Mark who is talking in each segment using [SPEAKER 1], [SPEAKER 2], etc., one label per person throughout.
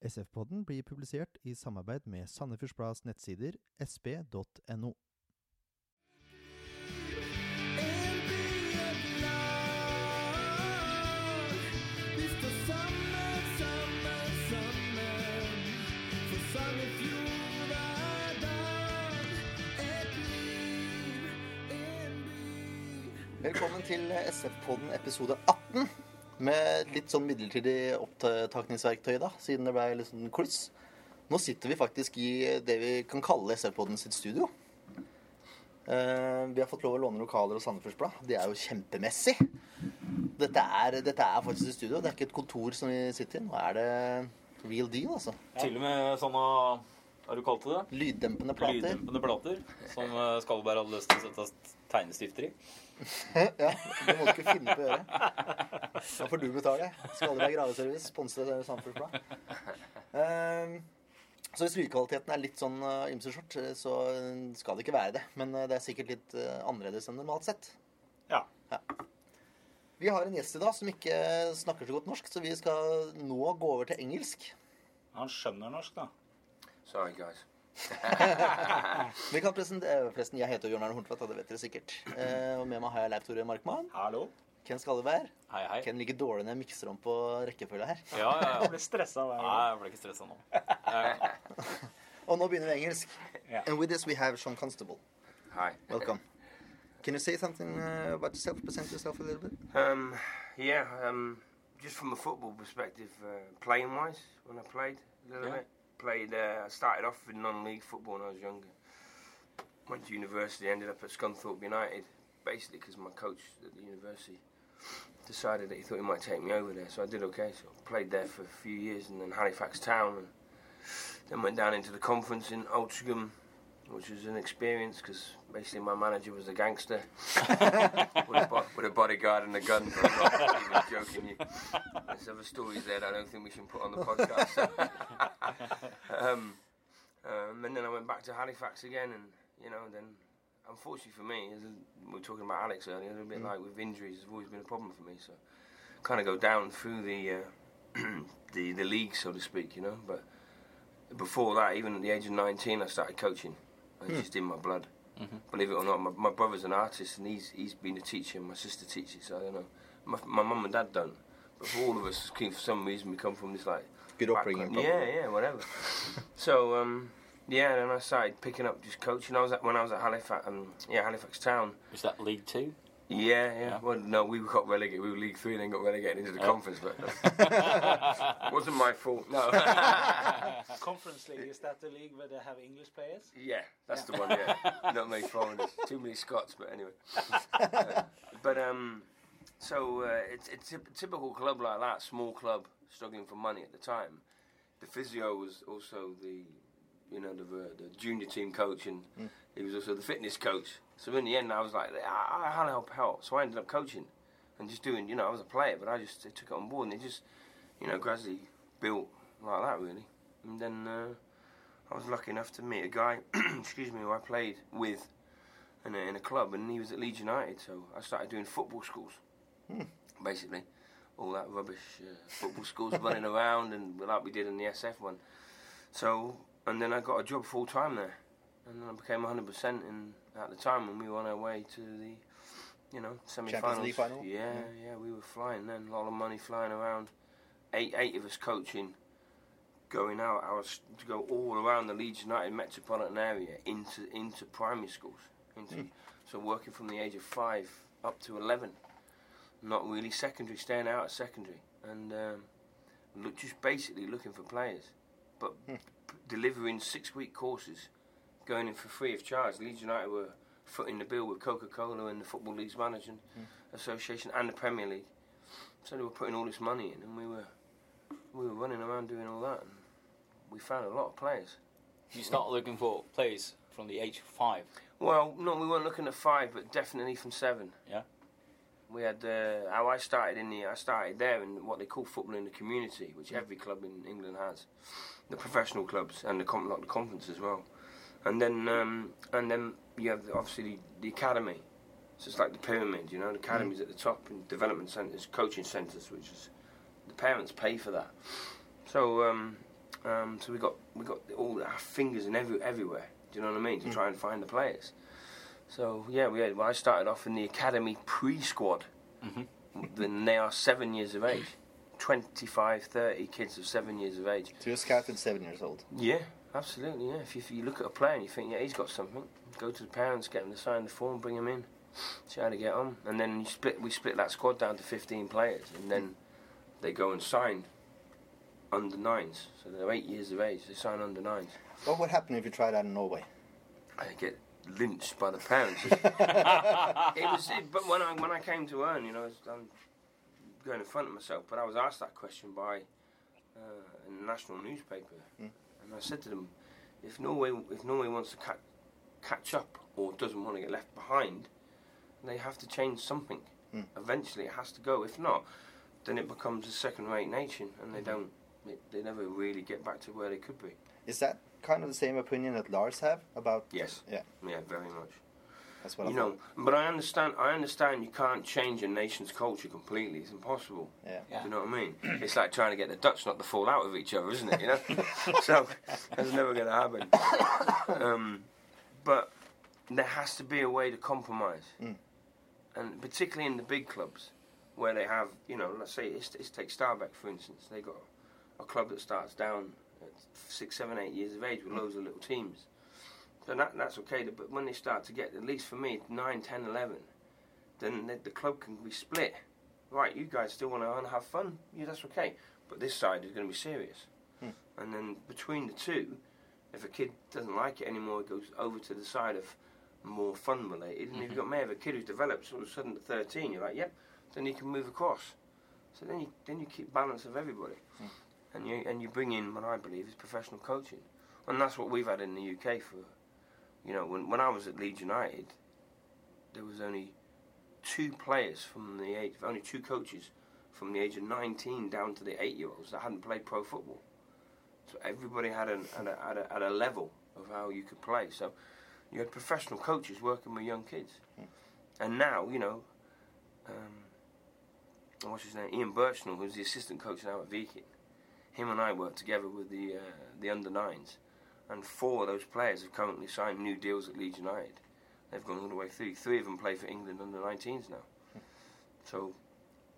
[SPEAKER 1] SF-podden blir publisert i samarbeid med Sandefjords Blads nettsider sp.no. Velkommen til SF-podden episode 18. Med litt sånn midlertidig opptakningsverktøy, da, siden det ble litt sånn kluss. Nå sitter vi faktisk i det vi kan kalle SF-podden sitt studio. Eh, vi har fått lov å låne lokaler hos Sandefjords Blad. Det er jo kjempemessig. Dette er, dette er faktisk et studio. Det er ikke et kontor som vi sitter i. Nå er det real deal, altså.
[SPEAKER 2] Til og med sånne Hva er det du kalte det?
[SPEAKER 1] Lyddempende plater.
[SPEAKER 2] Lyddempende plater. Som eh, Skalberg hadde lyst til å sette s- tegnestifter i.
[SPEAKER 1] ja, det må du ikke finne på å gjøre. Da får du betale. Skalberg Graveservice sponset av Sandefjords Blad. Ehm, så hvis lydkvaliteten er litt sånn eh, ymse skjort, eh, så eh, skal det ikke være det. Men eh, det er sikkert litt eh, annerledes enn normalt sett.
[SPEAKER 2] Ja.
[SPEAKER 1] Vi har en gjest i dag som ikke eh, snakker så godt norsk, så vi skal nå gå over til engelsk.
[SPEAKER 2] Han skjønner norsk, da.
[SPEAKER 3] Sorry, guys.
[SPEAKER 1] Vi kan presentere, eh, Forresten, jeg heter Jørn Arne Horntvedt, og det vet dere sikkert. Eh, og med meg har jeg Leif Tore Markmann,
[SPEAKER 4] Hallo?
[SPEAKER 1] Ken Skalleberg.
[SPEAKER 2] Hei, hei.
[SPEAKER 1] Ken ligger dårlig når jeg mikser om på rekkefølga her.
[SPEAKER 2] Ja, ja, ja.
[SPEAKER 4] Jeg blir stressa hver
[SPEAKER 2] Nei,
[SPEAKER 4] gang.
[SPEAKER 2] jeg ble ikke stressa nå. Eh,
[SPEAKER 1] Og nå begynner vi engelsk.
[SPEAKER 4] Ja.
[SPEAKER 1] And with this we have Sean Constable.
[SPEAKER 3] Hi.
[SPEAKER 1] Welcome. Can you say something uh, about yourself? Present yourself a little bit.
[SPEAKER 3] Um, yeah, um, just from a football perspective, uh, playing wise, when I played a little
[SPEAKER 2] Yeah.
[SPEAKER 3] bit, played. Uh, I started off in non-league football when I was younger. Went to university, ended up at Scunthorpe United, basically because my coach at the university decided that he thought he might take me over there. So I did okay. So I played there for a few years, and then Halifax Town, and then went down into the conference in Altrincham. Which was an experience because basically my manager was a gangster with, a bo- with a bodyguard and a gun. I'm not even joking you. There's other stories there that I don't think we should put on the podcast. um, um, and then I went back to Halifax again, and you know, then unfortunately for me, as we were talking about Alex earlier, a little bit like with injuries, has always been a problem for me. So kind of go down through the uh, the the league, so to speak, you know. But before that, even at the age of 19, I started coaching. It's just in my blood. Believe it or not, my, my brother's an artist and he's he's been a teacher. and My sister teaches, so I don't know. My, my mum and dad don't, but for all of us, came- for some reason, we come from this like
[SPEAKER 1] Good upbringing,
[SPEAKER 3] background.
[SPEAKER 1] probably.
[SPEAKER 3] Yeah, yeah, whatever. so um, yeah, then I started picking up just coaching. I was at, when I was at Halifax, um, yeah, Halifax Town.
[SPEAKER 2] Is that League Two?
[SPEAKER 3] Yeah, yeah,
[SPEAKER 2] Yeah.
[SPEAKER 3] Well, no, we got relegated. We were League Three and then got relegated into the
[SPEAKER 2] Oh.
[SPEAKER 3] conference, but wasn't my fault. No.
[SPEAKER 4] Conference League, is that the league where they have English players?
[SPEAKER 3] Yeah, that's the one. Yeah, not many foreigners. Too many Scots, but anyway. Uh, but um, so uh, it's it's a typical club like that, small club struggling for money at the time. The physio was also the, you know, the uh, the junior team coach, and he was also the fitness coach. So in the end, I was like, I, I how to help out. So I ended up coaching, and just doing, you know, I was a player, but I just took it on board, and it just, you know, gradually built like that really, and then. Uh, I was lucky enough to meet a guy, excuse me, who I played with in a, in a club, and he was at Leeds United, so I started doing football schools,
[SPEAKER 1] Hmm.
[SPEAKER 3] basically. All that rubbish uh, football schools running around, and like we did in the SF one. So, and then I got a job full time there, and then I became 100% in, at the time, and we were on our way to the, you know, semi-finals.
[SPEAKER 1] League final?
[SPEAKER 3] Yeah, yeah, we were flying then, a lot of money flying around. Eight, eight of us coaching going out, I was to go all around the Leeds United metropolitan area into into primary schools. Into,
[SPEAKER 1] Hmm.
[SPEAKER 3] So working from the age of five up to eleven, not really secondary, staying out of secondary, and um, look, just basically looking for players, but
[SPEAKER 1] Hmm.
[SPEAKER 3] p- delivering six-week courses, going in for free of charge. Leeds United were footing the bill with Coca-Cola and the Football Leagues Management Association and the Premier League, so they were putting all this money in, and we were we were running around doing all that. And we found a lot of players.
[SPEAKER 2] You start looking for plays from the age of five.
[SPEAKER 3] Well, no, we weren't looking at five, but definitely from seven.
[SPEAKER 2] Yeah.
[SPEAKER 3] We had uh, how I started in the I started there in what they call football in the community, which every club in England has, the professional clubs and the com- like the conference as well, and then um, and then you have the, obviously the academy, so it's like the pyramid, you know, the academy's at the top and development centres, coaching centres, which is the parents pay for that. So um, Um, so we got we got all our fingers in every, everywhere. Do you know what I mean? To try and find the players. So yeah, we had, well, I started off in the academy pre-squad. Then they are seven years of age. 25, 30 kids of seven years of age.
[SPEAKER 1] So you're scouted seven years old.
[SPEAKER 3] Yeah, absolutely. Yeah, if you, if you look at a player and you think, yeah, he's got something, go to the parents, get them to sign the form, bring him in, see how they get on, and then you split. We split that squad down to fifteen players, and then they go and sign under nines. So they're eight years of age. They sign under nines.
[SPEAKER 1] What would happen if you tried out in Norway?
[SPEAKER 3] I get lynched by the parents. it was, it, but when I when I came to Earn, you know, it's- I'm going in front of myself. But I was asked that question by uh, a national newspaper, and I said to them, if Norway if Norway wants to ca- catch up or doesn't want to get left behind, they have to change something.
[SPEAKER 1] Mm.
[SPEAKER 3] Eventually, it has to go. If not, then it becomes a second-rate nation, and they don't. They, they never really get back to where they could be.
[SPEAKER 1] Is that kind of the same opinion that Lars have about?
[SPEAKER 3] Yes.
[SPEAKER 1] Yeah,
[SPEAKER 3] Yeah, very much.
[SPEAKER 1] that's what I
[SPEAKER 3] you
[SPEAKER 1] thought.
[SPEAKER 3] know, but I understand. I understand you can't change a nation's culture completely. It's impossible.
[SPEAKER 1] Yeah.
[SPEAKER 4] Yeah.
[SPEAKER 3] Do you know what I mean? It's like trying to get the Dutch not to fall out with each other, isn't it? You know, so that's never going to happen. Um, but there has to be a way to compromise,
[SPEAKER 1] Mm.
[SPEAKER 3] and particularly in the big clubs where they have, you know, let's say it's, it's take Starbeck for instance. They got a club that starts down at six, seven, eight years of age with loads of little teams. So that, that's okay, but when they start to get, at least for me, 9, 10, 11, then the, the club can be split. Right, you guys still want to have fun? Yeah, that's okay. But this side is going to be serious.
[SPEAKER 1] Hmm.
[SPEAKER 3] And then between the two, if a kid doesn't like it anymore, it goes over to the side of more fun related. And if you've got may have a kid who's developed all of a sudden to 13, you're like, yep, then you can move across. So then you, then you keep balance of everybody. And, you, and you bring in what I believe is professional coaching. And that's what we've had in the UK for you know, when, when I was at Leeds United, there was only two players from the age, only two coaches from the age of 19 down to the eight-year-olds that hadn't played pro football. So everybody had, an, had, a, had, a, had a level of how you could play. So you had professional coaches working with young kids. And now, you know, um, what's his name? Ian Birchnell, who's the assistant coach now at Viking. Him and I worked together with the, uh, the under-9s and four of those players have currently signed new deals at Leeds United. They've gone all the way through. Three of them play for England under 19s now. So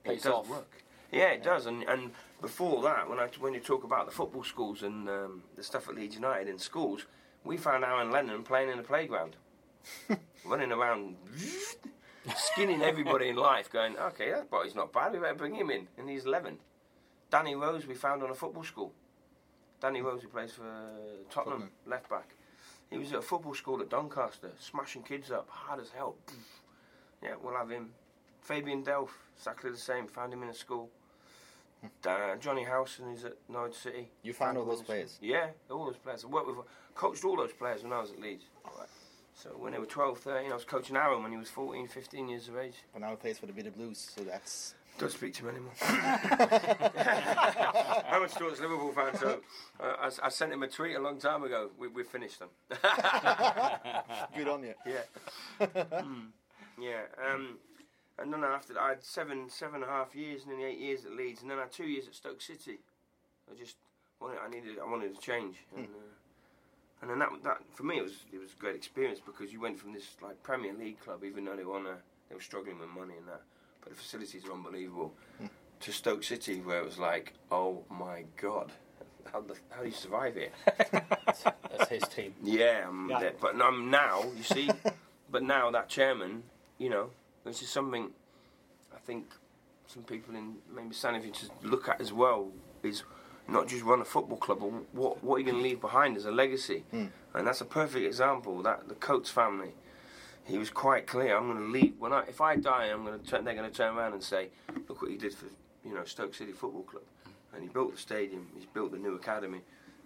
[SPEAKER 3] it
[SPEAKER 2] Pays
[SPEAKER 3] does
[SPEAKER 2] off.
[SPEAKER 3] work. Yeah, it does. And and before that, when I when you talk about the football schools and um, the stuff at Leeds United in schools, we found Aaron Lennon playing in the playground, running around, skinning everybody in life, going, okay, that boy's not bad. We better bring him in, and he's 11. Danny Rose we found on a football school. Danny Rose, who plays for
[SPEAKER 1] Hmm.
[SPEAKER 3] Tottenham,
[SPEAKER 1] Tottenham.
[SPEAKER 3] left back. He was at a football school at Doncaster, smashing kids up, hard as hell. Yeah, we'll have him. Fabian Delph, exactly the same. Found him in a school. Uh, Johnny Howson is at Norwich City.
[SPEAKER 1] You found all
[SPEAKER 3] him in
[SPEAKER 1] those
[SPEAKER 3] a school.
[SPEAKER 1] players?
[SPEAKER 3] Yeah, all those players. I worked with, coached all those players when I was at Leeds. So when they were 12, 13, I was coaching Aaron when he was 14, 15 years of age.
[SPEAKER 1] But now he plays for the Bitter Blues, so that's
[SPEAKER 3] Don't speak to him anymore. I was Stuart's Liverpool fan, so uh, I, I sent him a tweet a long time ago. We, we're finished then.
[SPEAKER 1] good on you.
[SPEAKER 3] Yeah. Mm. Yeah. Um, and then after that, I had seven, seven and a half years, and then eight years at Leeds, and then I had two years at Stoke City. I just wanted, I needed, I wanted to change, and uh, and then that, that for me it was it was a great experience because you went from this like Premier League club, even though they won, a, they were struggling with money and that, but the facilities were unbelievable, to Stoke City where it was like, oh my god, how the, how do you survive here?
[SPEAKER 2] That's his team.
[SPEAKER 3] Yeah, I'm
[SPEAKER 4] Yeah.
[SPEAKER 3] there. but I'm now, you see, but now that chairman, you know, this is something I think some people in maybe Sanofi to look at as well is not just run a football club, but what what are you going to leave behind as a legacy? And that's a perfect example. That the Coates family, he was quite clear. I'm going to leave when I if I die, I'm going to turn, they're going to turn around and say, look what he did for you know Stoke City Football Club, and he built the stadium, he's built the new academy,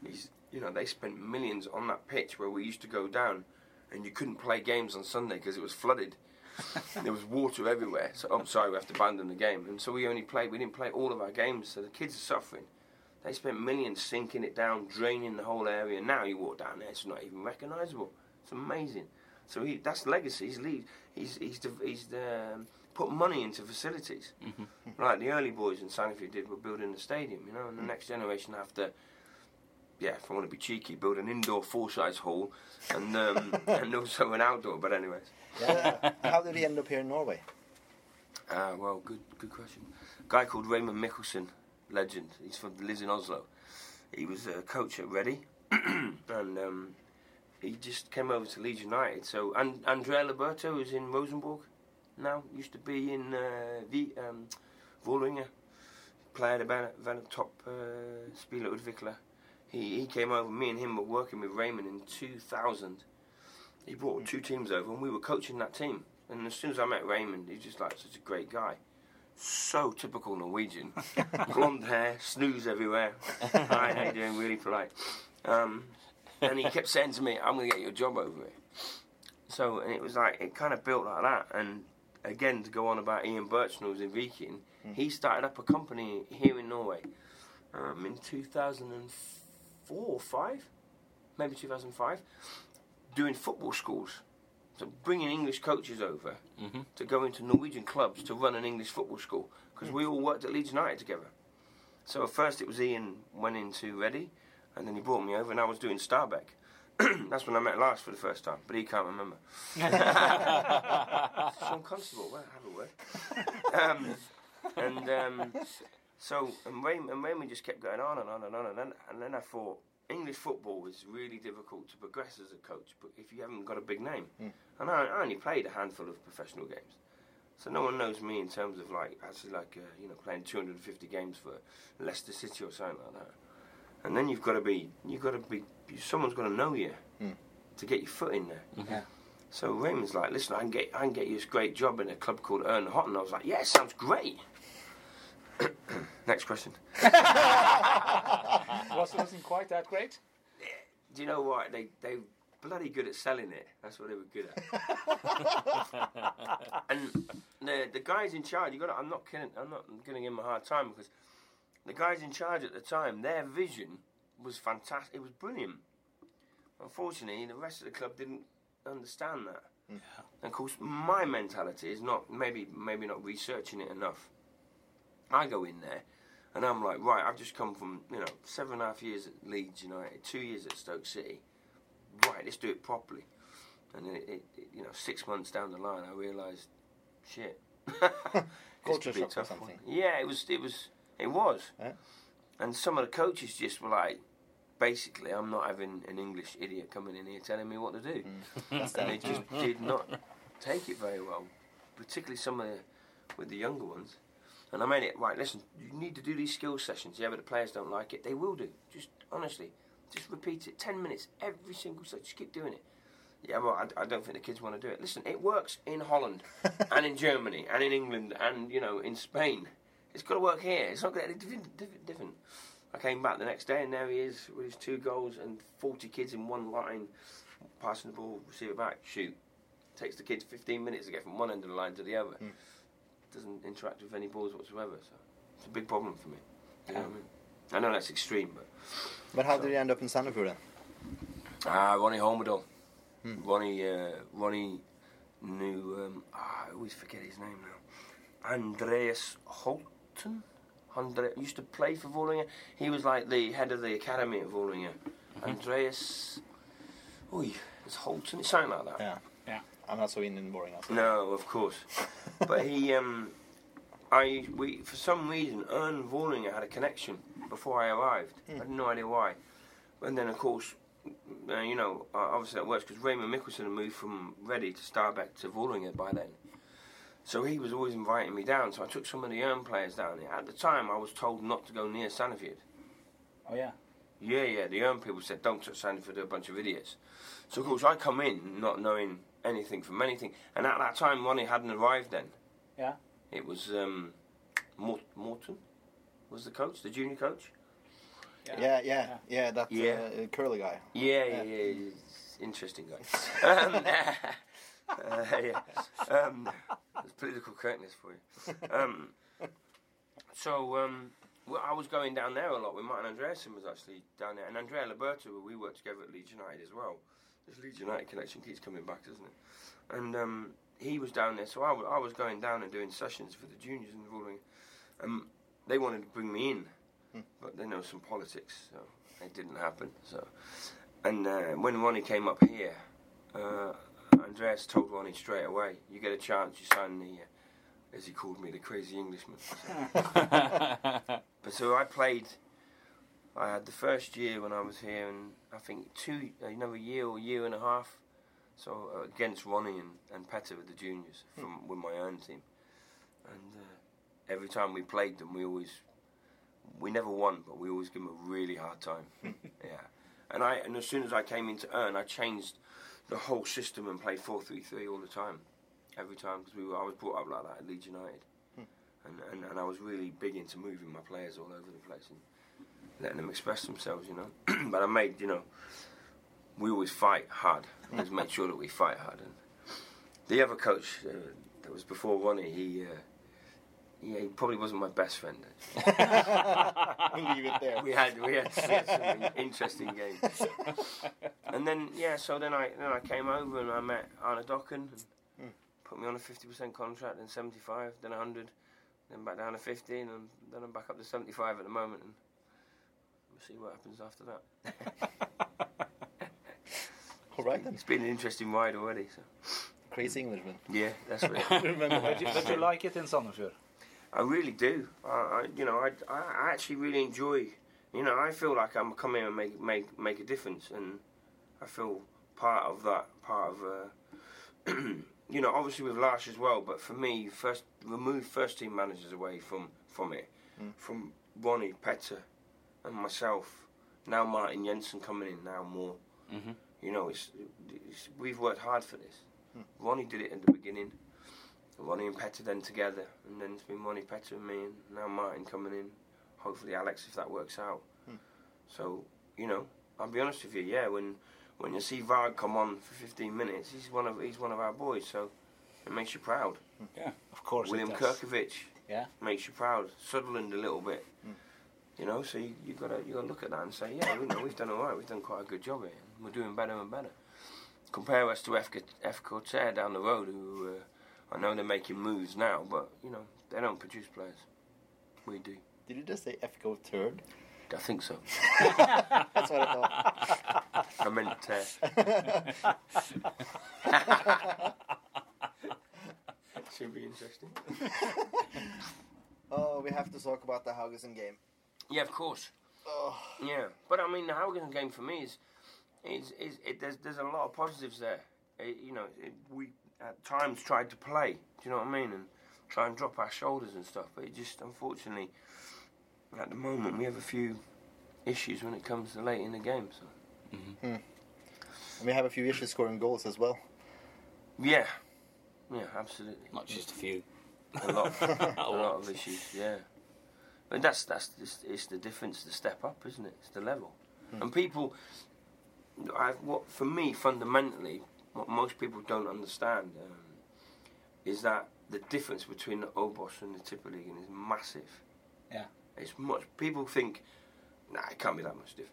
[SPEAKER 3] he's you know they spent millions on that pitch where we used to go down, and you couldn't play games on Sunday because it was flooded. there was water everywhere. So I'm sorry, we have to abandon the game. And so we only played. We didn't play all of our games. So the kids are suffering. They spent millions sinking it down, draining the whole area. Now you walk down there, it's not even recognisable. It's amazing. So he, that's legacy. He's lead. He's he's the, he's the, um, put money into facilities. Like the early boys in Sanofi did were building the stadium, you know, and the next generation have to yeah, if I want to be cheeky, build an indoor full-size hall and um, and also an outdoor. But anyways,
[SPEAKER 1] Yeah. How did he end up here in Norway?
[SPEAKER 3] ah, well, good good question. guy called Raymond Mickelson, legend. He's from lives in Oslo. He was a coach at Reading, and um, he just came over to Leeds United. So and Andrea Liberto is in Rosenborg now. Used to be in uh, the um, Vålerenga. Played about van op top uh, speler Udvikler. He he came over. Me and him were working with Raymond in 2000. He brought two teams over, and we were coaching that team. And as soon as I met Raymond, he's just like such a great guy. So typical Norwegian, blonde hair, snooze everywhere. Hi, how you doing? Really polite. Um, and he kept saying to me, "I'm gonna get you a job over here." So and it was like it kind of built like that. And again, to go on about Ian Birchnell who was in Viking, he started up a company here in Norway um, in 2004 or five, maybe 2005, doing football schools. So bringing English coaches over
[SPEAKER 2] Mhm.
[SPEAKER 3] to go into Norwegian clubs to run an English football school because we all worked at Leeds United together. So at first it was Ian went into Ready, and then he brought me over, and I was doing Starbeck. That's when I met Lars for the first time, but he can't remember. Sean Constable, well, have a word. Um, and um, so, and Raymond, and Raymond just kept going on and on and on, and then, and then I thought English football is really difficult to progress as a coach, but if you haven't got a big name, and I, I only played a handful of professional games, so no one knows me in terms of like actually like uh, you know playing 250 games for Leicester City or something like that. And then you've got to be, you've got to be, someone's got to know you
[SPEAKER 1] Mm.
[SPEAKER 3] to get your foot in there.
[SPEAKER 1] Yeah.
[SPEAKER 3] So Raymond's like, listen, I can get, I can get you this great job in a club called Earn Hot, and I was like, yeah, sounds great. Next question.
[SPEAKER 4] Wasn't, wasn't quite that great.
[SPEAKER 3] Do you know what? They they bloody good at selling it. That's what they were good at. and the the guys in charge, you got. to I'm not kidding. I'm not going to give them a hard time because the guys in charge at the time, their vision was fantastic. It was brilliant. Unfortunately, the rest of the club didn't understand that. And of course, my mentality is not maybe maybe not researching it enough. I go in there and I'm like, right, I've just come from, you know, seven and a half years at Leeds United, two years at Stoke City. Right, let's do it properly. And then it, it, it you know, six months down the line, I realised, shit. This
[SPEAKER 1] Culture
[SPEAKER 3] could be
[SPEAKER 1] shock
[SPEAKER 3] a
[SPEAKER 1] or
[SPEAKER 3] tough
[SPEAKER 1] something.
[SPEAKER 3] one. Yeah, it was, it was, it was.
[SPEAKER 1] Yeah.
[SPEAKER 3] And some of the coaches just were like, basically, I'm not having an English idiot coming in here telling me what to
[SPEAKER 1] Mm.
[SPEAKER 3] do.
[SPEAKER 1] That's
[SPEAKER 3] And they
[SPEAKER 1] the
[SPEAKER 3] just did not take it very well, particularly some of the, with the younger ones. And I mean it, right, listen, you need to do these skill sessions. Yeah, but the players don't like it. They will do. Just honestly, just repeat it 10 minutes every single session. Just keep doing it. Yeah, well, I, I don't think the kids want to do it. Listen, it works in Holland and in Germany and in England and, you know, in Spain. It's got to work here. It's not going to different, different, different. I came back the next day and there he is with his two goals and 40 kids in one line, passing the ball, receive it back, shoot. Takes the kids 15 minutes to get from one end of the line to the other. Doesn't interact with any balls whatsoever. So it's a big problem for me. You know what I mean? I know that's extreme, but
[SPEAKER 1] But how did he end up in Sandefjord then?
[SPEAKER 3] Ah, Ronnie Holmedal. Ronnie, uh, Ronnie knew. Um, ah, I always forget his name now. Andreas Holten. Andre used to play for Vålerenga. He was like the head of the academy at Vålerenga. Andreas. Oi, it's Holten. It's something like that.
[SPEAKER 1] Yeah.
[SPEAKER 4] Yeah.
[SPEAKER 1] I'm not so in in boring altså.
[SPEAKER 3] No, of course. but he, um, I, we, for some reason, Ern Vorlinger had a connection before I arrived. I had no idea why. And then, of course, uh, you know, uh, obviously that works because Raymond Mickelson had moved from Ready to Starbeck to Vorlinger by then. So he was always inviting me down. So I took some of the Ern players down there. At the time, I was told not to go near Sandefjord.
[SPEAKER 4] Oh yeah.
[SPEAKER 3] Yeah, yeah, the young people said, don't touch Sandford, they're a bunch of idiots. So, of course, I come in not knowing anything from anything. And at that time, Ronnie hadn't arrived then.
[SPEAKER 4] Yeah.
[SPEAKER 3] It was um, Mor- Morton was the coach, the junior coach.
[SPEAKER 1] Yeah, yeah, yeah, that
[SPEAKER 3] Yeah.
[SPEAKER 1] Uh, curly guy.
[SPEAKER 3] Yeah, yeah, yeah. he's an Interesting guy. um, uh, yeah. um, that's political correctness for you. Um, so um, well, I was going down there a lot with Martin Andreasen was actually down there, and Andrea Liberto, we worked together at Leeds United as well. This Leeds United connection keeps coming back, doesn't it? And um, he was down there, so I wa- I was going down and doing sessions for the juniors and the Um, they wanted to bring me in, but then there was some politics, so It didn't happen. So, and uh, when Ronnie came up here, uh, Andreas told Ronnie straight away, "You get a chance, you sign the." Uh, as he called me, the crazy Englishman. But so I played. I had the first year when I was here, and I think two, another year or year and a half. So uh, against Ronnie and, and Petter with the juniors from with my own team, and uh, every time we played them, we always, we never won, but we always give them a really hard time. yeah, and I and as soon as I came into Earn, I changed the whole system and played four three three all the time, every time because we were, I was brought up like that at Leeds United and, and, and I was really big into moving my players all over the place and letting them express themselves, you know. but I made, you know, we always fight hard. I just make sure that we fight hard. And the other coach uh, that was before Ronnie, he, uh, yeah, he probably wasn't my best friend.
[SPEAKER 1] We'll leave it there.
[SPEAKER 3] We had we had some interesting games. And then yeah, so then I then I came over and I met Arna Dokken and
[SPEAKER 1] Hmm.
[SPEAKER 3] put me on a fifty percent contract, then seventy five, then hundred, then back down to fifteen, and then I'm back up to seventy five at the moment, and we'll see what happens after that.
[SPEAKER 1] All right then.
[SPEAKER 3] It's been an interesting ride already. So
[SPEAKER 1] Crazy Englishman.
[SPEAKER 3] yeah, that's right.
[SPEAKER 4] But you, but you like it in Sandefjord?
[SPEAKER 3] I really do. I, I you know I, I I actually really enjoy. You know I feel like I'm coming and make make make a difference, and I feel part of that part of. Uh, you know, obviously with Lash as well, but for me, first remove first team managers away from from it, from Ronnie Petter and myself. Now Martin Jensen coming in now more.
[SPEAKER 2] Mhm.
[SPEAKER 3] You know, it's, it's we've worked hard for this. Ronnie did it at the beginning. Ronnie and Petter then together, and then it's been Ronnie Petter and me, and now Martin coming in. Hopefully Alex, if that works out. So you know, I'll be honest with you. Yeah, when when you see Varg come on for 15 minutes, he's one of he's one of our boys. So it makes you proud.
[SPEAKER 4] Of course
[SPEAKER 3] William
[SPEAKER 4] it does.
[SPEAKER 3] Kirkovich
[SPEAKER 4] Yeah. Hmm.
[SPEAKER 3] makes you proud. Sutherland a little bit. You know, so you, you gotta you gotta look at that and say, yeah, you know, we've done all right. We've done quite a good job here. We're doing better and better. Compare us to F. Cort- F. Corsair down the road, who uh, I know they're making moves now, but you know they don't produce players. We do.
[SPEAKER 1] Did you just say F go turd?
[SPEAKER 3] I think so.
[SPEAKER 1] That's what I thought.
[SPEAKER 3] I meant. Uh, should be interesting.
[SPEAKER 1] Oh, we have to talk about the Haugesund game.
[SPEAKER 3] Yeah, of course.
[SPEAKER 1] Oh,
[SPEAKER 3] Yeah, but I mean, the Haugen game for me is, is, is it, there's there's a lot of positives there. It- you know, it, we at times tried to play. Do you know what I mean? And try and drop our shoulders and stuff, but it just unfortunately, at the moment, we have a few issues when it comes to late in the game. So
[SPEAKER 1] and we have a few issues scoring goals as well.
[SPEAKER 3] yeah, yeah, absolutely.
[SPEAKER 2] Not just a few.
[SPEAKER 3] a lot, a lot
[SPEAKER 2] lot.
[SPEAKER 3] of issues. Yeah, but that's that's it's, it's the difference, the step up, isn't it? It's the level, and people. I what for me fundamentally, what most people don't understand um, is that the difference between the Obos and the Tipper League is massive.
[SPEAKER 4] Yeah.
[SPEAKER 3] it's much. People think, nah, it can't be that much difference.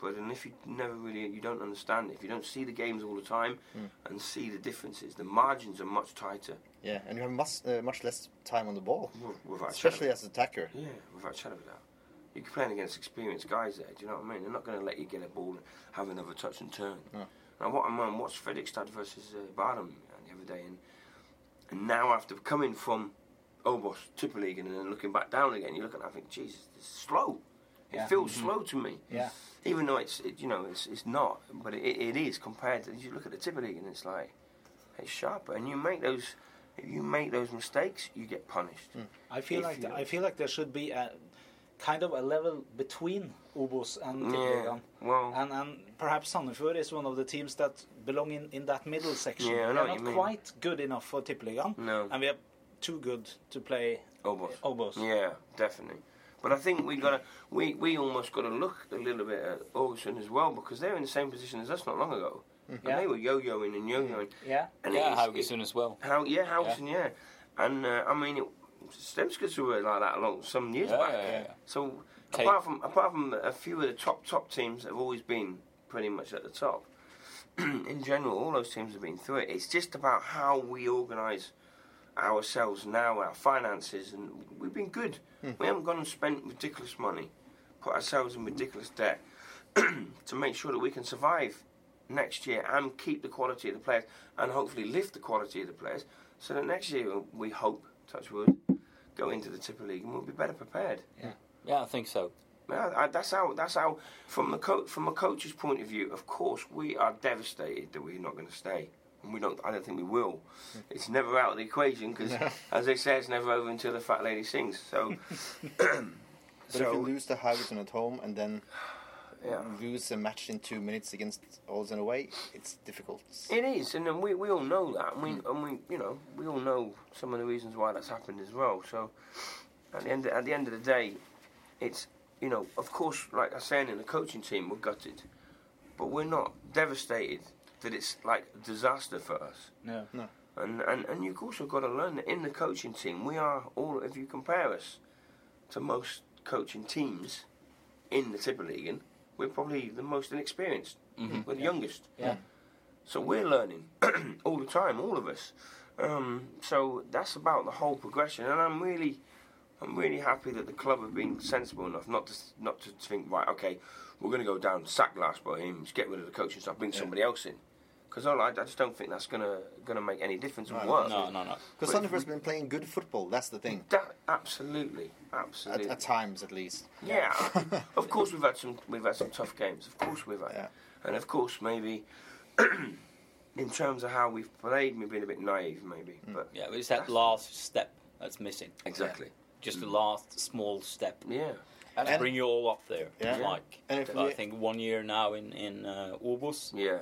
[SPEAKER 3] But and if you never really, you don't understand it. If you don't see the games all the time and see the differences, the margins are much tighter.
[SPEAKER 1] Yeah, and you have much, uh, much less time on the ball,
[SPEAKER 3] wi- Without
[SPEAKER 1] especially as an attacker.
[SPEAKER 3] yeah, without a shadow of a doubt. You're playing against experienced guys there, do you know what I mean? They're not going to let you get a ball and have another touch and turn.
[SPEAKER 1] No.
[SPEAKER 3] Now, what I'm um, on, watched Fredrikstad versus uh, Baden the other day, and, and now after coming from Obos, Tipper League, and then looking back down again, you look at that and think, Jesus, this is slow.
[SPEAKER 4] Yeah. Mm-hmm.
[SPEAKER 3] It feels slow to me.
[SPEAKER 4] Yeah.
[SPEAKER 3] Even though it's, it, you know, it's, it's not, but it, it is compared to, you look at the Tipper League and it's like, it's sharper. And you make those, if you make those mistakes, you get punished.
[SPEAKER 4] I feel
[SPEAKER 3] If
[SPEAKER 4] like
[SPEAKER 3] you-
[SPEAKER 4] th- I feel like there should be a kind of a level between Obos and
[SPEAKER 3] Yeah,
[SPEAKER 4] Tippeligaen.
[SPEAKER 3] Mm. well...
[SPEAKER 4] And, and perhaps Sandefjord is one of the teams that belong in, in that middle section.
[SPEAKER 3] Yeah, I
[SPEAKER 4] They're
[SPEAKER 3] know what
[SPEAKER 4] not
[SPEAKER 3] you mean.
[SPEAKER 4] quite good enough for Tippeligaen.
[SPEAKER 3] No.
[SPEAKER 4] And we are too good to play
[SPEAKER 3] Obos.
[SPEAKER 4] Obos.
[SPEAKER 3] Yeah, definitely. But I think we gotta we, we almost gotta look a little bit at Augustin as well because they were in the same position as us not long ago. And
[SPEAKER 4] Yeah.
[SPEAKER 3] they were yo yoing and yo yoing.
[SPEAKER 4] Yeah.
[SPEAKER 3] And
[SPEAKER 2] Yeah,
[SPEAKER 3] it is-
[SPEAKER 2] Haugesund as well.
[SPEAKER 3] it- How yeah, Haugesund, yeah. And uh, I mean it Stemskis were like that a lot some years
[SPEAKER 2] Yeah,
[SPEAKER 3] back.
[SPEAKER 2] yeah, yeah.
[SPEAKER 3] So
[SPEAKER 2] Take-
[SPEAKER 3] apart from apart from a few of the top top teams that have always been pretty much at the top. in general, all those teams have been through it. It's just about how we organise ourselves now, our finances, and we've been good. We haven't gone and spent ridiculous money, put ourselves in ridiculous debt. to make sure that we can survive next year and keep the quality of the players and hopefully lift the quality of the players so that next year we hope, touch wood, go into the Tipper League and we'll be better prepared.
[SPEAKER 2] Yeah, I think so.
[SPEAKER 3] Man, I, I, that's how. That's how. From the co- from a coach's point of view, of course, we are devastated that we're not going to stay, and we don't. I don't think we will. It's never out of the equation because, as they say, it's never over until the fat lady sings. So,
[SPEAKER 1] But if you
[SPEAKER 3] so
[SPEAKER 1] lose to Haugesund at home and then
[SPEAKER 3] yeah.
[SPEAKER 1] lose a match in two minutes against Olsen away, it's difficult.
[SPEAKER 3] It is, and then we, we all know that, and we and we you know we all know some of the reasons why that's happened as well. So at the end at the end of the day, it's you know of course like I was saying in the coaching team we're gutted, but we're not devastated that it's like a disaster for us.
[SPEAKER 4] No.
[SPEAKER 3] And and and you've also got to learn that in the coaching team we are all if you compare us to most coaching teams in the Tippeligaen, we're probably the most inexperienced.
[SPEAKER 2] Mhm.
[SPEAKER 3] We're the youngest.
[SPEAKER 4] Yeah.
[SPEAKER 3] So we're learning all the time, all of us. Um, so that's about the whole progression, and I'm really, I'm really happy that the club have been sensible enough not to not to think right. Okay, we're going to go down, sack Lasbo, him, get rid of the coach and stuff, bring somebody else in. Because I, I just don't think that's gonna gonna make any difference and
[SPEAKER 1] No,
[SPEAKER 3] work.
[SPEAKER 2] No, no, no.
[SPEAKER 1] Because Sandefjord has been playing good football, that's the thing.
[SPEAKER 3] That, absolutely,
[SPEAKER 1] At,
[SPEAKER 3] absolutely.
[SPEAKER 1] at times, at least.
[SPEAKER 3] Yeah, of course we've had some we've had some tough games. Of course we've had,
[SPEAKER 1] Yeah.
[SPEAKER 3] and of course maybe in terms of how we've played, we've been a bit naive, maybe. But
[SPEAKER 2] Yeah, but it's that last step that's missing.
[SPEAKER 3] exactly,
[SPEAKER 2] Just the last small step
[SPEAKER 3] yeah,
[SPEAKER 2] and
[SPEAKER 1] And-
[SPEAKER 2] bring you all up there.
[SPEAKER 1] Yeah.
[SPEAKER 2] Like,
[SPEAKER 1] And if
[SPEAKER 2] I
[SPEAKER 1] we-
[SPEAKER 2] think one year now in in uh, Orbus,
[SPEAKER 3] yeah,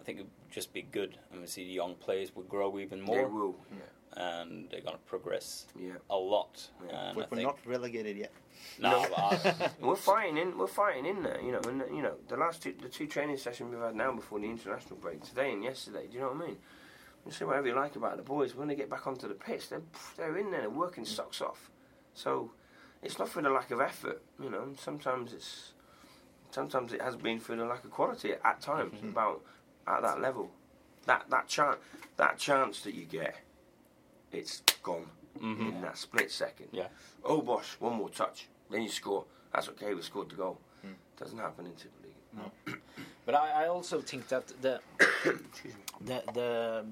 [SPEAKER 2] I think it'd just be good, and we see the young players will grow even
[SPEAKER 3] they
[SPEAKER 2] more,
[SPEAKER 3] will,
[SPEAKER 2] and they're gonna progress
[SPEAKER 3] yeah, yeah.
[SPEAKER 2] a lot.
[SPEAKER 3] Yeah.
[SPEAKER 2] And I
[SPEAKER 1] But we're
[SPEAKER 2] think-
[SPEAKER 1] not relegated yet.
[SPEAKER 2] no, but I-
[SPEAKER 3] We're fighting in, we're fighting in there, you know. And you know, the last two, the two training sessions we've had now before the international break, today and yesterday. Do you know what I mean? You say whatever you like about the boys, when they get back onto the pitch, they're they're in there, they're working socks off. So it's not for the lack of effort, you know. Sometimes it's sometimes it has been for the lack of quality at times about at that level. That that chance that chance that you get, it's gone
[SPEAKER 2] Mhm.
[SPEAKER 3] in that split second.
[SPEAKER 2] Yeah.
[SPEAKER 3] Oh boss, one more touch, then you score. That's okay. We scored the goal.
[SPEAKER 4] Hmm.
[SPEAKER 3] Doesn't happen in Super League.
[SPEAKER 4] But I, I also think that the
[SPEAKER 3] Excuse me.
[SPEAKER 4] the the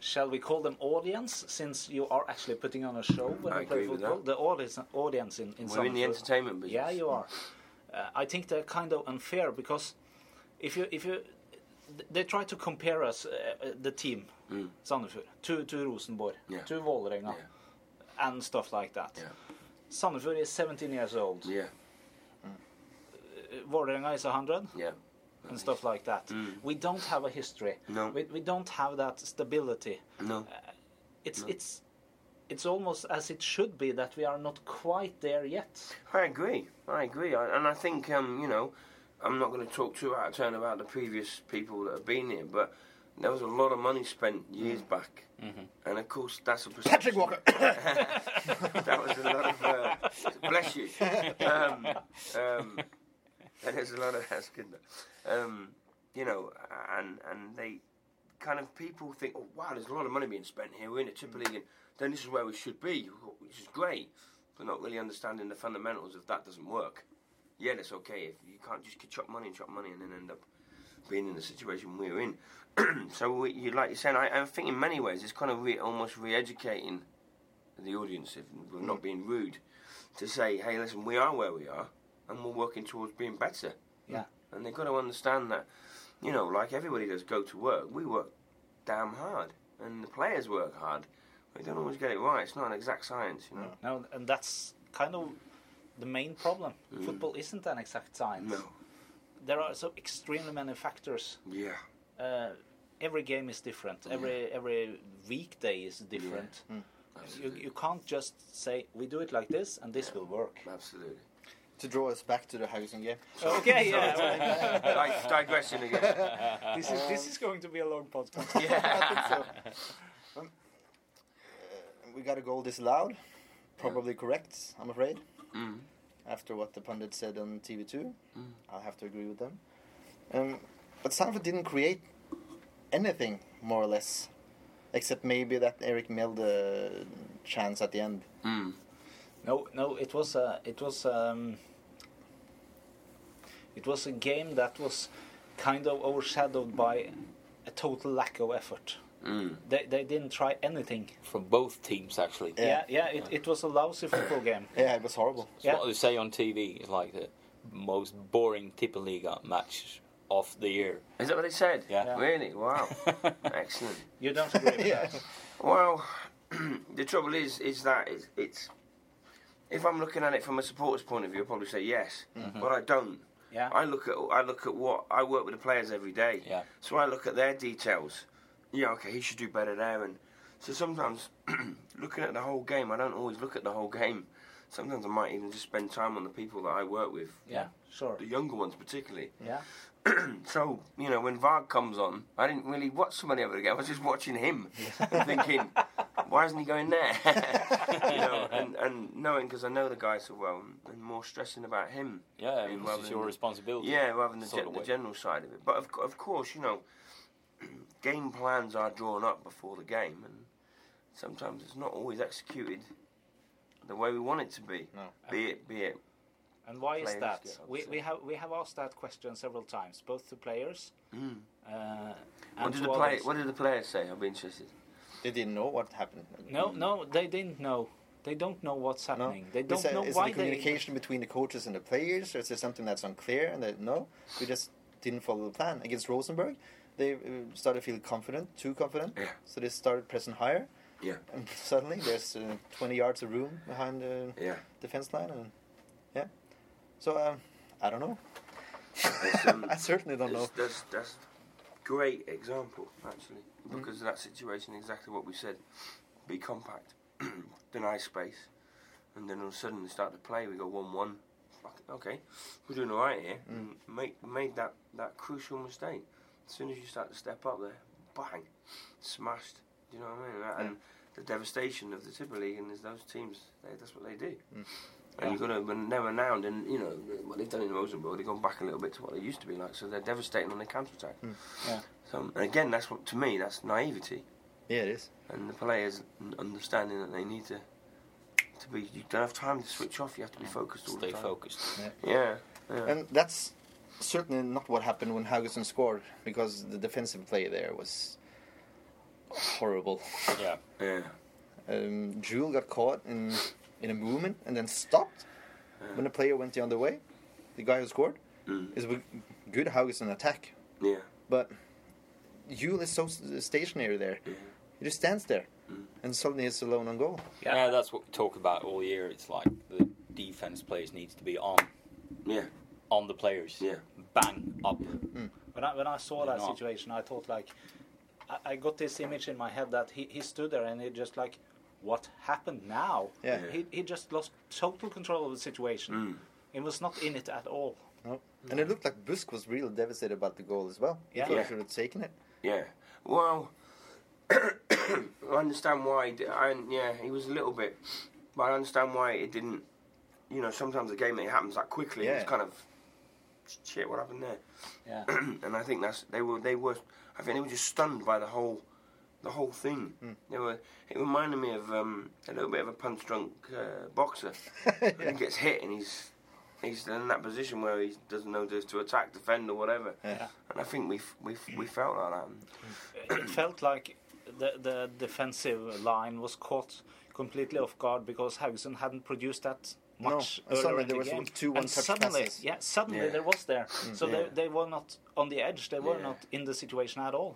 [SPEAKER 4] shall we call them audience since you are actually putting on a show when
[SPEAKER 3] I
[SPEAKER 4] you play
[SPEAKER 3] agree with
[SPEAKER 4] football
[SPEAKER 3] that.
[SPEAKER 4] the audience audience in, in
[SPEAKER 3] We're in the
[SPEAKER 4] Sandefjord-
[SPEAKER 3] entertainment business.
[SPEAKER 4] yeah you are uh, i think they're kind of unfair because if you if you th- they try to compare us uh, uh, the team
[SPEAKER 3] Mm.
[SPEAKER 4] Sandefjord to to Rosenborg
[SPEAKER 3] Yeah.
[SPEAKER 4] to Vålerenga and stuff like that
[SPEAKER 3] Yeah.
[SPEAKER 4] Sandefjord is 17 years old
[SPEAKER 3] Yeah.
[SPEAKER 4] Uh, Vålerenga is 100
[SPEAKER 3] Yeah.
[SPEAKER 4] and stuff like that we don't have a history
[SPEAKER 3] No.
[SPEAKER 4] we, we don't have that stability
[SPEAKER 3] No.
[SPEAKER 4] it's it's it's almost as it should be that we are not quite there yet.
[SPEAKER 3] I agree. I agree. I, and I think, um, you know, I'm not going to talk too out of turn about the previous people that have been here, but there was a lot of money spent years back. And of course, that's a perception.
[SPEAKER 1] Patrick Walker.
[SPEAKER 3] that was a lot of. Uh, bless you. Um, um, and there's a lot of that's good. though. Um, you know, and and they kind of people think, oh wow, there's a lot of money being spent here. We're in the Triple League, and then this is where we should be, which is great. But not really understanding the fundamentals of that doesn't work. Yeah, that's okay if you can't just chop money and chop money and then end up being in the situation we're in. so we, you like you're saying, I, I think in many ways it's kind of re, almost re-educating the audience, if we're not being rude, to say, hey, listen, we are where we are, and we're working towards being better.
[SPEAKER 4] Yeah.
[SPEAKER 3] And they've got to understand that, you know, like everybody does go to work, we work damn hard, and the players work hard. We don't always get it right. It's not an exact science, you know.
[SPEAKER 4] No, and that's kind of the main problem. Football isn't an exact science.
[SPEAKER 3] No.
[SPEAKER 4] There are so extremely many factors.
[SPEAKER 3] Yeah.
[SPEAKER 4] Uh, every game is different. Every every weekday is different. You,
[SPEAKER 3] Absolutely.
[SPEAKER 4] you can't just say we do it like this and this will work.
[SPEAKER 3] Absolutely.
[SPEAKER 1] To draw us back to the Haugesund game.
[SPEAKER 4] Okay, yeah.
[SPEAKER 3] Like, digressing again.
[SPEAKER 4] this is this is going to be a long podcast.
[SPEAKER 3] Yeah.
[SPEAKER 1] So, um, uh, we got a goal disallowed. Probably correct, I'm afraid.
[SPEAKER 3] Mm.
[SPEAKER 1] After what the pundit said on TV2, I'll have to agree with them. Um, but Sanford didn't create anything, more or less. Except maybe that Eric Milde chance at the end.
[SPEAKER 3] Mm.
[SPEAKER 4] No, no, it was a, it was um, It was a game that was kind of overshadowed by a total lack of effort. They, they didn't try anything.
[SPEAKER 2] From both teams, actually.
[SPEAKER 1] Yeah.
[SPEAKER 4] Yeah, yeah, it, it was a lousy football game.
[SPEAKER 1] Yeah, it was horrible.
[SPEAKER 2] It's
[SPEAKER 4] Yeah.
[SPEAKER 2] what they say on TV. It's like the most boring Tippeliga match of the year.
[SPEAKER 3] Is that what they said?
[SPEAKER 2] Yeah. Yeah.
[SPEAKER 3] Really? Wow. Excellent.
[SPEAKER 4] You don't agree with
[SPEAKER 1] Yeah.
[SPEAKER 4] that?
[SPEAKER 3] Well, the trouble is, is that it's, it's. If I'm looking at it from a supporter's point of view, I'll probably say yes, but I don't.
[SPEAKER 4] Yeah.
[SPEAKER 3] I look at I look at what I work with the players every day.
[SPEAKER 2] Yeah.
[SPEAKER 3] So I look at their details. Yeah, okay, he should do better there, and so sometimes looking at the whole game, I don't always look at the whole game. Sometimes I might even just spend time on the people that I work with,
[SPEAKER 4] Yeah, sure.
[SPEAKER 3] the younger ones particularly.
[SPEAKER 4] Yeah,
[SPEAKER 3] So, you know, when Varg comes on, I didn't really watch somebody over again. I was just watching him, thinking, why isn't he going there? you know, and, and knowing because I know the guy so well, and more stressing about him.
[SPEAKER 2] Yeah,
[SPEAKER 3] in
[SPEAKER 2] because it's your responsibility.
[SPEAKER 3] yeah, rather than the,
[SPEAKER 2] sort
[SPEAKER 3] gen-
[SPEAKER 2] of
[SPEAKER 3] the
[SPEAKER 2] way.
[SPEAKER 3] general side of it. But of, co- of course, you know, game plans are drawn up before the game, and sometimes it's not always executed the way we want it to be.
[SPEAKER 1] No.
[SPEAKER 3] Be it, be it.
[SPEAKER 4] and why is
[SPEAKER 3] Players
[SPEAKER 4] that?
[SPEAKER 3] get
[SPEAKER 4] We, we
[SPEAKER 3] upset.
[SPEAKER 4] have we have asked that question several times, both to players. Uh,
[SPEAKER 3] Mm. What
[SPEAKER 4] and to
[SPEAKER 3] did the play?
[SPEAKER 4] others.
[SPEAKER 3] What did the players say? I'll be interested.
[SPEAKER 1] They didn't know what happened.
[SPEAKER 4] No, no, they didn't know. They don't know what's
[SPEAKER 1] No.
[SPEAKER 4] happening. They don't
[SPEAKER 1] is there,
[SPEAKER 4] know
[SPEAKER 1] is
[SPEAKER 4] why
[SPEAKER 1] there
[SPEAKER 4] they.
[SPEAKER 1] communication between the coaches and the players? Or is there something that's unclear? And they no, we just didn't follow the plan. Against Rosenborg, they uh, started to feel confident, too confident.
[SPEAKER 3] Yeah.
[SPEAKER 1] So they started pressing higher,
[SPEAKER 3] Yeah,
[SPEAKER 1] and suddenly there's uh, 20 yards of room behind the
[SPEAKER 3] yeah.
[SPEAKER 1] defense line, and yeah. So um, I don't know.
[SPEAKER 3] It's, um,
[SPEAKER 1] I certainly don't know.
[SPEAKER 3] That's, that's, that's great example, actually, because that situation exactly what we said. Be compact, deny space, and then all of a sudden they start to play. We go one-one. Okay, we're doing all right here.
[SPEAKER 1] Mm.
[SPEAKER 3] and Make made that that crucial mistake. As soon as you start to step up there, bang, smashed. Do you know what I mean? And the devastation of the Super League and there's those teams. They, that's what they do. And you've got to now renowned, and you know what they've done in Rosenborg. They've gone back a little bit to what they used to be like, so they're devastating on their counter attack.
[SPEAKER 4] yeah.
[SPEAKER 3] So, and again, that's what to me that's naivety,
[SPEAKER 1] Yeah, it is.
[SPEAKER 3] and the players n- understanding that they need to to be. You don't have time to switch off. You have to be focused all
[SPEAKER 2] Stay
[SPEAKER 3] the time.
[SPEAKER 2] focused.
[SPEAKER 3] Yeah. yeah.
[SPEAKER 1] And that's certainly not what happened when Haugesund scored, because the defensive play there was horrible.
[SPEAKER 2] Yeah.
[SPEAKER 3] yeah.
[SPEAKER 1] Um, Jewel got caught in in a movement and then stopped when the player went the other way. The guy who scored
[SPEAKER 3] Mm.
[SPEAKER 1] is a good Haugesund attack,
[SPEAKER 3] Yeah.
[SPEAKER 1] but Jewel is so s- stationary there.
[SPEAKER 3] Yeah.
[SPEAKER 1] He just stands there, and suddenly he's alone on goal.
[SPEAKER 2] yeah, Uh, That's what we talk about all year. It's like the defense players needs to be on,
[SPEAKER 3] Yeah.
[SPEAKER 2] on the players.
[SPEAKER 3] Yeah. Mm-hmm.
[SPEAKER 2] Bang up.
[SPEAKER 4] When I when I saw
[SPEAKER 2] They're
[SPEAKER 4] that
[SPEAKER 2] not.
[SPEAKER 4] situation, I thought like, I, I got this image in my head that he, he stood there and he just like, what happened now?
[SPEAKER 1] Yeah.
[SPEAKER 3] Yeah.
[SPEAKER 4] He he just lost total control of the situation.
[SPEAKER 3] Mm.
[SPEAKER 4] He was not in it at all.
[SPEAKER 1] No? And it looked like Busk was really devastated about the goal as well. He
[SPEAKER 4] Yeah.
[SPEAKER 1] thought he
[SPEAKER 3] Yeah.
[SPEAKER 1] should have taken it.
[SPEAKER 3] Yeah. Well, I understand why. d- I, yeah, he was a little bit, but I understand why it didn't. You know, sometimes a game it happens that quickly. It's
[SPEAKER 1] Yeah.
[SPEAKER 3] kind of shit. What happened there?
[SPEAKER 4] Yeah.
[SPEAKER 3] and I think that's they were they were I think they were just stunned by the whole the whole thing.
[SPEAKER 1] Hmm.
[SPEAKER 3] They were it reminded me of um, a little bit of a punch drunk uh, boxer who gets hit and he's he's in that position where he doesn't know to, to attack, defend, or whatever.
[SPEAKER 1] Yeah.
[SPEAKER 3] And I think we f- we f- we felt like that.
[SPEAKER 4] it felt like the the defensive line was caught completely off guard because Haugesund hadn't produced that
[SPEAKER 1] No,
[SPEAKER 4] much
[SPEAKER 1] and
[SPEAKER 4] earlier
[SPEAKER 1] suddenly
[SPEAKER 4] in
[SPEAKER 1] there
[SPEAKER 4] the
[SPEAKER 1] was
[SPEAKER 4] game.
[SPEAKER 1] like two
[SPEAKER 4] and
[SPEAKER 1] one-touch
[SPEAKER 4] suddenly,
[SPEAKER 1] passes. Mm.
[SPEAKER 4] yeah, suddenly
[SPEAKER 3] Yeah.
[SPEAKER 4] there was there. So
[SPEAKER 3] Yeah.
[SPEAKER 4] they, they were not on the edge. They were
[SPEAKER 3] Yeah.
[SPEAKER 4] not in the situation at all.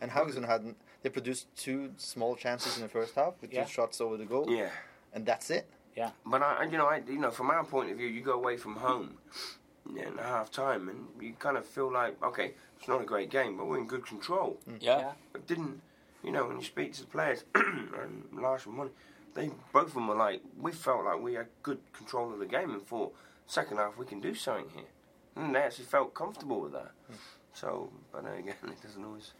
[SPEAKER 1] And Haugesund hadn't. They produced two small chances in the first half with
[SPEAKER 4] Yeah.
[SPEAKER 1] two shots over the goal,
[SPEAKER 3] Yeah.
[SPEAKER 1] and that's it.
[SPEAKER 4] Yeah,
[SPEAKER 3] But I, I- you know, I, you know, from our point of view, you go away from home in half time, and you kind of feel like, okay, it's not a great game, but we're in good control.
[SPEAKER 1] Mm.
[SPEAKER 2] Yeah.
[SPEAKER 4] Yeah.
[SPEAKER 3] But didn't, you know, when you speak to the players, and Lars and Money, they both of them were like, we felt like we had good control of the game and thought, second half, we can do something here. And they actually felt comfortable with that.
[SPEAKER 1] Mm.
[SPEAKER 3] So, but then again, it doesn't always.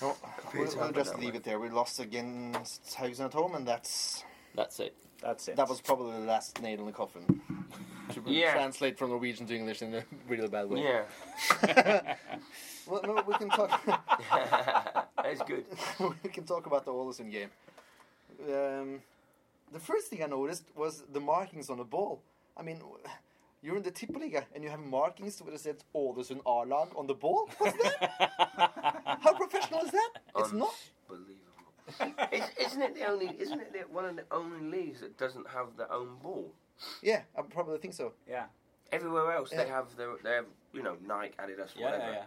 [SPEAKER 1] No,
[SPEAKER 3] Appear
[SPEAKER 1] we'll,
[SPEAKER 3] to
[SPEAKER 1] we'll
[SPEAKER 3] happen
[SPEAKER 1] just
[SPEAKER 3] that
[SPEAKER 1] leave
[SPEAKER 3] way.
[SPEAKER 1] it there. We lost against Haugesund at home, and that's
[SPEAKER 2] That's it.
[SPEAKER 4] that's it.
[SPEAKER 1] that was probably the last nail in the coffin. To
[SPEAKER 3] Yeah.
[SPEAKER 1] translate from Norwegian to English in a really bad way.
[SPEAKER 3] Yeah,
[SPEAKER 1] Well, no, we can talk.
[SPEAKER 3] that's good.
[SPEAKER 1] we can talk about the Ålesund game. Um, the first thing I noticed was the markings on the ball. I mean, You're in the Tipper League and you have markings where it says Ålesund A-lag on the ball. What's that? How professional is that? It's not.
[SPEAKER 3] Unbelievable. Is- isn't it the only? Isn't it the, one of the only leagues that doesn't have their own ball?
[SPEAKER 1] Yeah, I probably think so.
[SPEAKER 4] Yeah.
[SPEAKER 3] Everywhere else, they
[SPEAKER 1] Yeah.
[SPEAKER 3] have their, they have you know Nike, Adidas,
[SPEAKER 2] Yeah,
[SPEAKER 3] whatever.
[SPEAKER 2] yeah, yeah.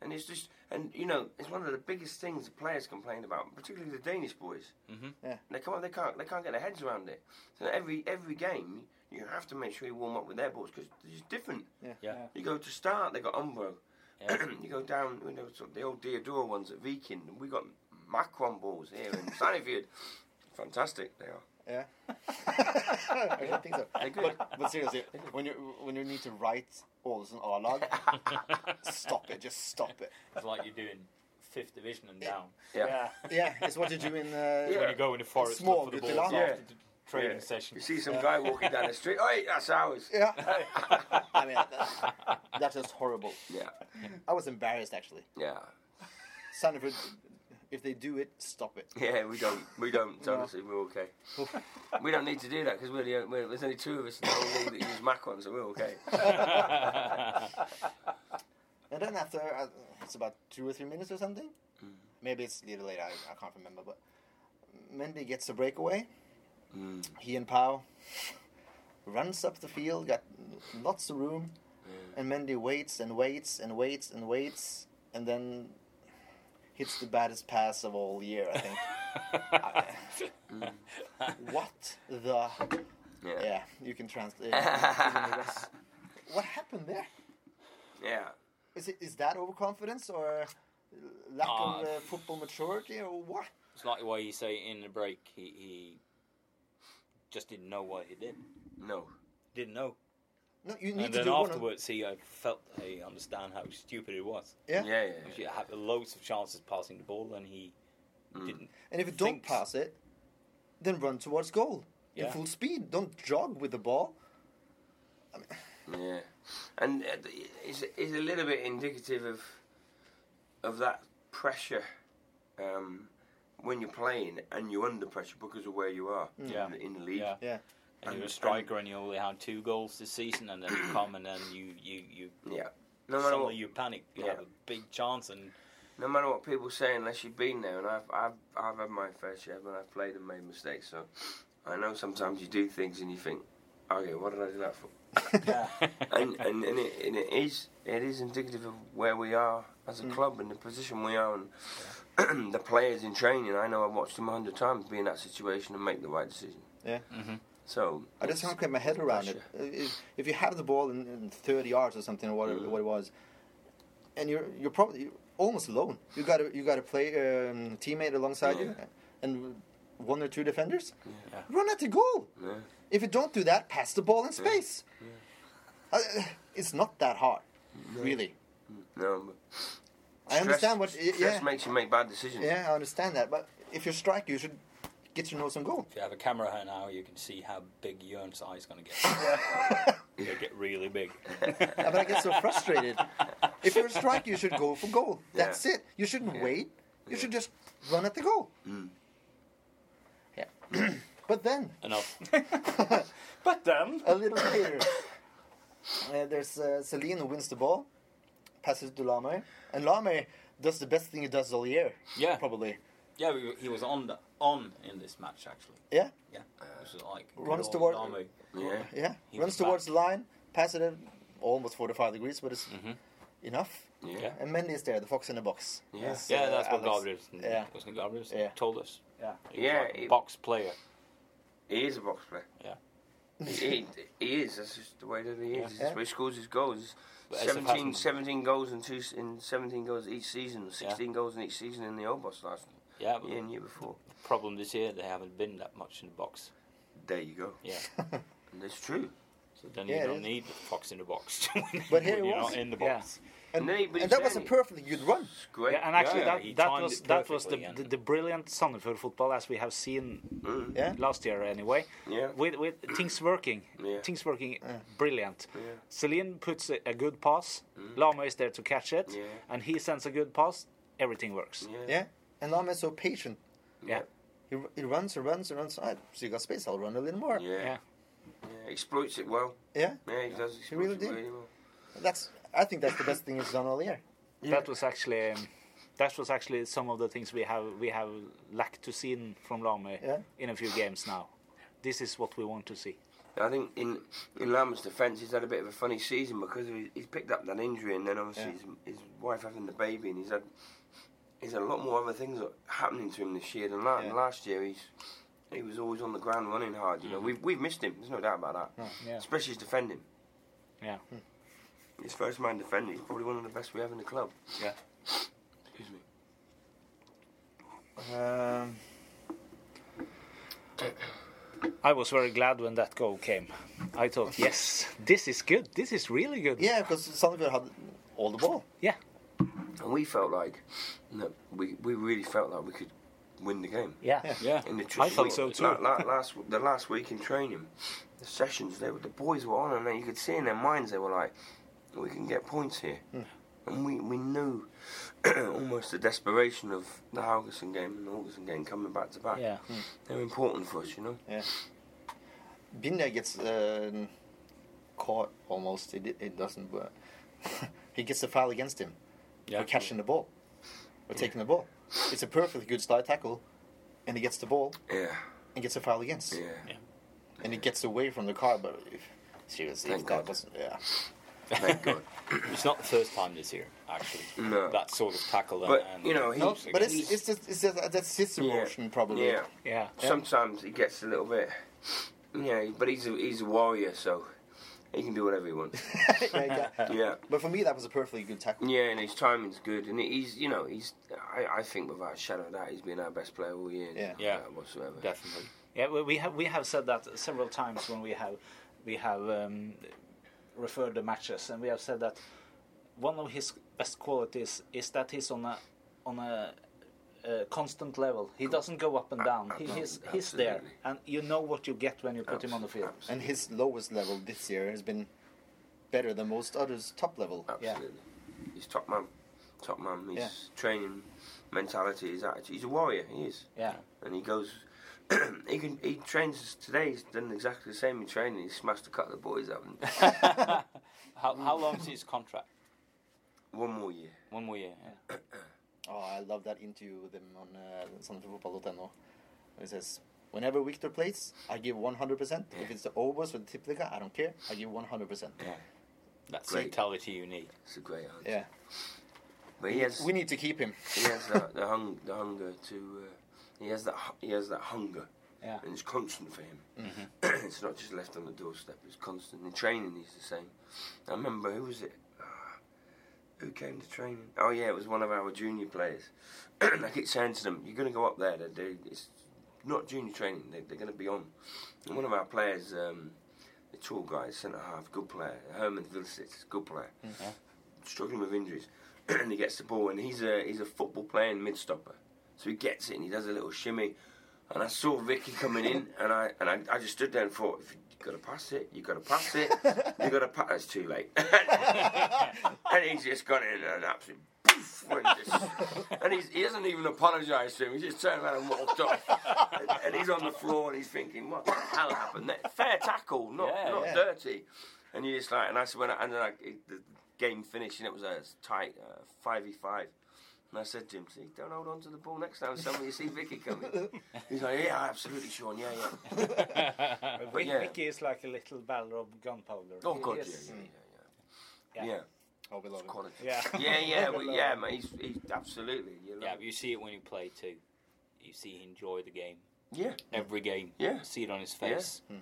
[SPEAKER 3] And it's just, and you know, it's one of the biggest things the players complained about, particularly the Danish boys. Mm-hmm.
[SPEAKER 1] Yeah.
[SPEAKER 3] They come on, they can't, they can't get their heads around it. So every every game, you have to make sure you warm up with their balls because it's different.
[SPEAKER 2] Yeah.
[SPEAKER 3] You go to start, they got Umbro.
[SPEAKER 2] Yeah.
[SPEAKER 3] you go down, you know, sort of the old Diodora ones at Viking, and we got Macron balls here in Sanifield. Fantastic, they are.
[SPEAKER 1] Yeah. I don't think so.
[SPEAKER 3] good.
[SPEAKER 1] But, but seriously, when you when you need to write Ålesund A-lag, stop it. Just stop it.
[SPEAKER 2] It's like you're doing fifth division and down.
[SPEAKER 3] Yeah.
[SPEAKER 1] Yeah, it's what you do in. Uh,
[SPEAKER 3] Yeah.
[SPEAKER 2] When you go in the forest
[SPEAKER 1] Small
[SPEAKER 2] look for the
[SPEAKER 1] good
[SPEAKER 2] balls
[SPEAKER 1] luck.
[SPEAKER 2] after the training
[SPEAKER 3] Yeah.
[SPEAKER 2] session.
[SPEAKER 3] You see some guy walking down the street. Oi, that's ours.
[SPEAKER 1] Yeah. I mean, that's, that's just horrible.
[SPEAKER 3] Yeah.
[SPEAKER 1] I was embarrassed actually.
[SPEAKER 3] Yeah.
[SPEAKER 1] Sandefjord, if they do it, stop it.
[SPEAKER 3] Yeah, we don't. We don't.
[SPEAKER 1] No.
[SPEAKER 3] Honestly, we're okay. we don't need to do that because we're the. only- We're, there's only two of us in the whole league that use Macron, so we're okay.
[SPEAKER 1] And then after uh, it's about two or three minutes or something, maybe it's a little later. I, I can't remember, but Mendy gets a breakaway. He and Pau runs up the field, got lots of room, and Mendy waits and waits and waits and waits, and then hits the baddest pass of all year. I think. I- what the?
[SPEAKER 3] Yeah.
[SPEAKER 1] Yeah, you can translate. what happened there?
[SPEAKER 3] Yeah.
[SPEAKER 1] Is it is that overconfidence or lack of
[SPEAKER 2] Ah.
[SPEAKER 1] uh, football maturity or what?
[SPEAKER 2] It's like the way you say in the break, he, he just didn't know what he did.
[SPEAKER 3] No.
[SPEAKER 2] Didn't know.
[SPEAKER 1] No, you need
[SPEAKER 2] And
[SPEAKER 1] to
[SPEAKER 2] then
[SPEAKER 1] do one. of-
[SPEAKER 2] afterwards, he uh, felt he understand how stupid it was.
[SPEAKER 1] yeah?
[SPEAKER 3] Yeah. Yeah.
[SPEAKER 2] He had loads of chances passing the ball, and he
[SPEAKER 3] Mm.
[SPEAKER 2] didn't.
[SPEAKER 1] and if you don't
[SPEAKER 2] thinks-
[SPEAKER 1] pass it, then run towards goal in
[SPEAKER 2] Yeah.
[SPEAKER 1] full speed. Don't jog with the ball.
[SPEAKER 3] Yeah. And uh, th- it's it's a little bit indicative of of that pressure um, when you're playing and you're under pressure because of where you are
[SPEAKER 2] Yeah.
[SPEAKER 3] in, the, in the league.
[SPEAKER 2] Yeah.
[SPEAKER 1] Yeah,
[SPEAKER 2] And you're a
[SPEAKER 3] And-
[SPEAKER 2] striker, and you only had two goals this season, and then you come, and then you you you
[SPEAKER 3] Yeah. No matter
[SPEAKER 2] suddenly
[SPEAKER 3] what,
[SPEAKER 2] you panic. You
[SPEAKER 3] Yeah.
[SPEAKER 2] have a big chance, and
[SPEAKER 3] no matter what people say, unless you've been there, and I've I've I've had my fair share, and I've played and made mistakes. So I know sometimes you do things and you think, okay, what did I do that for? and and, and, it, and it is it is indicative of where we are as
[SPEAKER 1] Mm.
[SPEAKER 3] a club and the position we are and the players in training. I know I've watched them a hundred times be in that situation and make the right decision.
[SPEAKER 1] yeah.
[SPEAKER 3] So
[SPEAKER 1] I just can't get my head around it. Uh, If, if you have the ball in, in 30 yards or something, or whatever
[SPEAKER 2] Mm.
[SPEAKER 1] what it was, and you're you're probably you're almost alone. You got to you got to play um, teammate alongside you,
[SPEAKER 3] Mm.
[SPEAKER 1] and one or two defenders.
[SPEAKER 2] Yeah.
[SPEAKER 1] Run at the goal.
[SPEAKER 3] Yeah.
[SPEAKER 1] If you don't do that, pass the ball in space. Uh, it's not that hard, really.
[SPEAKER 3] No, but
[SPEAKER 1] I understand what.
[SPEAKER 3] stress,
[SPEAKER 1] y-
[SPEAKER 3] stress
[SPEAKER 1] Yeah,
[SPEAKER 3] makes you make bad decisions.
[SPEAKER 1] yeah, I understand that. But if you're a striker, you should get your nose on goal.
[SPEAKER 2] if you have a camera here now, you can see how big your own size is going to get. It'll get really big.
[SPEAKER 1] Uh, But I get so frustrated. if you're a striker, you should go for goal. That's it. You shouldn't wait. You should just run at the goal.
[SPEAKER 3] Mm.
[SPEAKER 1] Yeah. but then
[SPEAKER 2] Enough.
[SPEAKER 4] But then,
[SPEAKER 1] a little later, uh, there's uh, Celine who wins the ball, passes to Lame, and Lame does the best thing he does all year.
[SPEAKER 2] Yeah.
[SPEAKER 1] probably.
[SPEAKER 2] Yeah, we, he was on the, on in this match actually.
[SPEAKER 1] Yeah,
[SPEAKER 2] Yeah, this is like good
[SPEAKER 1] Runs
[SPEAKER 2] old
[SPEAKER 1] toward-
[SPEAKER 2] Damo.
[SPEAKER 3] Uh, Yeah.
[SPEAKER 1] yeah.
[SPEAKER 2] He
[SPEAKER 1] Runs
[SPEAKER 2] was back. Mm-hmm.
[SPEAKER 1] towards the line, passes it at almost 45 degrees, but it's enough.
[SPEAKER 3] Yeah.
[SPEAKER 2] Yeah.
[SPEAKER 1] And Mendy is there, the fox in the box.
[SPEAKER 3] Yeah.
[SPEAKER 1] As,
[SPEAKER 2] Yeah,
[SPEAKER 1] uh,
[SPEAKER 2] that's what
[SPEAKER 1] Alex-
[SPEAKER 2] Gabriel
[SPEAKER 1] Yeah.
[SPEAKER 2] wasn't it Gabriel
[SPEAKER 1] Yeah.
[SPEAKER 2] told us.
[SPEAKER 4] yeah.
[SPEAKER 2] He was
[SPEAKER 3] Yeah,
[SPEAKER 2] like a
[SPEAKER 3] it-
[SPEAKER 2] box player.
[SPEAKER 3] He is a box player.
[SPEAKER 2] Yeah.
[SPEAKER 3] he, he he is. That's just the way that he is. That's
[SPEAKER 1] Yeah.
[SPEAKER 3] where he scores his goals.
[SPEAKER 2] But as a
[SPEAKER 3] 17,
[SPEAKER 2] passenger-
[SPEAKER 3] 17 goals in two s- in seventeen goals each season. Sixteen goals in each season in the Obos last
[SPEAKER 2] Yeah, but
[SPEAKER 3] year and year before.
[SPEAKER 2] the problem this year they haven't been that much in the box.
[SPEAKER 3] There you go.
[SPEAKER 2] Yeah,
[SPEAKER 3] And it's true.
[SPEAKER 2] so then
[SPEAKER 1] Yeah, it
[SPEAKER 2] you don't
[SPEAKER 1] is.
[SPEAKER 2] need the box in the box.
[SPEAKER 1] But here
[SPEAKER 2] when
[SPEAKER 1] it
[SPEAKER 2] you're
[SPEAKER 1] was.
[SPEAKER 2] not in the
[SPEAKER 4] Yeah.
[SPEAKER 2] box.
[SPEAKER 1] And,
[SPEAKER 3] No, but
[SPEAKER 1] and
[SPEAKER 3] he's
[SPEAKER 1] that was a
[SPEAKER 3] earned it.
[SPEAKER 1] perfectly good run.
[SPEAKER 3] It's great.
[SPEAKER 4] Yeah, and actually,
[SPEAKER 2] Yeah,
[SPEAKER 4] that,
[SPEAKER 2] he
[SPEAKER 4] that
[SPEAKER 2] timed
[SPEAKER 4] was
[SPEAKER 2] it
[SPEAKER 4] that was the,
[SPEAKER 2] perfectly and-
[SPEAKER 4] the, the brilliant Sandefjord football as we have seen
[SPEAKER 3] Mm.
[SPEAKER 1] Yeah.
[SPEAKER 4] last year anyway.
[SPEAKER 3] Yeah.
[SPEAKER 4] With with things working,
[SPEAKER 3] Yeah.
[SPEAKER 4] things working, brilliant.
[SPEAKER 3] Yeah.
[SPEAKER 4] Celine puts a, a good pass. Lama is there to catch it,
[SPEAKER 3] Yeah.
[SPEAKER 4] and he sends a good pass. Everything works.
[SPEAKER 3] Yeah.
[SPEAKER 1] Yeah. And Lame is so patient.
[SPEAKER 4] Yeah.
[SPEAKER 1] He, he runs and runs and runs. Ah, so you got space, I'll run a little more.
[SPEAKER 3] Yeah.
[SPEAKER 4] Yeah.
[SPEAKER 3] Yeah, exploits it well.
[SPEAKER 1] Yeah,
[SPEAKER 3] Yeah, he does. Exploits
[SPEAKER 1] really
[SPEAKER 3] it
[SPEAKER 1] did.
[SPEAKER 3] really well.
[SPEAKER 1] that's. I think that's the best thing he's done all year.
[SPEAKER 4] That was actually um, that was actually some of the things we have we have lacked to see in, from Lame
[SPEAKER 1] Yeah.
[SPEAKER 4] in a few games now. This is what we want to see.
[SPEAKER 3] I think in in Lamb's defence, he's had a bit of a funny season because of his, he's picked up that injury, and then obviously his, his wife having the baby, and he's had he's had a lot more other things happening to him this year than la-
[SPEAKER 1] Yeah.
[SPEAKER 3] last year. He's he was always on the ground running hard. You know, we've we've missed him. There's Mm-hmm. no doubt about that.
[SPEAKER 4] Yeah,
[SPEAKER 3] Especially his defending.
[SPEAKER 4] yeah.
[SPEAKER 3] His first man defending. He's probably one of the best we have in the club.
[SPEAKER 1] Yeah.
[SPEAKER 3] Excuse me.
[SPEAKER 1] Um,
[SPEAKER 4] I was very glad when that goal came. I thought, yes, this is good. This is really good.
[SPEAKER 1] yeah, because Sandefjord had all the ball.
[SPEAKER 4] Yeah.
[SPEAKER 3] And we felt like no, we we really felt like we could win the game.
[SPEAKER 4] Yeah.
[SPEAKER 1] Yeah.
[SPEAKER 2] Yeah.
[SPEAKER 3] In the
[SPEAKER 4] I felt so too.
[SPEAKER 3] La, la, last the last week in training, the sessions they were, the boys were on, and then you could see in their minds they were like, "We can get points here,"
[SPEAKER 4] Hmm.
[SPEAKER 3] and we we knew almost the desperation of the Haugesund game and the Haugesund game coming back to back.
[SPEAKER 4] Yeah.
[SPEAKER 3] They're important for us, you know.
[SPEAKER 1] Yeah. Binja gets um, caught almost. It, it doesn't. But he gets a foul against him
[SPEAKER 2] Yeah.
[SPEAKER 1] for catching the ball, for taking the ball. It's a perfectly good slide tackle, and he gets the ball
[SPEAKER 3] Yeah,
[SPEAKER 1] and gets a foul against,
[SPEAKER 3] yeah.
[SPEAKER 1] and he gets away from the car. But if, seriously,
[SPEAKER 3] Thank
[SPEAKER 1] if that
[SPEAKER 3] God.
[SPEAKER 1] wasn't. Yeah.
[SPEAKER 3] Thank God.
[SPEAKER 2] It's not the first time this year, actually.
[SPEAKER 3] No.
[SPEAKER 2] That sort of tackle. and-
[SPEAKER 3] But,
[SPEAKER 2] and
[SPEAKER 3] you know, he-
[SPEAKER 1] No, but
[SPEAKER 2] He's-
[SPEAKER 1] it's it's just, it's just, uh, that's his
[SPEAKER 3] Yeah.
[SPEAKER 1] emotion probably.
[SPEAKER 3] Yeah.
[SPEAKER 4] Yeah.
[SPEAKER 3] Sometimes he gets a little bit, yeah. But he's a, he's a warrior, so he can do whatever he wants.
[SPEAKER 1] yeah, yeah.
[SPEAKER 3] yeah.
[SPEAKER 1] uh, But for me, that was a perfectly good tackle.
[SPEAKER 3] Yeah, and his timing's good, and he's you know he's I, I think without a shadow of doubt he's been our best player all year.
[SPEAKER 1] Yeah.
[SPEAKER 2] Yeah.
[SPEAKER 3] Uh, whatsoever.
[SPEAKER 2] Definitely.
[SPEAKER 4] Yeah, we we have we have said that several times when we have we have um, referred the matches, and we have said that one of his best qualities is that he's on a on a, uh constant level. He doesn't go up and down. He, he's he's there,
[SPEAKER 3] Absolutely.
[SPEAKER 4] and you know what you get when you put him on the field.
[SPEAKER 1] And his lowest level this year has been better than most others' top level.
[SPEAKER 3] Absolutely, he's top man, top man. His
[SPEAKER 1] Yeah.
[SPEAKER 3] training mentality, his attitude. He's a warrior. He is,
[SPEAKER 4] Yeah,
[SPEAKER 3] and he goes. he can he trains today. He's done exactly the same in training. He smashed a couple of boys up. And
[SPEAKER 2] How, how long is his contract?
[SPEAKER 3] one more year.
[SPEAKER 2] One more year. Yeah.
[SPEAKER 1] Oh, I love that interview with him on uh, Sandefjordfotball.no. It says, whenever Victor plays, I give 100%. If it's the Obos or the Tiplica, I don't care. I give 100%.
[SPEAKER 2] That's
[SPEAKER 3] Great.
[SPEAKER 2] the mentality you need.
[SPEAKER 3] It's a great answer.
[SPEAKER 1] Yeah.
[SPEAKER 3] But he has
[SPEAKER 1] We need to keep him.
[SPEAKER 3] he has that, the hung the hunger to. Uh, he has that hu- he has that hunger.
[SPEAKER 4] yeah,
[SPEAKER 3] and it's constant for him. it's not just left on the doorstep. It's constant. In training, he's the same. I remember who was it? Ah, Who came to training? Oh yeah, it was one of our junior players. and I keep saying to them, "You're going to go up there. They, they, it's not junior training. They, they're going to be on." And one of our players, um, the tall guy, centre half, good player, Herman Vilsic, good player, struggling with injuries, and he gets the ball, and he's a he's a football playing mid stopper. So he gets it and he does a little shimmy, and I saw Vicky coming in, and I and I, I just stood there and thought, if you gotta pass it, you gotta pass it, you gotta pass. It's too late. and he's just gone in and absolute. poof, and just- And he's, he doesn't even apologise to him. He just turned around and walked off. And, and he's on the floor and he's thinking, what the hell happened? there? Fair tackle, not
[SPEAKER 2] Yeah,
[SPEAKER 3] not
[SPEAKER 1] yeah.
[SPEAKER 3] dirty. And you just like, and I said, when I, and then I, it- the game finished and it was a tight uh, five v five. And I said to him, see, don't hold on to the ball next time somebody you see Vicky coming. He's like, yeah, absolutely, Sean, yeah, yeah.
[SPEAKER 4] Vic-
[SPEAKER 3] yeah.
[SPEAKER 4] Vicky is like a little barrel of gunpowder.
[SPEAKER 3] Oh,
[SPEAKER 4] He
[SPEAKER 3] God, yeah,
[SPEAKER 4] is-
[SPEAKER 3] yeah, yeah, yeah. Yeah,
[SPEAKER 1] Oh, we love him.
[SPEAKER 3] quality.
[SPEAKER 4] yeah.
[SPEAKER 3] Yeah, yeah, well, yeah, mate, he's, he's absolutely. You
[SPEAKER 2] Yeah,
[SPEAKER 3] love
[SPEAKER 2] you see it when you play too. You see he enjoy the game.
[SPEAKER 3] yeah.
[SPEAKER 2] Every game.
[SPEAKER 3] Yeah.
[SPEAKER 2] See it on his face. Yeah,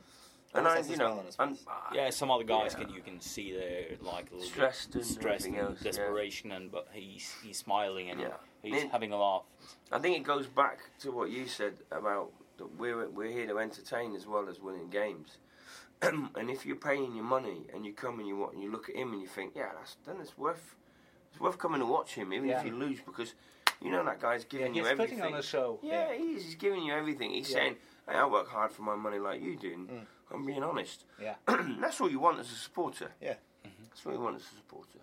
[SPEAKER 1] Always
[SPEAKER 3] And I,
[SPEAKER 1] has a
[SPEAKER 3] you
[SPEAKER 1] smile
[SPEAKER 3] know,
[SPEAKER 1] on his
[SPEAKER 3] I'm, uh,
[SPEAKER 1] face.
[SPEAKER 2] some other guys
[SPEAKER 3] Yeah.
[SPEAKER 2] can you can see their like a little
[SPEAKER 3] Stressed
[SPEAKER 2] bit
[SPEAKER 3] and
[SPEAKER 2] stressed
[SPEAKER 3] everything
[SPEAKER 2] and
[SPEAKER 3] else, yeah.
[SPEAKER 2] desperation and but he's he's smiling and
[SPEAKER 3] Yeah.
[SPEAKER 2] he's
[SPEAKER 3] Then-
[SPEAKER 2] having a laugh.
[SPEAKER 3] I think it goes back to what you said about that we're we're here to entertain as well as winning games. and if you're paying your money and you come and you want and you look at him and you think, yeah, that's then it's worth it's worth coming to watch him even
[SPEAKER 4] Yeah.
[SPEAKER 3] if you lose because you know that guy's
[SPEAKER 4] Yeah,
[SPEAKER 3] giving
[SPEAKER 4] he's
[SPEAKER 3] you everything.
[SPEAKER 4] putting on a show.
[SPEAKER 3] Yeah, he is. He's giving you everything. He's
[SPEAKER 4] Yeah. Mm.
[SPEAKER 3] saying, hey, I work hard for my money like you do. And I'm being honest.
[SPEAKER 4] yeah.
[SPEAKER 3] that's all you want as a supporter.
[SPEAKER 1] Yeah.
[SPEAKER 3] That's all you want as a supporter.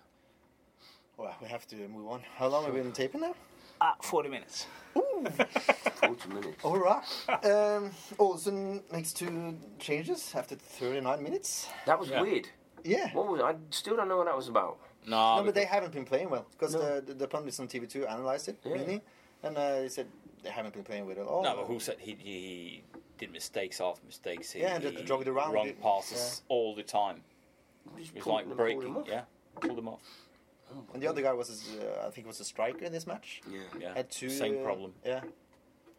[SPEAKER 1] Well, we have to move on. How long have we been taping now?
[SPEAKER 4] Ah, 40 minutes.
[SPEAKER 3] 40 minutes.
[SPEAKER 1] All right. Um, Olsen makes two changes after 39 minutes.
[SPEAKER 3] That was
[SPEAKER 2] Yeah.
[SPEAKER 3] weird.
[SPEAKER 1] Yeah.
[SPEAKER 3] What was I still don't know what that was about.
[SPEAKER 2] No,
[SPEAKER 1] no, but they
[SPEAKER 2] because-
[SPEAKER 1] haven't been playing well because
[SPEAKER 3] No.
[SPEAKER 1] the, the pundits on TV2 analyzed it,
[SPEAKER 3] Yeah.
[SPEAKER 1] really, and uh, they said they haven't been playing well at all.
[SPEAKER 2] no, but who said he, he did mistakes after mistakes? He,
[SPEAKER 1] Yeah, and just
[SPEAKER 2] he
[SPEAKER 1] jogged around,
[SPEAKER 2] Wrong
[SPEAKER 1] didn't-
[SPEAKER 2] passes all the time.
[SPEAKER 3] Just
[SPEAKER 2] It was
[SPEAKER 3] pulled
[SPEAKER 2] like
[SPEAKER 3] them- pulled
[SPEAKER 2] breaking.
[SPEAKER 3] them off.
[SPEAKER 2] Yeah, pulled them off.
[SPEAKER 1] And the other guy was, uh, I think, was a striker in this match.
[SPEAKER 3] Yeah.
[SPEAKER 2] Yeah,
[SPEAKER 1] Had two.
[SPEAKER 2] same
[SPEAKER 1] uh,
[SPEAKER 2] problem.
[SPEAKER 1] Yeah.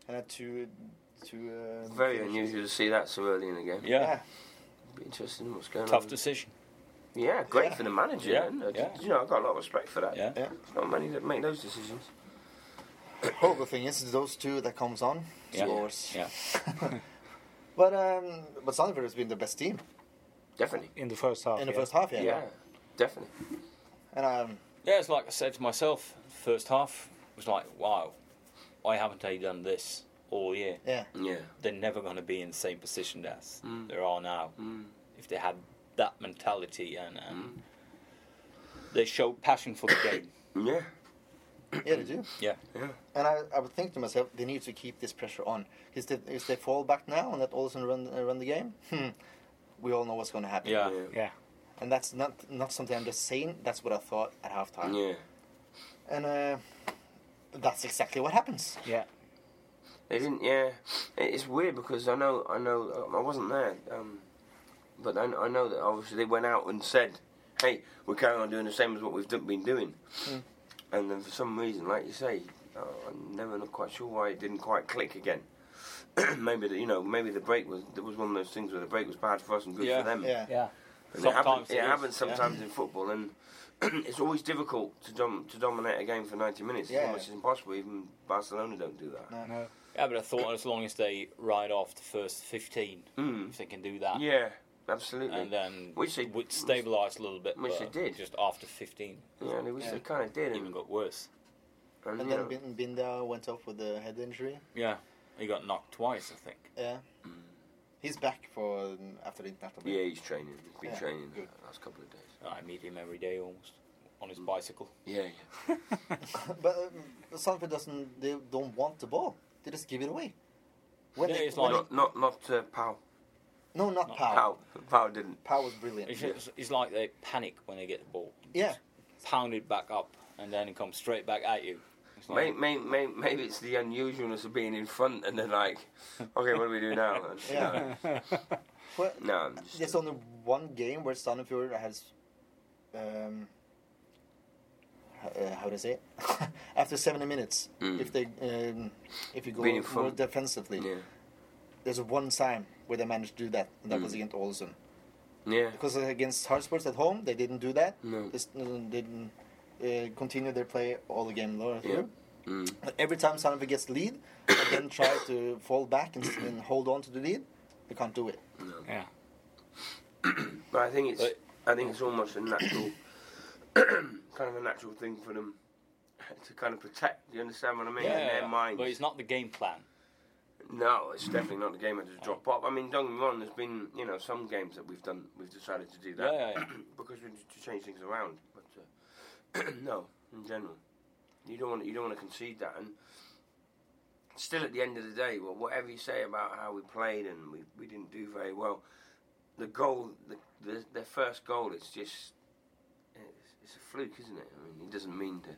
[SPEAKER 1] And had two. two uh,
[SPEAKER 3] Very
[SPEAKER 1] finishes.
[SPEAKER 3] unusual to see that so early in the game.
[SPEAKER 2] Yeah,
[SPEAKER 1] Yeah.
[SPEAKER 3] Be interesting what's going
[SPEAKER 2] tough
[SPEAKER 3] on.
[SPEAKER 2] decision.
[SPEAKER 3] Yeah, great
[SPEAKER 1] Yeah.
[SPEAKER 3] for the manager.
[SPEAKER 2] Yeah,
[SPEAKER 3] man. I-
[SPEAKER 2] yeah.
[SPEAKER 3] You know, I've got a lot of respect for that.
[SPEAKER 2] Yeah,
[SPEAKER 1] Yeah.
[SPEAKER 3] There's not many that make those decisions.
[SPEAKER 1] Horrible thing is those two that comes on
[SPEAKER 2] Yeah.
[SPEAKER 1] scores.
[SPEAKER 2] yeah.
[SPEAKER 1] But um, but Sandefjord has been the best team
[SPEAKER 3] Definitely.
[SPEAKER 4] In the first half.
[SPEAKER 1] in the first half, yeah.
[SPEAKER 3] Yeah, definitely.
[SPEAKER 1] And um,
[SPEAKER 2] Yeah, it's like I said to myself, first half was like, wow, why haven't they done this all year?
[SPEAKER 1] yeah.
[SPEAKER 3] Yeah.
[SPEAKER 2] They're never going to be in the same position as
[SPEAKER 3] Mm.
[SPEAKER 2] they are now.
[SPEAKER 3] Mm.
[SPEAKER 2] If they had that mentality and, and
[SPEAKER 3] Mm.
[SPEAKER 2] they show passion for the game.
[SPEAKER 3] Yeah.
[SPEAKER 1] Yeah, they do.
[SPEAKER 2] Yeah.
[SPEAKER 3] Yeah.
[SPEAKER 1] And I, I would think to myself, they need to keep this pressure on. Because they, if they fall back now and let Olsen run, uh, run the game, hmm, we all know what's going to happen.
[SPEAKER 2] Yeah.
[SPEAKER 4] Yeah.
[SPEAKER 1] And that's not not something I'm just saying. That's what I thought at halftime.
[SPEAKER 3] Yeah.
[SPEAKER 1] And uh, that's exactly what happens.
[SPEAKER 4] Yeah.
[SPEAKER 3] They didn't. Yeah, It- it's weird because I know, I know, um, I wasn't there, um, but I, I know that obviously they went out and said, "Hey, we're carrying on doing the same as what we've done, been doing,"
[SPEAKER 2] Hmm.
[SPEAKER 1] Mm.
[SPEAKER 3] and then for some reason, like you say, uh, I'm never not quite sure why it didn't quite click again. maybe the, you know, maybe the break was there was one of those things where the break was bad for us and good
[SPEAKER 2] Hmm. Yeah,
[SPEAKER 3] for them.
[SPEAKER 1] Yeah.
[SPEAKER 4] Yeah.
[SPEAKER 3] And it happens,
[SPEAKER 2] Sometimes
[SPEAKER 3] it
[SPEAKER 2] it is,
[SPEAKER 3] happens
[SPEAKER 2] yeah.
[SPEAKER 3] sometimes in football, and it's always difficult to dom- to dominate a game for ninety minutes.
[SPEAKER 1] Yeah.
[SPEAKER 3] It's almost impossible. Even Barcelona don't do that.
[SPEAKER 1] No.
[SPEAKER 4] No.
[SPEAKER 2] Yeah, but I thought as long as they ride off the first 15,
[SPEAKER 3] Mm.
[SPEAKER 2] if they can do that.
[SPEAKER 3] Yeah, absolutely.
[SPEAKER 2] And uh, then
[SPEAKER 3] Which they-
[SPEAKER 2] would stabilise a little bit.
[SPEAKER 3] which they
[SPEAKER 2] but
[SPEAKER 3] did.
[SPEAKER 2] Just after 15,
[SPEAKER 3] yeah, they, which
[SPEAKER 1] Yeah.
[SPEAKER 3] they kind of did.
[SPEAKER 2] it
[SPEAKER 3] And,
[SPEAKER 2] even got worse.
[SPEAKER 3] and,
[SPEAKER 1] And
[SPEAKER 3] you
[SPEAKER 1] then
[SPEAKER 3] know,
[SPEAKER 1] Bin- Binda went off with a head injury.
[SPEAKER 2] Yeah. He got knocked twice, I think.
[SPEAKER 1] Yeah.
[SPEAKER 2] Hmm.
[SPEAKER 1] He's back for um, after the international break.
[SPEAKER 3] yeah, he's training. He's been
[SPEAKER 1] Yeah,
[SPEAKER 3] training
[SPEAKER 1] good.
[SPEAKER 3] the last couple of days.
[SPEAKER 2] I meet him every day almost on
[SPEAKER 3] Mm.
[SPEAKER 2] his bicycle.
[SPEAKER 3] Yeah, yeah.
[SPEAKER 1] But um, Sandefjord doesn't. They don't want the ball. They just give it away. When
[SPEAKER 2] Yeah,
[SPEAKER 1] they,
[SPEAKER 2] it's
[SPEAKER 1] when
[SPEAKER 2] like-
[SPEAKER 1] they-
[SPEAKER 3] not not not uh, Pau.
[SPEAKER 1] no, not
[SPEAKER 2] Not
[SPEAKER 1] Pow. Pow.
[SPEAKER 3] Pau. Pau didn't.
[SPEAKER 1] was brilliant.
[SPEAKER 2] It's, it's, it's like they panic when they get the ball.
[SPEAKER 1] Yeah.
[SPEAKER 2] Pound it back up and then it comes straight back at you. It's like,
[SPEAKER 3] Maybe, maybe, maybe, it's the unusualness of being in front and then like, okay, what do we do now? And,
[SPEAKER 1] Yeah. Well,
[SPEAKER 3] No, no, I'm just-
[SPEAKER 1] There's only one game where Sandefjord has, um, h- uh, how do I say it? After 70 minutes,
[SPEAKER 3] Mm.
[SPEAKER 1] if they um, if you go
[SPEAKER 3] Being in
[SPEAKER 1] more
[SPEAKER 3] front.
[SPEAKER 1] defensively,
[SPEAKER 3] yeah,
[SPEAKER 1] there's one time where they managed to do that, and that was
[SPEAKER 3] Mm.
[SPEAKER 1] against Olsen.
[SPEAKER 3] yeah,
[SPEAKER 1] Because uh, against Hartspurs at home, they didn't do that.
[SPEAKER 3] No.
[SPEAKER 1] They s- uh, didn't uh, continue their play all the game long
[SPEAKER 3] yeah.
[SPEAKER 1] through.
[SPEAKER 3] Mm.
[SPEAKER 1] But every time Sandefjord gets lead, and then try to fall back and, s- and hold on to the lead, they can't do it.
[SPEAKER 4] Yeah.
[SPEAKER 3] But I think it's
[SPEAKER 2] But-
[SPEAKER 3] I think it's almost a natural kind of a natural thing for them to kind of protect. You understand what I mean? In their minds.
[SPEAKER 2] But it's not the game plan.
[SPEAKER 3] No, it's definitely not the game I just drop off. I mean, don't get me wrong. There's been you know some games that we've done we've decided to do that
[SPEAKER 2] Yeah, yeah,
[SPEAKER 3] because we need to change things around. But uh, no, in general, you don't want you don't want to concede that. And still, at the end of the day, well, whatever you say about how we played and we, we didn't do very well, the goal, the, the their first goal, it's just it's, it's a fluke, isn't it? I mean, he doesn't mean to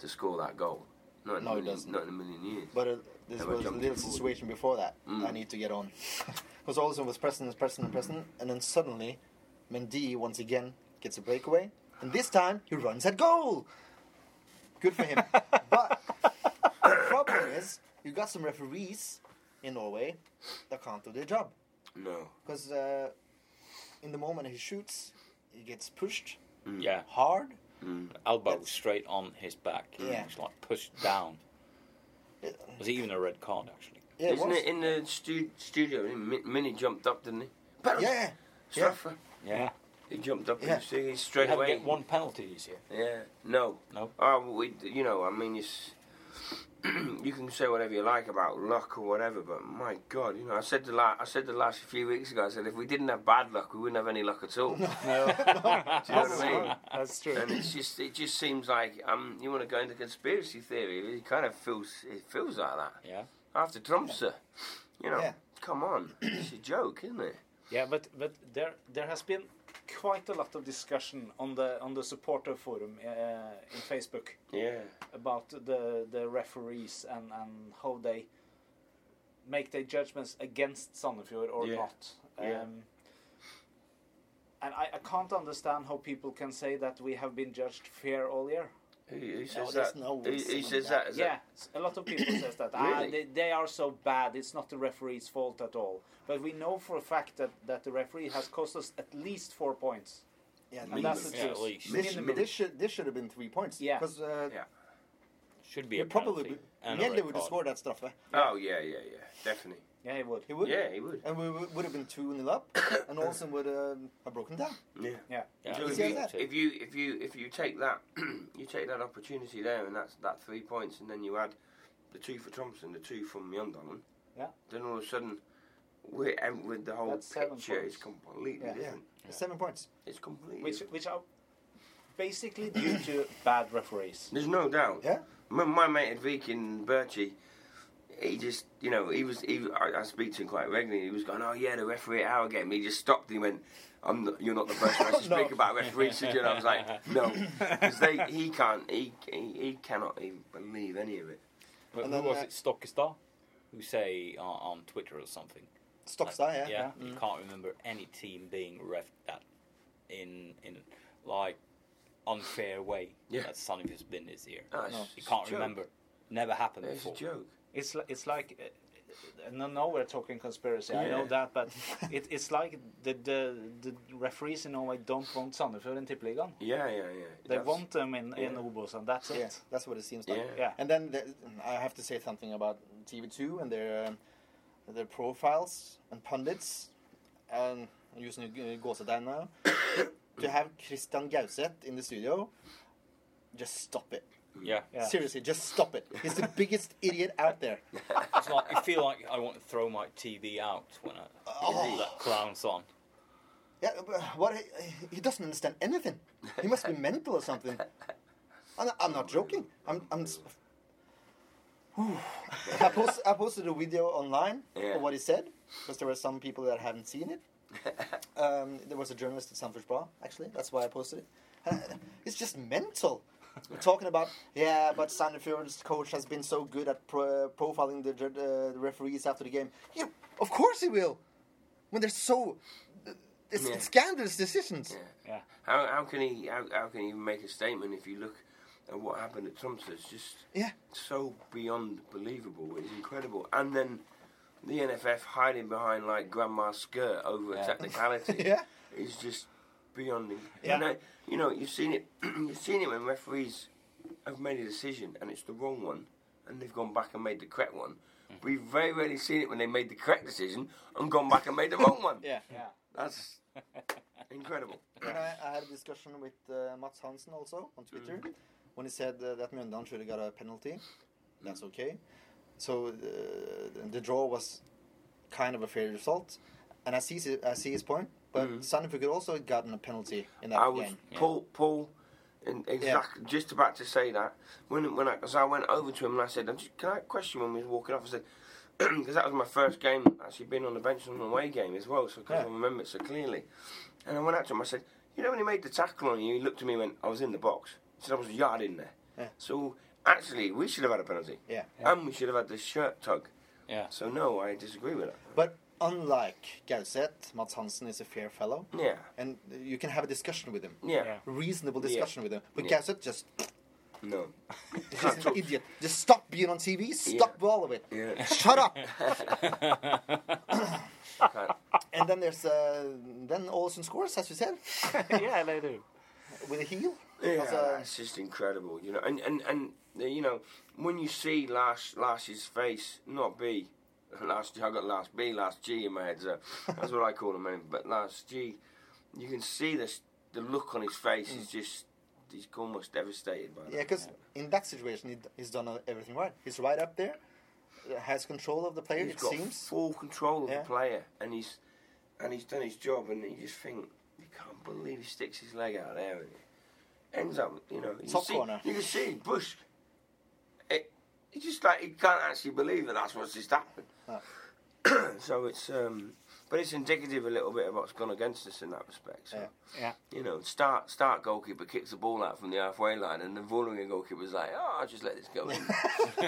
[SPEAKER 3] to score that goal. Not in
[SPEAKER 1] No,
[SPEAKER 3] a
[SPEAKER 1] he
[SPEAKER 3] million,
[SPEAKER 1] doesn't.
[SPEAKER 3] Not in a million years.
[SPEAKER 1] But uh, this
[SPEAKER 3] Have I
[SPEAKER 1] was a
[SPEAKER 3] jumped
[SPEAKER 1] little
[SPEAKER 3] forward?
[SPEAKER 1] situation before that.
[SPEAKER 3] Mm.
[SPEAKER 1] I need to get on. Because Olsen was pressing and pressing and pressing, and then suddenly Mendy once again gets a breakaway, and this time he runs at goal. Good for him. but the problem is, you got some referees in Norway that can't do their job.
[SPEAKER 3] No.
[SPEAKER 1] Because uh, in the moment he shoots, he gets pushed
[SPEAKER 2] Yeah. Mm.
[SPEAKER 1] hard.
[SPEAKER 2] Elbow
[SPEAKER 1] That's-
[SPEAKER 2] straight on his back.
[SPEAKER 1] Yeah.
[SPEAKER 2] It's like pushed down.
[SPEAKER 1] Yeah.
[SPEAKER 2] Was it even a red card, actually?
[SPEAKER 1] Yeah, it
[SPEAKER 3] Isn't
[SPEAKER 1] was.
[SPEAKER 3] it in the stu- studio? Mi- Mini jumped up, didn't he? Penalty.
[SPEAKER 1] Yeah, yeah.
[SPEAKER 3] Straffer.
[SPEAKER 4] Yeah.
[SPEAKER 3] He jumped up
[SPEAKER 1] Yeah.
[SPEAKER 3] and he
[SPEAKER 2] We
[SPEAKER 3] straight
[SPEAKER 2] haven't
[SPEAKER 3] away.
[SPEAKER 2] get one penalty this year.
[SPEAKER 3] Yeah. No. Ah,
[SPEAKER 2] No.
[SPEAKER 3] Oh, well, we. You know, I mean, it's you can say whatever you like about luck or whatever, but my God, you know, I said the la- I said the last few weeks ago. I said if we didn't have bad luck, we wouldn't have any luck at all. Do you know what I mean?
[SPEAKER 5] That's true.
[SPEAKER 3] and it's just it just seems like um you want to go into conspiracy theory. It kind of feels it feels like that
[SPEAKER 2] Yeah.
[SPEAKER 3] after Trumpster, you know.
[SPEAKER 1] Yeah.
[SPEAKER 3] Come on, it's a joke, isn't it?
[SPEAKER 4] Yeah, but but there there has been quite a lot of discussion on the on the supporter forum uh, in Facebook
[SPEAKER 3] Yeah.
[SPEAKER 4] about the the referees and and how they make their judgments against Sandefjord or
[SPEAKER 3] Yeah.
[SPEAKER 4] not. Um,
[SPEAKER 3] Yeah.
[SPEAKER 4] And I, I can't understand how people can say that we have been judged fair all year.
[SPEAKER 3] Who, who says
[SPEAKER 1] there's
[SPEAKER 3] that?
[SPEAKER 1] no
[SPEAKER 3] who,
[SPEAKER 1] reason
[SPEAKER 3] who
[SPEAKER 1] on
[SPEAKER 3] says
[SPEAKER 1] that.
[SPEAKER 3] that? Is
[SPEAKER 4] yeah, s- a lot of people says that. Ah,
[SPEAKER 3] Really?
[SPEAKER 4] they, they are so bad. It's not the referee's fault at all. But we know for a fact that, that the referee has cost us at least four points.
[SPEAKER 1] Yeah,
[SPEAKER 4] And that's the
[SPEAKER 2] Yeah, at
[SPEAKER 4] truth.
[SPEAKER 2] least.
[SPEAKER 1] This,
[SPEAKER 4] Minimum.
[SPEAKER 1] this should this should have been three points.
[SPEAKER 4] Yeah.
[SPEAKER 1] Because uh,
[SPEAKER 3] Yeah.
[SPEAKER 2] Should be
[SPEAKER 1] we
[SPEAKER 2] a
[SPEAKER 1] probably
[SPEAKER 2] penalty
[SPEAKER 1] would-
[SPEAKER 2] and a
[SPEAKER 1] Mjelde
[SPEAKER 2] red
[SPEAKER 1] would have
[SPEAKER 2] card.
[SPEAKER 1] scored that straffe.
[SPEAKER 3] that? Oh yeah, yeah, yeah, definitely.
[SPEAKER 4] Yeah, he would.
[SPEAKER 1] He would.
[SPEAKER 3] Yeah, he would.
[SPEAKER 1] And we would would have been 2 0 up, and Olsen would uh, have broken down.
[SPEAKER 3] Yeah.
[SPEAKER 4] Yeah.
[SPEAKER 2] Yeah,
[SPEAKER 3] So
[SPEAKER 1] You
[SPEAKER 3] if
[SPEAKER 1] see
[SPEAKER 3] you,
[SPEAKER 1] that?
[SPEAKER 3] if you if you if you take that you take that opportunity there and that's that three points and then you add the two for Thompson, the two from Mjøndalen.
[SPEAKER 4] Yeah.
[SPEAKER 3] Then all of a sudden we're and with the whole
[SPEAKER 4] That's seven
[SPEAKER 3] picture
[SPEAKER 4] points.
[SPEAKER 3] is completely
[SPEAKER 1] Yeah.
[SPEAKER 3] different.
[SPEAKER 1] Seven points.
[SPEAKER 3] It's completely
[SPEAKER 4] Which,
[SPEAKER 3] different.
[SPEAKER 4] which are basically due to bad referees.
[SPEAKER 3] There's no doubt.
[SPEAKER 1] Yeah.
[SPEAKER 3] My, my mate at Viking Birchie, he just, you know, he was, he, I, I speak to him quite regularly. He was going, oh yeah, the referee at our game. He just stopped and he went, I'm not, you're not the first person to
[SPEAKER 1] No.
[SPEAKER 3] speak about referees. And I was like, no, because they, he can't, he, he, he cannot even believe any of it.
[SPEAKER 2] But
[SPEAKER 1] And
[SPEAKER 2] who
[SPEAKER 1] then,
[SPEAKER 2] was
[SPEAKER 1] uh,
[SPEAKER 2] it? Stockistar? Who say uh, on Twitter or something?
[SPEAKER 1] Stockstad, yeah.
[SPEAKER 2] yeah. You can't remember any team being ref that in in like unfair way
[SPEAKER 3] Yeah.
[SPEAKER 2] that Sonningfield's been this year.
[SPEAKER 3] Oh, it's-
[SPEAKER 1] No.
[SPEAKER 2] You
[SPEAKER 3] it's a
[SPEAKER 2] can't
[SPEAKER 3] joke.
[SPEAKER 2] remember. Never happened
[SPEAKER 3] It's a
[SPEAKER 2] before.
[SPEAKER 3] joke.
[SPEAKER 4] It's li- it's like uh, uh, no, no, we're talking conspiracy. I know
[SPEAKER 3] Yeah.
[SPEAKER 4] that, but it, it's like the, the the referees in Norway don't want Sandefjord in Tippeligaen.
[SPEAKER 3] Yeah, yeah, yeah.
[SPEAKER 4] They
[SPEAKER 3] That's-
[SPEAKER 4] want them in in
[SPEAKER 3] yeah.
[SPEAKER 4] Obos, and that's
[SPEAKER 1] Yeah,
[SPEAKER 4] it.
[SPEAKER 1] that's what it seems like.
[SPEAKER 3] Yeah.
[SPEAKER 4] Yeah.
[SPEAKER 1] And then the, I have to say something about TV2 and their um, their profiles and pundits. And I'm using a gåsetegn now. to have Christian Gauseth in the studio, just stop it.
[SPEAKER 2] Yeah.
[SPEAKER 4] Yeah.
[SPEAKER 1] Seriously, just stop it. He's the biggest idiot out there.
[SPEAKER 2] It's like you feel like I want to throw my TV out when I
[SPEAKER 1] Oh.
[SPEAKER 2] that clown's on.
[SPEAKER 1] Yeah, but what he, he doesn't understand anything. He must be mental or something. I'm not, I'm not joking. I'm. I'm s- Whew. I, post, I posted a video online
[SPEAKER 3] Yeah.
[SPEAKER 1] of what he said because there were some people that hadn't seen it. Um, there was a journalist at Sanford Bra, actually. That's why I posted it. And I- it's just mental. We're talking about yeah, but Sandefjord's coach has been so good at pro- profiling the, jud- uh, the referees after the game. Yeah, of course he will. When they're so uh, it's,
[SPEAKER 3] Yeah.
[SPEAKER 1] it's scandalous decisions.
[SPEAKER 3] Yeah.
[SPEAKER 4] Yeah.
[SPEAKER 3] How, how can he how, how can he even make a statement if you look at what happened at Trumster? It's just
[SPEAKER 1] Yeah.
[SPEAKER 3] so beyond believable. It's incredible. And then the NFF hiding behind like grandma's skirt over a
[SPEAKER 2] Yeah.
[SPEAKER 3] technicality
[SPEAKER 1] Yeah.
[SPEAKER 3] is just beyond.
[SPEAKER 4] Yeah.
[SPEAKER 3] You know, you know, you've seen it. you've seen it when referees have made a decision and it's the wrong one, and they've gone back and made the correct one. We've very rarely seen it when they made the correct decision and gone back and made the wrong one.
[SPEAKER 1] Yeah.
[SPEAKER 4] Yeah.
[SPEAKER 3] That's incredible.
[SPEAKER 1] And I, I had a discussion with uh, Mats Hansen also on Twitter
[SPEAKER 3] Mm.
[SPEAKER 1] when he said uh, that Mjøndalen should have got a penalty.
[SPEAKER 3] Mm.
[SPEAKER 1] That's okay. So uh, the draw was kind of a fair result, and I see his- I see his point. But Sandefjord could also have gotten a penalty in that
[SPEAKER 3] Mm. I was
[SPEAKER 1] game.
[SPEAKER 3] Paul Paul, and exactly just about to say that when when I, cause I went over to him and I said, "I'm just, "Can I question when we was walking off?" I said, "Because that was my first game actually being on the bench on an away game as well, so 'cause
[SPEAKER 1] Yeah.
[SPEAKER 3] I remember it so clearly." And I went up to him. I said, "You know when he made the tackle on you, he looked at me and went, I was in the box. He said I was a yard in there.
[SPEAKER 1] Yeah.
[SPEAKER 3] So actually, we should have had a penalty.
[SPEAKER 1] Yeah.
[SPEAKER 3] and we should have had the shirt tug.
[SPEAKER 2] Yeah.
[SPEAKER 3] So no, I disagree with that.
[SPEAKER 1] But unlike Gauseth, Mats Hansen is a fair fellow,
[SPEAKER 3] Yeah,
[SPEAKER 1] and you can have a discussion with him,
[SPEAKER 3] yeah,
[SPEAKER 4] Yeah.
[SPEAKER 1] reasonable
[SPEAKER 3] Yeah.
[SPEAKER 1] discussion with him. But
[SPEAKER 3] Yeah.
[SPEAKER 1] Gauseth just
[SPEAKER 3] no.
[SPEAKER 1] He's
[SPEAKER 3] Can't
[SPEAKER 1] just an
[SPEAKER 3] talk-
[SPEAKER 1] idiot. Just stop being on TV. Stop all of it.
[SPEAKER 3] Yeah.
[SPEAKER 1] Shut up.
[SPEAKER 3] Can't-
[SPEAKER 1] and then there's uh, then Olsen scores, as we said,
[SPEAKER 5] yeah, they do.
[SPEAKER 1] with a heel.
[SPEAKER 3] Yeah,
[SPEAKER 1] Because, uh,
[SPEAKER 3] it's just incredible, you know. And and and uh, you know when you see Lars Lars's face, not B, Lars I got Lars B, Lars G in my head, so that's what I call him. man, But Lars G, you can see this the look on his face is just he's almost devastated by that.
[SPEAKER 1] Yeah, because in that situation, he, d- he's done everything right. He's right up there, has control of the player,
[SPEAKER 3] He's
[SPEAKER 1] it
[SPEAKER 3] got
[SPEAKER 1] seems.
[SPEAKER 3] full control of
[SPEAKER 1] Yeah.
[SPEAKER 3] the player, and he's and he's done his job, and you just think you can't believe he sticks his leg out there, and it ends up, you know, you
[SPEAKER 1] Top
[SPEAKER 3] see,
[SPEAKER 1] corner.
[SPEAKER 3] You can see Bush. It, it's just like he can't actually believe that that's what's just happened.
[SPEAKER 1] No.
[SPEAKER 3] so it's, um, but it's indicative a little bit of what's gone against us in that respect. So
[SPEAKER 1] Yeah. yeah.
[SPEAKER 3] you know, start start goalkeeper kicks the ball out from the halfway line, and the Volunga goalkeeper's like, "Oh, I'll just let this go." in." it's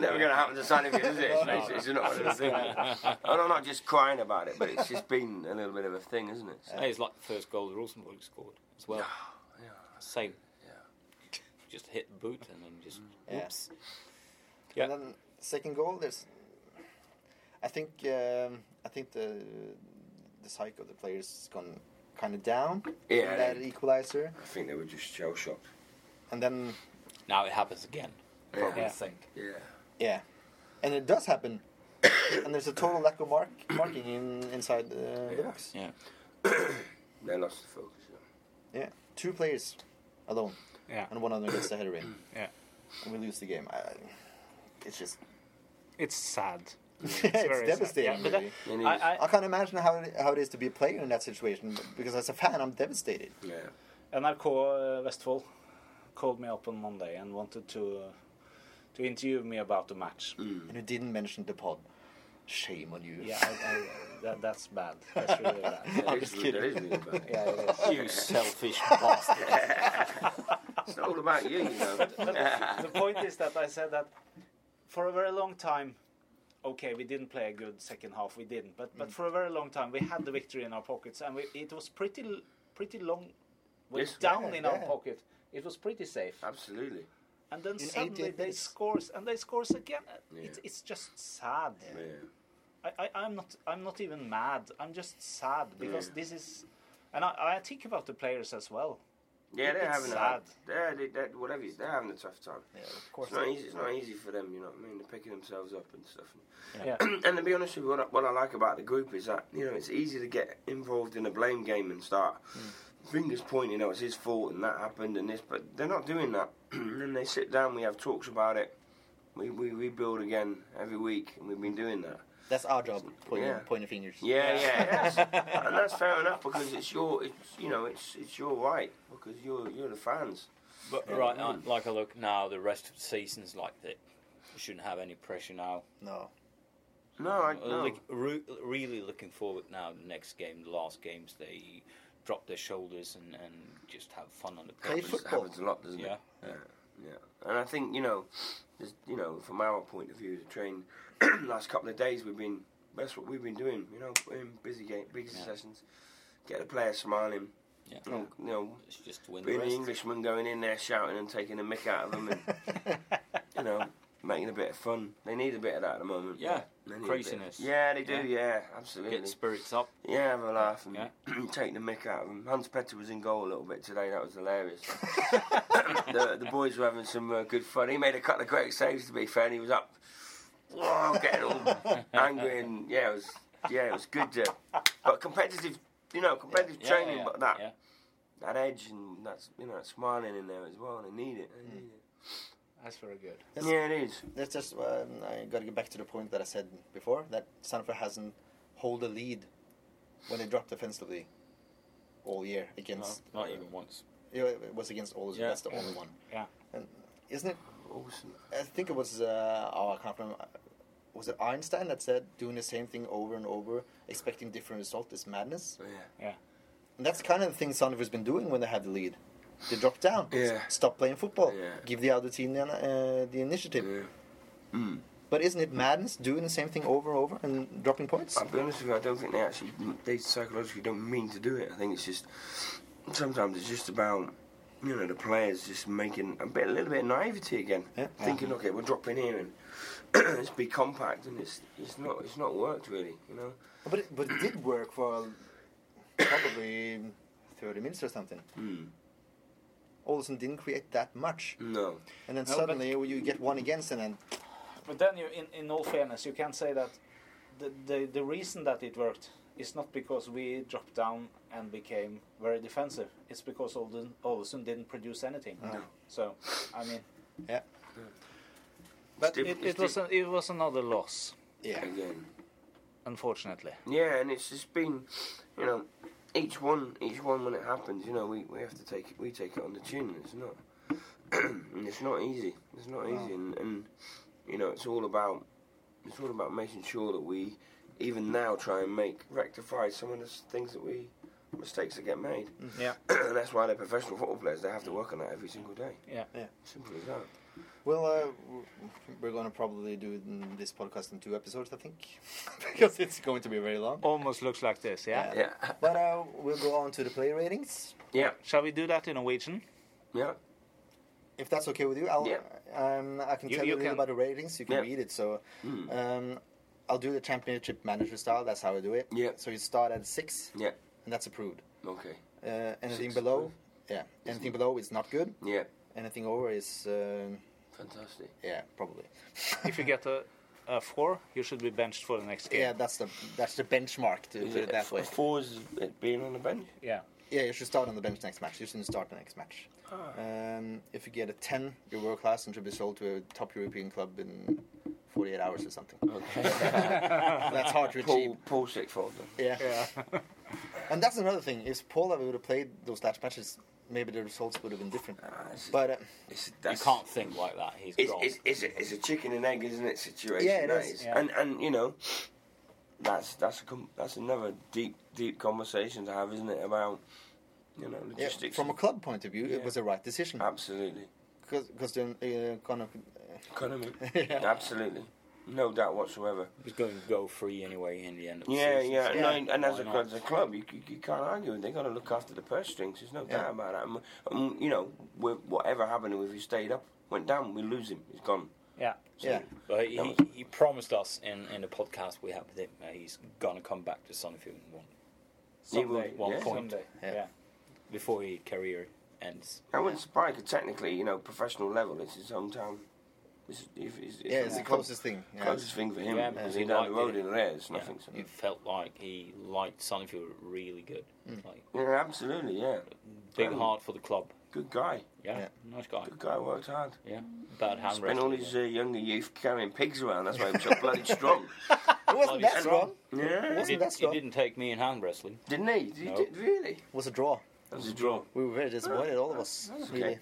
[SPEAKER 3] never going to happen to Sanifield, is it? It's,
[SPEAKER 1] No.
[SPEAKER 3] it's, it's not one of the things. And I'm not just crying about it, but it's just been a little bit of a thing, isn't it? So,
[SPEAKER 2] That is like the first goal that Rosenborg scored as well.
[SPEAKER 3] yeah.
[SPEAKER 2] Same.
[SPEAKER 3] Yeah.
[SPEAKER 2] Just hit the boot and then just
[SPEAKER 1] Yeah.
[SPEAKER 2] whoops. Yeah.
[SPEAKER 1] And then second goal, there's. I think um, I think the the psyche of the players has gone kind of down. in
[SPEAKER 3] Yeah.
[SPEAKER 1] That equalizer,
[SPEAKER 3] I think they were just shell shocked.
[SPEAKER 1] and then
[SPEAKER 2] Now it happens again. Probably
[SPEAKER 3] Yeah.
[SPEAKER 2] think.
[SPEAKER 3] yeah.
[SPEAKER 1] yeah, and it does happen. and there's a total lack of mark marking in inside uh, the
[SPEAKER 3] Yeah.
[SPEAKER 1] box.
[SPEAKER 2] Yeah.
[SPEAKER 3] They lost the focus. yeah.
[SPEAKER 1] Yeah, two players alone,
[SPEAKER 4] Yeah.
[SPEAKER 1] and one of them gets the header in.
[SPEAKER 4] Yeah.
[SPEAKER 1] and we lose the game. I, it's just
[SPEAKER 4] It's sad.
[SPEAKER 1] it's,
[SPEAKER 4] very sad.
[SPEAKER 1] devastating.
[SPEAKER 4] Yeah, but that-
[SPEAKER 1] really.
[SPEAKER 3] And
[SPEAKER 4] I,
[SPEAKER 3] he's-
[SPEAKER 4] I,
[SPEAKER 1] I can't imagine how it, how it is to be a player in that situation because as a fan, I'm devastated.
[SPEAKER 3] yeah.
[SPEAKER 4] NRK uh, Vestfold called me up on Monday and wanted to uh, to interview me about the match.
[SPEAKER 1] And you didn't mention the pod. Shame on you.
[SPEAKER 4] Yeah, I, I, that, that's bad. That's really bad.
[SPEAKER 1] I'm
[SPEAKER 3] That is
[SPEAKER 1] just
[SPEAKER 3] really-
[SPEAKER 1] kidding.
[SPEAKER 3] that is really bad.
[SPEAKER 4] Yeah, it is.
[SPEAKER 2] You selfish bastard.
[SPEAKER 3] It's not all about you, you know.
[SPEAKER 4] the point is that I said that for a very long time. Okay, we didn't play a good second half. We didn't, but but for a very long time we had the victory in our pockets, and we, it was pretty l- pretty long. We're
[SPEAKER 3] Yes. Uh,
[SPEAKER 4] down
[SPEAKER 1] Yeah,
[SPEAKER 4] in our
[SPEAKER 1] yeah.
[SPEAKER 4] pocket. It was pretty safe,
[SPEAKER 3] Absolutely.
[SPEAKER 4] and then
[SPEAKER 1] 88
[SPEAKER 4] suddenly they
[SPEAKER 1] minutes.
[SPEAKER 4] scores, and they scores again.
[SPEAKER 3] Yeah.
[SPEAKER 4] It's it's just sad.
[SPEAKER 3] Yeah.
[SPEAKER 4] I, I, I'm not I'm not even mad. I'm just sad because
[SPEAKER 3] Yeah.
[SPEAKER 4] this is, and I, I think about the players as well.
[SPEAKER 3] Yeah, they're
[SPEAKER 4] It's
[SPEAKER 3] having a hard, they're, they they're, whatever, it is, they're having a tough time.
[SPEAKER 1] Yeah, of
[SPEAKER 3] It's not easy. It's not easy for them, you know what I mean? They're picking themselves up and stuff.
[SPEAKER 4] Yeah.
[SPEAKER 3] and to be honest with you, what I, what I like about the group is that you know it's easy to get involved in a blame game and start fingers pointing. Oh, it's his fault and that happened and this, but they're not doing that. and then they sit down. We have talks about it. We we rebuild again every week, and we've been doing that.
[SPEAKER 1] That's our job, pointing,
[SPEAKER 3] Yeah.
[SPEAKER 1] pointing fingers.
[SPEAKER 3] Yeah, yeah, that's, and that's fair enough because it's your, it's you know, it's it's your right because you're you're the fans.
[SPEAKER 2] But right, I- like I look now, the rest of the season's like that. You shouldn't have any pressure now.
[SPEAKER 1] No.
[SPEAKER 3] No, I
[SPEAKER 2] Uh,
[SPEAKER 3] no.
[SPEAKER 2] look- re- really looking forward now. The next game, the last games, they drop their shoulders and, and just have fun on the
[SPEAKER 1] Play
[SPEAKER 2] pitch.
[SPEAKER 3] happens,
[SPEAKER 1] football.
[SPEAKER 3] happens a lot, doesn't
[SPEAKER 2] Yeah.
[SPEAKER 3] it? Yeah, yeah. And I think you know, there's, you know, from our point of view, the train. last couple of days, we've been that's what we've been doing. You know, in busy game, busy
[SPEAKER 2] Yeah.
[SPEAKER 3] sessions, get the players smiling.
[SPEAKER 2] Yeah.
[SPEAKER 3] You know, you know
[SPEAKER 2] It's just to win the
[SPEAKER 3] being the
[SPEAKER 2] rest.
[SPEAKER 3] Englishman going in there shouting and taking the mick out of them, and you know, making a bit of fun. They need a bit of that at the moment.
[SPEAKER 2] Yeah,
[SPEAKER 3] They need a bit of-
[SPEAKER 2] craziness.
[SPEAKER 3] Yeah, they do.
[SPEAKER 2] Yeah.
[SPEAKER 3] Yeah, absolutely.
[SPEAKER 2] Get the spirits up.
[SPEAKER 3] Yeah, have a laugh and
[SPEAKER 2] Yeah.
[SPEAKER 3] take the mick out of him. Hans Petter was in goal a little bit today. That was hilarious. the, the boys were having some uh, good fun. He made a couple of great saves. To be fair, and he was up, whoa, getting all angry and yeah, it was yeah, it was good. Uh, but competitive, you know, competitive
[SPEAKER 2] Yeah,
[SPEAKER 3] training,
[SPEAKER 2] yeah,
[SPEAKER 3] but that
[SPEAKER 2] yeah.
[SPEAKER 3] that edge and that's you know that smiling in there as well. They need it. They need it.
[SPEAKER 4] That's very good.
[SPEAKER 1] Yes.
[SPEAKER 3] Yeah, it is.
[SPEAKER 1] That's just, um, I got to get back to the point that I said before that Sanford hasn't hold a lead when they dropped offensively all year against.
[SPEAKER 2] No, not even once.
[SPEAKER 3] Uh-huh.
[SPEAKER 1] Yeah, it was against Olsen.
[SPEAKER 2] Yeah.
[SPEAKER 1] That's the only one.
[SPEAKER 4] Yeah.
[SPEAKER 1] And isn't it?
[SPEAKER 3] Awesome.
[SPEAKER 1] I think it was. Uh, oh, I can't remember. Was it Einstein that said doing the same thing over and over, expecting different result is madness?
[SPEAKER 3] Yeah.
[SPEAKER 4] Yeah.
[SPEAKER 1] And that's kind of the thing Sandefjord's been doing when they have the lead. They drop down,
[SPEAKER 3] Yeah.
[SPEAKER 1] s- stop playing football,
[SPEAKER 3] Yeah.
[SPEAKER 1] give the other team the, uh, the initiative.
[SPEAKER 3] Yeah. Mm.
[SPEAKER 1] But isn't it madness doing the same thing over and over and dropping points?
[SPEAKER 3] I'll be honest with you, I don't think they actually, they psychologically don't mean to do it. I think it's just, sometimes it's just about, you know, the players just making a bit, a little bit of naivety again.
[SPEAKER 1] Yeah. Uh-huh.
[SPEAKER 3] Thinking, okay, we'll drop in here and let's be compact, and it's it's not it's not worked really, you know.
[SPEAKER 1] But it, but it did work for probably 30 minutes or something. Olsen didn't create that much.
[SPEAKER 3] No.
[SPEAKER 1] And then
[SPEAKER 4] No, but-
[SPEAKER 1] suddenly you get one against, and then
[SPEAKER 4] But then, you, in in all fairness, you can say that the the, the reason that it worked it's not because we dropped down and became very defensive. It's because Olden, Olesund didn't produce anything.
[SPEAKER 1] No.
[SPEAKER 4] So, I mean, Mm.
[SPEAKER 1] Yeah.
[SPEAKER 4] but
[SPEAKER 3] Still-
[SPEAKER 4] it,
[SPEAKER 3] it's
[SPEAKER 4] it was
[SPEAKER 3] still-
[SPEAKER 4] an it was another loss,
[SPEAKER 1] Yeah.
[SPEAKER 3] again.
[SPEAKER 4] unfortunately.
[SPEAKER 3] Yeah, and it's just been, you know, each one, each one when it happens, you know, we, we have to take it, we take it on the chin. It's not, and it's not easy. It's not
[SPEAKER 1] No.
[SPEAKER 3] easy, and, and you know, it's all about, it's all about making sure that we, even now, try and make rectify some of the s- things that we mistakes that get made.
[SPEAKER 1] Mm.
[SPEAKER 4] Yeah.
[SPEAKER 3] and that's why they're professional football players. They have to work on that every single day.
[SPEAKER 4] Yeah.
[SPEAKER 1] Yeah.
[SPEAKER 3] Simple as that.
[SPEAKER 1] Well, uh, w- we're going to probably do it in this podcast in two episodes, I think, because it's going to be very long.
[SPEAKER 4] Almost looks like this, yeah?
[SPEAKER 1] Yeah.
[SPEAKER 3] Yeah.
[SPEAKER 1] But uh, we'll go on to the play ratings.
[SPEAKER 3] Yeah.
[SPEAKER 4] Shall we do that in Norwegian?
[SPEAKER 3] Yeah.
[SPEAKER 1] If that's okay with you, I'll,
[SPEAKER 3] Yeah.
[SPEAKER 1] um, I can
[SPEAKER 4] You-
[SPEAKER 1] tell
[SPEAKER 4] you
[SPEAKER 1] you, a little
[SPEAKER 4] can.
[SPEAKER 1] about the ratings. You can
[SPEAKER 3] Yeah.
[SPEAKER 1] read it. So
[SPEAKER 3] Mm.
[SPEAKER 1] um, I'll do the championship manager style. That's how I do it.
[SPEAKER 3] Yeah.
[SPEAKER 1] So you start at six,
[SPEAKER 3] Yeah.
[SPEAKER 1] and that's approved.
[SPEAKER 3] Okay.
[SPEAKER 1] Uh, anything
[SPEAKER 3] Six
[SPEAKER 1] below,
[SPEAKER 3] approved.
[SPEAKER 1] yeah. Anything below is not good.
[SPEAKER 3] Yeah.
[SPEAKER 1] Anything over is, um
[SPEAKER 3] Fantastic.
[SPEAKER 1] yeah, probably.
[SPEAKER 4] If you get a, a four, you should be benched for the next game.
[SPEAKER 1] yeah, that's the that's the benchmark to
[SPEAKER 3] Is
[SPEAKER 1] put it that way.
[SPEAKER 3] Four is it being on the bench.
[SPEAKER 4] Yeah.
[SPEAKER 1] Yeah, you should start on the bench next match. You shouldn't start the next match. Um, if you get a 10, you're world class and should be sold to a top European club in 48 hours or something. that's hard to achieve.
[SPEAKER 3] Paul, Paul Sickfold. then.
[SPEAKER 1] Yeah.
[SPEAKER 4] Yeah.
[SPEAKER 1] And that's another thing. If Paul ever would have played those last matches, maybe the results would have been different.
[SPEAKER 3] it's-
[SPEAKER 1] But uh,
[SPEAKER 3] It's,
[SPEAKER 2] You
[SPEAKER 3] that's,
[SPEAKER 2] can't think like that. He's
[SPEAKER 3] It's,
[SPEAKER 2] gone.
[SPEAKER 3] it's, it's, a, it's a chicken and egg, isn't it? Situation.
[SPEAKER 1] Yeah, it
[SPEAKER 3] that
[SPEAKER 1] is.
[SPEAKER 4] Yeah.
[SPEAKER 3] And and you know, that's that's a com- that's another deep deep conversation to have, isn't it? About you know
[SPEAKER 1] yeah,
[SPEAKER 3] logistics.
[SPEAKER 1] from a club point of view, it
[SPEAKER 3] Yeah. Um,
[SPEAKER 1] was the right decision.
[SPEAKER 3] absolutely
[SPEAKER 1] Because then uh, kind of.
[SPEAKER 3] economy.
[SPEAKER 1] yeah.
[SPEAKER 3] Absolutely, no doubt whatsoever.
[SPEAKER 2] He's going to go free anyway in the end of the
[SPEAKER 3] Yeah,
[SPEAKER 2] season.
[SPEAKER 3] yeah,
[SPEAKER 2] so
[SPEAKER 3] and, I- and as,
[SPEAKER 2] why
[SPEAKER 3] a,
[SPEAKER 2] not?
[SPEAKER 3] as a club, you, you, you can't argue. They're going to look after the purse strings. There's no
[SPEAKER 1] Yeah.
[SPEAKER 3] doubt about that. And, and, you know, we whatever happened, if he stayed up, went down, we lose him. He's gone.
[SPEAKER 4] Yeah.
[SPEAKER 3] So,
[SPEAKER 1] Yeah.
[SPEAKER 2] But he,
[SPEAKER 3] That
[SPEAKER 2] he,
[SPEAKER 3] was-
[SPEAKER 2] he promised us in, in the podcast we had with him that he's going to come back to Sunnyfield and one,
[SPEAKER 3] He will-
[SPEAKER 4] Someday.
[SPEAKER 2] one
[SPEAKER 3] yeah.
[SPEAKER 2] point
[SPEAKER 4] Someday.
[SPEAKER 1] Yeah.
[SPEAKER 4] yeah.
[SPEAKER 2] before his career ends.
[SPEAKER 3] I wouldn't surprise because technically, you know, professional level, it's his hometown. It's, if, it's,
[SPEAKER 1] Yeah, it's the
[SPEAKER 3] club-
[SPEAKER 1] closest thing. Yeah.
[SPEAKER 3] closest thing for him.
[SPEAKER 2] Yeah, because
[SPEAKER 3] because he's
[SPEAKER 2] he
[SPEAKER 3] down the
[SPEAKER 2] liked
[SPEAKER 3] road
[SPEAKER 2] it.
[SPEAKER 3] in there. It's
[SPEAKER 2] Yeah.
[SPEAKER 3] nothing. so-
[SPEAKER 2] It felt like he liked Sunnyfield really good. Like,
[SPEAKER 3] Yeah. absolutely. Yeah,
[SPEAKER 2] big
[SPEAKER 3] Totally.
[SPEAKER 2] heart for the club.
[SPEAKER 3] good guy.
[SPEAKER 2] Yeah,
[SPEAKER 1] Yeah.
[SPEAKER 2] nice guy.
[SPEAKER 3] Good guy. Worked hard.
[SPEAKER 2] Yeah, bad hand
[SPEAKER 3] Spent all
[SPEAKER 2] wrestling,
[SPEAKER 3] his uh, younger youth carrying pigs around. That's why he was so bloody strong.
[SPEAKER 1] It wasn't
[SPEAKER 2] Bloody
[SPEAKER 1] that
[SPEAKER 2] strong.
[SPEAKER 1] strong.
[SPEAKER 2] yeah.
[SPEAKER 3] Yeah,
[SPEAKER 1] wasn't
[SPEAKER 2] He,
[SPEAKER 1] that
[SPEAKER 2] did, he
[SPEAKER 1] strong.
[SPEAKER 2] didn't take me in hand wrestling.
[SPEAKER 3] didn't he? Did he
[SPEAKER 2] No.
[SPEAKER 3] did, really?
[SPEAKER 1] It was a draw.
[SPEAKER 3] That was a draw.
[SPEAKER 1] We were very disappointed, all of us.
[SPEAKER 3] That's
[SPEAKER 1] Really.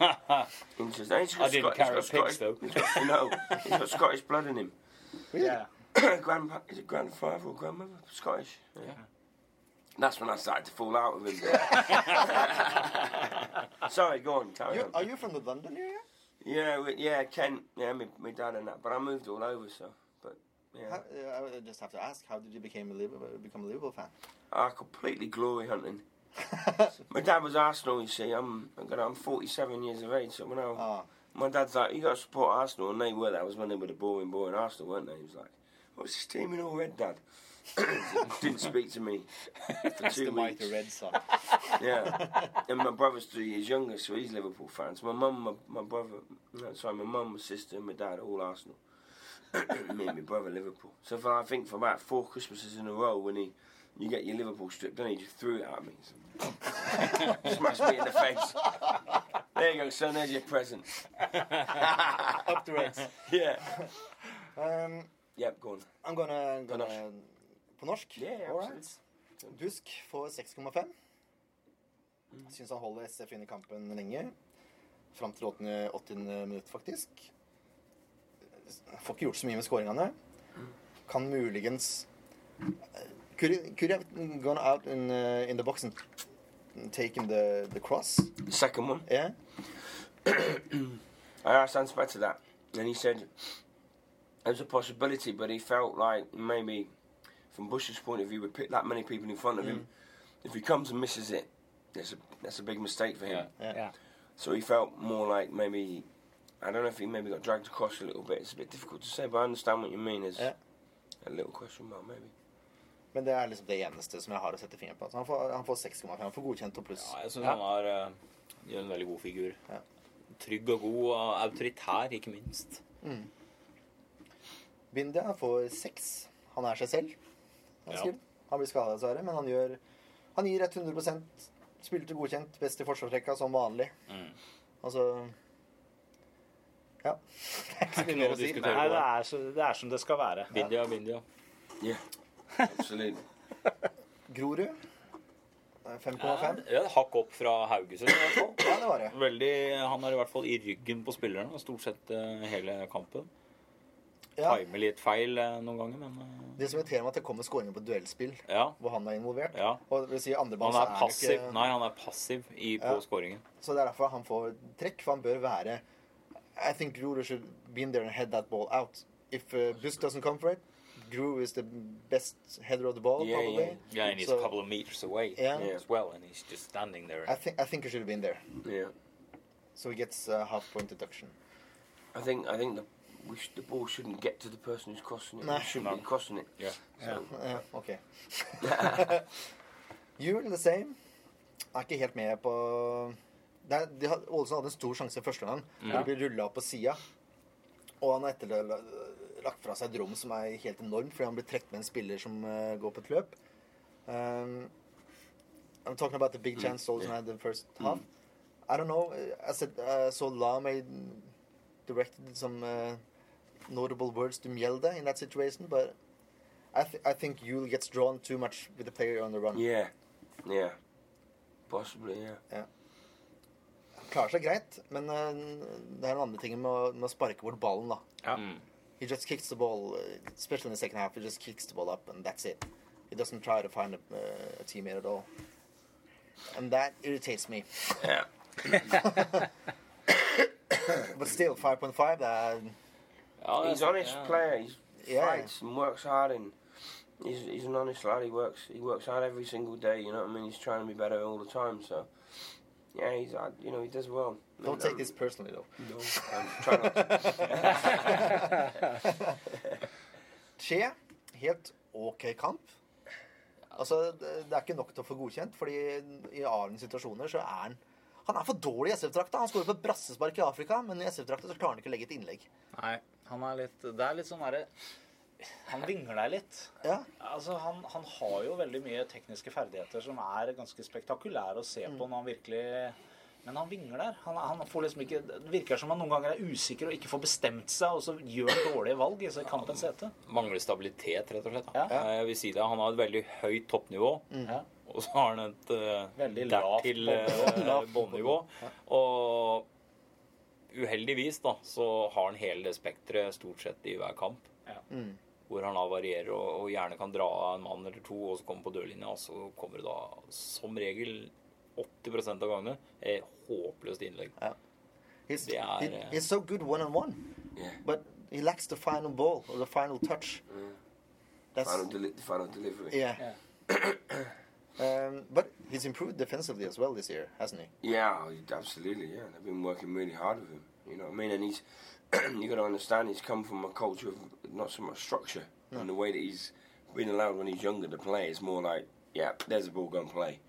[SPEAKER 3] okay. Interesting. He's
[SPEAKER 2] I didn't carry
[SPEAKER 3] he's got
[SPEAKER 2] pigs,
[SPEAKER 3] Scottish- he's got- no, he's got Scottish blood in him.
[SPEAKER 1] Really?
[SPEAKER 4] Yeah.
[SPEAKER 3] grandpa, is it grandfather or grandmother? Scottish. Yeah. That's when I started to fall out with him. Sorry, go on, carry
[SPEAKER 1] You,
[SPEAKER 3] on.
[SPEAKER 1] are you from the London area?
[SPEAKER 3] Yeah, we, yeah, Kent. Yeah, my, my dad and that. But I moved all over, so. But yeah,
[SPEAKER 1] How, uh, I just have to ask, how did you became a Liverpool, become a Liverpool fan?
[SPEAKER 3] I completely glory hunting. My dad was Arsenal. You see, I'm I'm, gonna, I'm 47 years of age. So when I,
[SPEAKER 1] Ah.
[SPEAKER 3] my dad's like, you got to support Arsenal, and they were. That was when they were the boring boy in Arsenal, weren't they? He was like, what's this team in all red, Dad? Didn't speak to me for two
[SPEAKER 1] the
[SPEAKER 3] weeks.
[SPEAKER 1] mighty Red Sox.
[SPEAKER 3] Yeah. and my brother's three years younger, so he's Liverpool fans. My mum, my, my brother, no, sorry, my mum, my sister, and my dad, all Arsenal. Me and my brother, Liverpool. So for, I think for about four Christmases in a row, when he, you get your Liverpool strip, then he just threw it at me. So- Smashed me in the face. There you go, son, there's your present.
[SPEAKER 1] Up the Reds.
[SPEAKER 3] Yeah.
[SPEAKER 1] Um,
[SPEAKER 3] Yep, go on.
[SPEAKER 1] I'm gonna,
[SPEAKER 3] På
[SPEAKER 1] gonna
[SPEAKER 3] norsk.
[SPEAKER 1] På norsk?
[SPEAKER 3] Yeah, yeah,
[SPEAKER 1] All
[SPEAKER 3] absolutt.
[SPEAKER 1] right. Dusk får 6,5. Syns han holder SF inne i kampen lenge. Fram til 80. 80. minutt, faktisk. Får ikke gjort så mye med skåringene. Kan muligens eh, Could he, could he have gone out in, uh, in the box and taken the, the cross?
[SPEAKER 3] Second one.
[SPEAKER 1] Yeah?
[SPEAKER 3] I asked Hans Better that, and he said it was a possibility, but he felt like maybe, from Bush's point of view, would put that many people in front of him. If he comes and misses it, that's a that's a big mistake for him.
[SPEAKER 2] Yeah.
[SPEAKER 1] Yeah.
[SPEAKER 4] Yeah.
[SPEAKER 3] So he felt more like maybe, I don't know if he maybe got dragged across a little bit. It's a bit difficult to say, but I understand what you mean. Is
[SPEAKER 1] Yeah.
[SPEAKER 3] a little question mark maybe.
[SPEAKER 1] Men det er liksom det eneste som jeg har å sette fingeren på. Så han får, han får 6,5. Han får godkjent og pluss.
[SPEAKER 2] Ja, jeg syns
[SPEAKER 4] Ja.
[SPEAKER 2] han har eh, gjør en veldig god figur.
[SPEAKER 1] Ja.
[SPEAKER 2] Trygg og god og autoritær, ikke minst.
[SPEAKER 1] Bindia får seks. Han er seg selv. Han
[SPEAKER 2] Ja.
[SPEAKER 1] skriver. Han blir skada, dessverre, men han, gjør, han gir 100 Spiller til godkjent, best i forsvarsrekka, som vanlig.
[SPEAKER 2] Mm.
[SPEAKER 1] Altså Ja. Det er ikke så mye mer å si.
[SPEAKER 2] diskutere.
[SPEAKER 4] Nei, det er, så, det er som det skal være.
[SPEAKER 2] Bindia, bindia.
[SPEAKER 3] Yeah. Absolutely.
[SPEAKER 1] Grorud. Det er
[SPEAKER 2] Ja,
[SPEAKER 1] 5,5.
[SPEAKER 2] det er hakk opp fra Haugesund. i hvert fall.
[SPEAKER 1] Ja, det var det.
[SPEAKER 2] Veldig, han er i hvert fall i ryggen på spillerne og stort sett eh, hele kampen.
[SPEAKER 1] Ja.
[SPEAKER 2] Timer litt feil eh, noen ganger, men eh,
[SPEAKER 1] Det som irriterer meg, er at det kommer skåringer på duellspill
[SPEAKER 2] ja.
[SPEAKER 1] hvor han er involvert.
[SPEAKER 2] ja.
[SPEAKER 1] Og det vil si andre
[SPEAKER 2] Han
[SPEAKER 1] banen,
[SPEAKER 2] er
[SPEAKER 1] så er
[SPEAKER 2] passiv
[SPEAKER 1] det ikke
[SPEAKER 2] Nei, han er passiv i, på
[SPEAKER 1] Ja.
[SPEAKER 2] skåringen.
[SPEAKER 1] Så det er derfor han får trekk, for han bør være I think Grorud should be in there and head that ball out. If uh, Buss doesn't come for it, Grorud is the best header of the ball,
[SPEAKER 3] Yeah,
[SPEAKER 1] probably.
[SPEAKER 2] Yeah, and he's
[SPEAKER 1] So-
[SPEAKER 2] a couple of meters away
[SPEAKER 1] Yeah.
[SPEAKER 2] as well, and he's just standing there.
[SPEAKER 1] I think I think he should have been there.
[SPEAKER 3] Yeah.
[SPEAKER 1] So he gets a half point deduction.
[SPEAKER 3] I think I think the we sh- the ball shouldn't get to the person who's crossing it.
[SPEAKER 1] No.
[SPEAKER 3] It shouldn't
[SPEAKER 2] No.
[SPEAKER 3] be crossing it.
[SPEAKER 2] Yeah.
[SPEAKER 3] So,
[SPEAKER 1] Ja, ok. Jul the same. Er ikke helt med på det er, de, had- Ålesund hadde en stor sjanse i første gang.
[SPEAKER 2] Ja.
[SPEAKER 1] De blir rulla på sida. Og han har etterlagt fra seg et rom som er helt enormt, fordi han blir trukket med en spiller som eh, går på et løp. Um, I'm talking about the big chance Ålesund had the first half. I don't know. I said, I saw La made directed some uh, notable words to Mjelde in that situation, but I, th- I think Yule gets drawn too much with the player on the run.
[SPEAKER 3] yeah. Yeah. Possibly. Yeah.
[SPEAKER 1] Klarer seg greit, men uh, det er den andre tingen med å, med å sparke bort ballen, da.
[SPEAKER 3] Ja.
[SPEAKER 2] Mm.
[SPEAKER 1] He just kicks the ball, uh, especially in the second half, he just kicks the ball up and that's it. He doesn't try to find a, uh, a teammate at all. And that irritates me.
[SPEAKER 3] Yeah.
[SPEAKER 1] But still, 5.5, det er
[SPEAKER 2] Ja, det er
[SPEAKER 3] He's
[SPEAKER 2] sant,
[SPEAKER 3] honest
[SPEAKER 2] ja.
[SPEAKER 3] player. He
[SPEAKER 1] Yeah.
[SPEAKER 3] fights and works hard, and he's, he's an honest lad. He works he works hard every single day. You know what I mean? He's trying to be better all the time. So yeah, he's uh, you know he does well. I mean,
[SPEAKER 1] Don't take
[SPEAKER 3] I'm-
[SPEAKER 1] this personally, though.
[SPEAKER 3] No, I'm trying not to.
[SPEAKER 1] Skje. Helt ok kamp. Altså, det det er ikke nok til å få godkjent, fordi i Arens situasjoner så er han Han er for dårlig i SF-drakta. Han skårer på et brassespark i Afrika, men i SF-drakta så klarer han ikke å legge et innlegg.
[SPEAKER 4] Nei, han er litt Det er litt sånn derre Han vingler litt.
[SPEAKER 1] Ja,
[SPEAKER 4] Altså, han, han har jo veldig mye tekniske ferdigheter som er ganske spektakulære å se
[SPEAKER 1] Mm.
[SPEAKER 4] på når han virkelig Men han vingler. Han, han får liksom ikke, det virker som han noen ganger er usikker og ikke får bestemt seg, og så gjør han dårlige valg i så kampens hete.
[SPEAKER 2] Mangler stabilitet, rett og slett. da.
[SPEAKER 4] Ja.
[SPEAKER 2] Eh, Jeg vil si det. Han har et veldig høyt toppnivå.
[SPEAKER 1] Mm.
[SPEAKER 4] Ja.
[SPEAKER 2] Og så har han et eh,
[SPEAKER 4] Veldig lavt
[SPEAKER 2] dertil
[SPEAKER 4] båndnivå.
[SPEAKER 2] eh, båndnivå. Og uheldigvis da, så har han hele det spekteret stort sett i hver kamp.
[SPEAKER 4] Ja.
[SPEAKER 1] Mm,
[SPEAKER 2] Hvor han da varierer og, og gjerne kan dra av en mann eller to, og så komme på dørlinja, og så kommer det da som regel 80 av gangene et håpløst innlegg.
[SPEAKER 1] he's,
[SPEAKER 2] Det er,
[SPEAKER 1] he,
[SPEAKER 2] eh,
[SPEAKER 1] he's so good one on one,
[SPEAKER 3] Yeah.
[SPEAKER 1] but he lacks the final ball or the final touch. That's
[SPEAKER 3] Final, deli- final delivery. Yeah.
[SPEAKER 1] yeah. Um, but he's improved defensively as well this year, hasn't he?
[SPEAKER 3] he- absolutely. Yeah, they've been working really hard with him. You know what I mean? And he's you got to understand he's come from a culture of not so much structure and the way that he's been allowed when he's younger to play. It's more like yeah, there's a ball, go and play,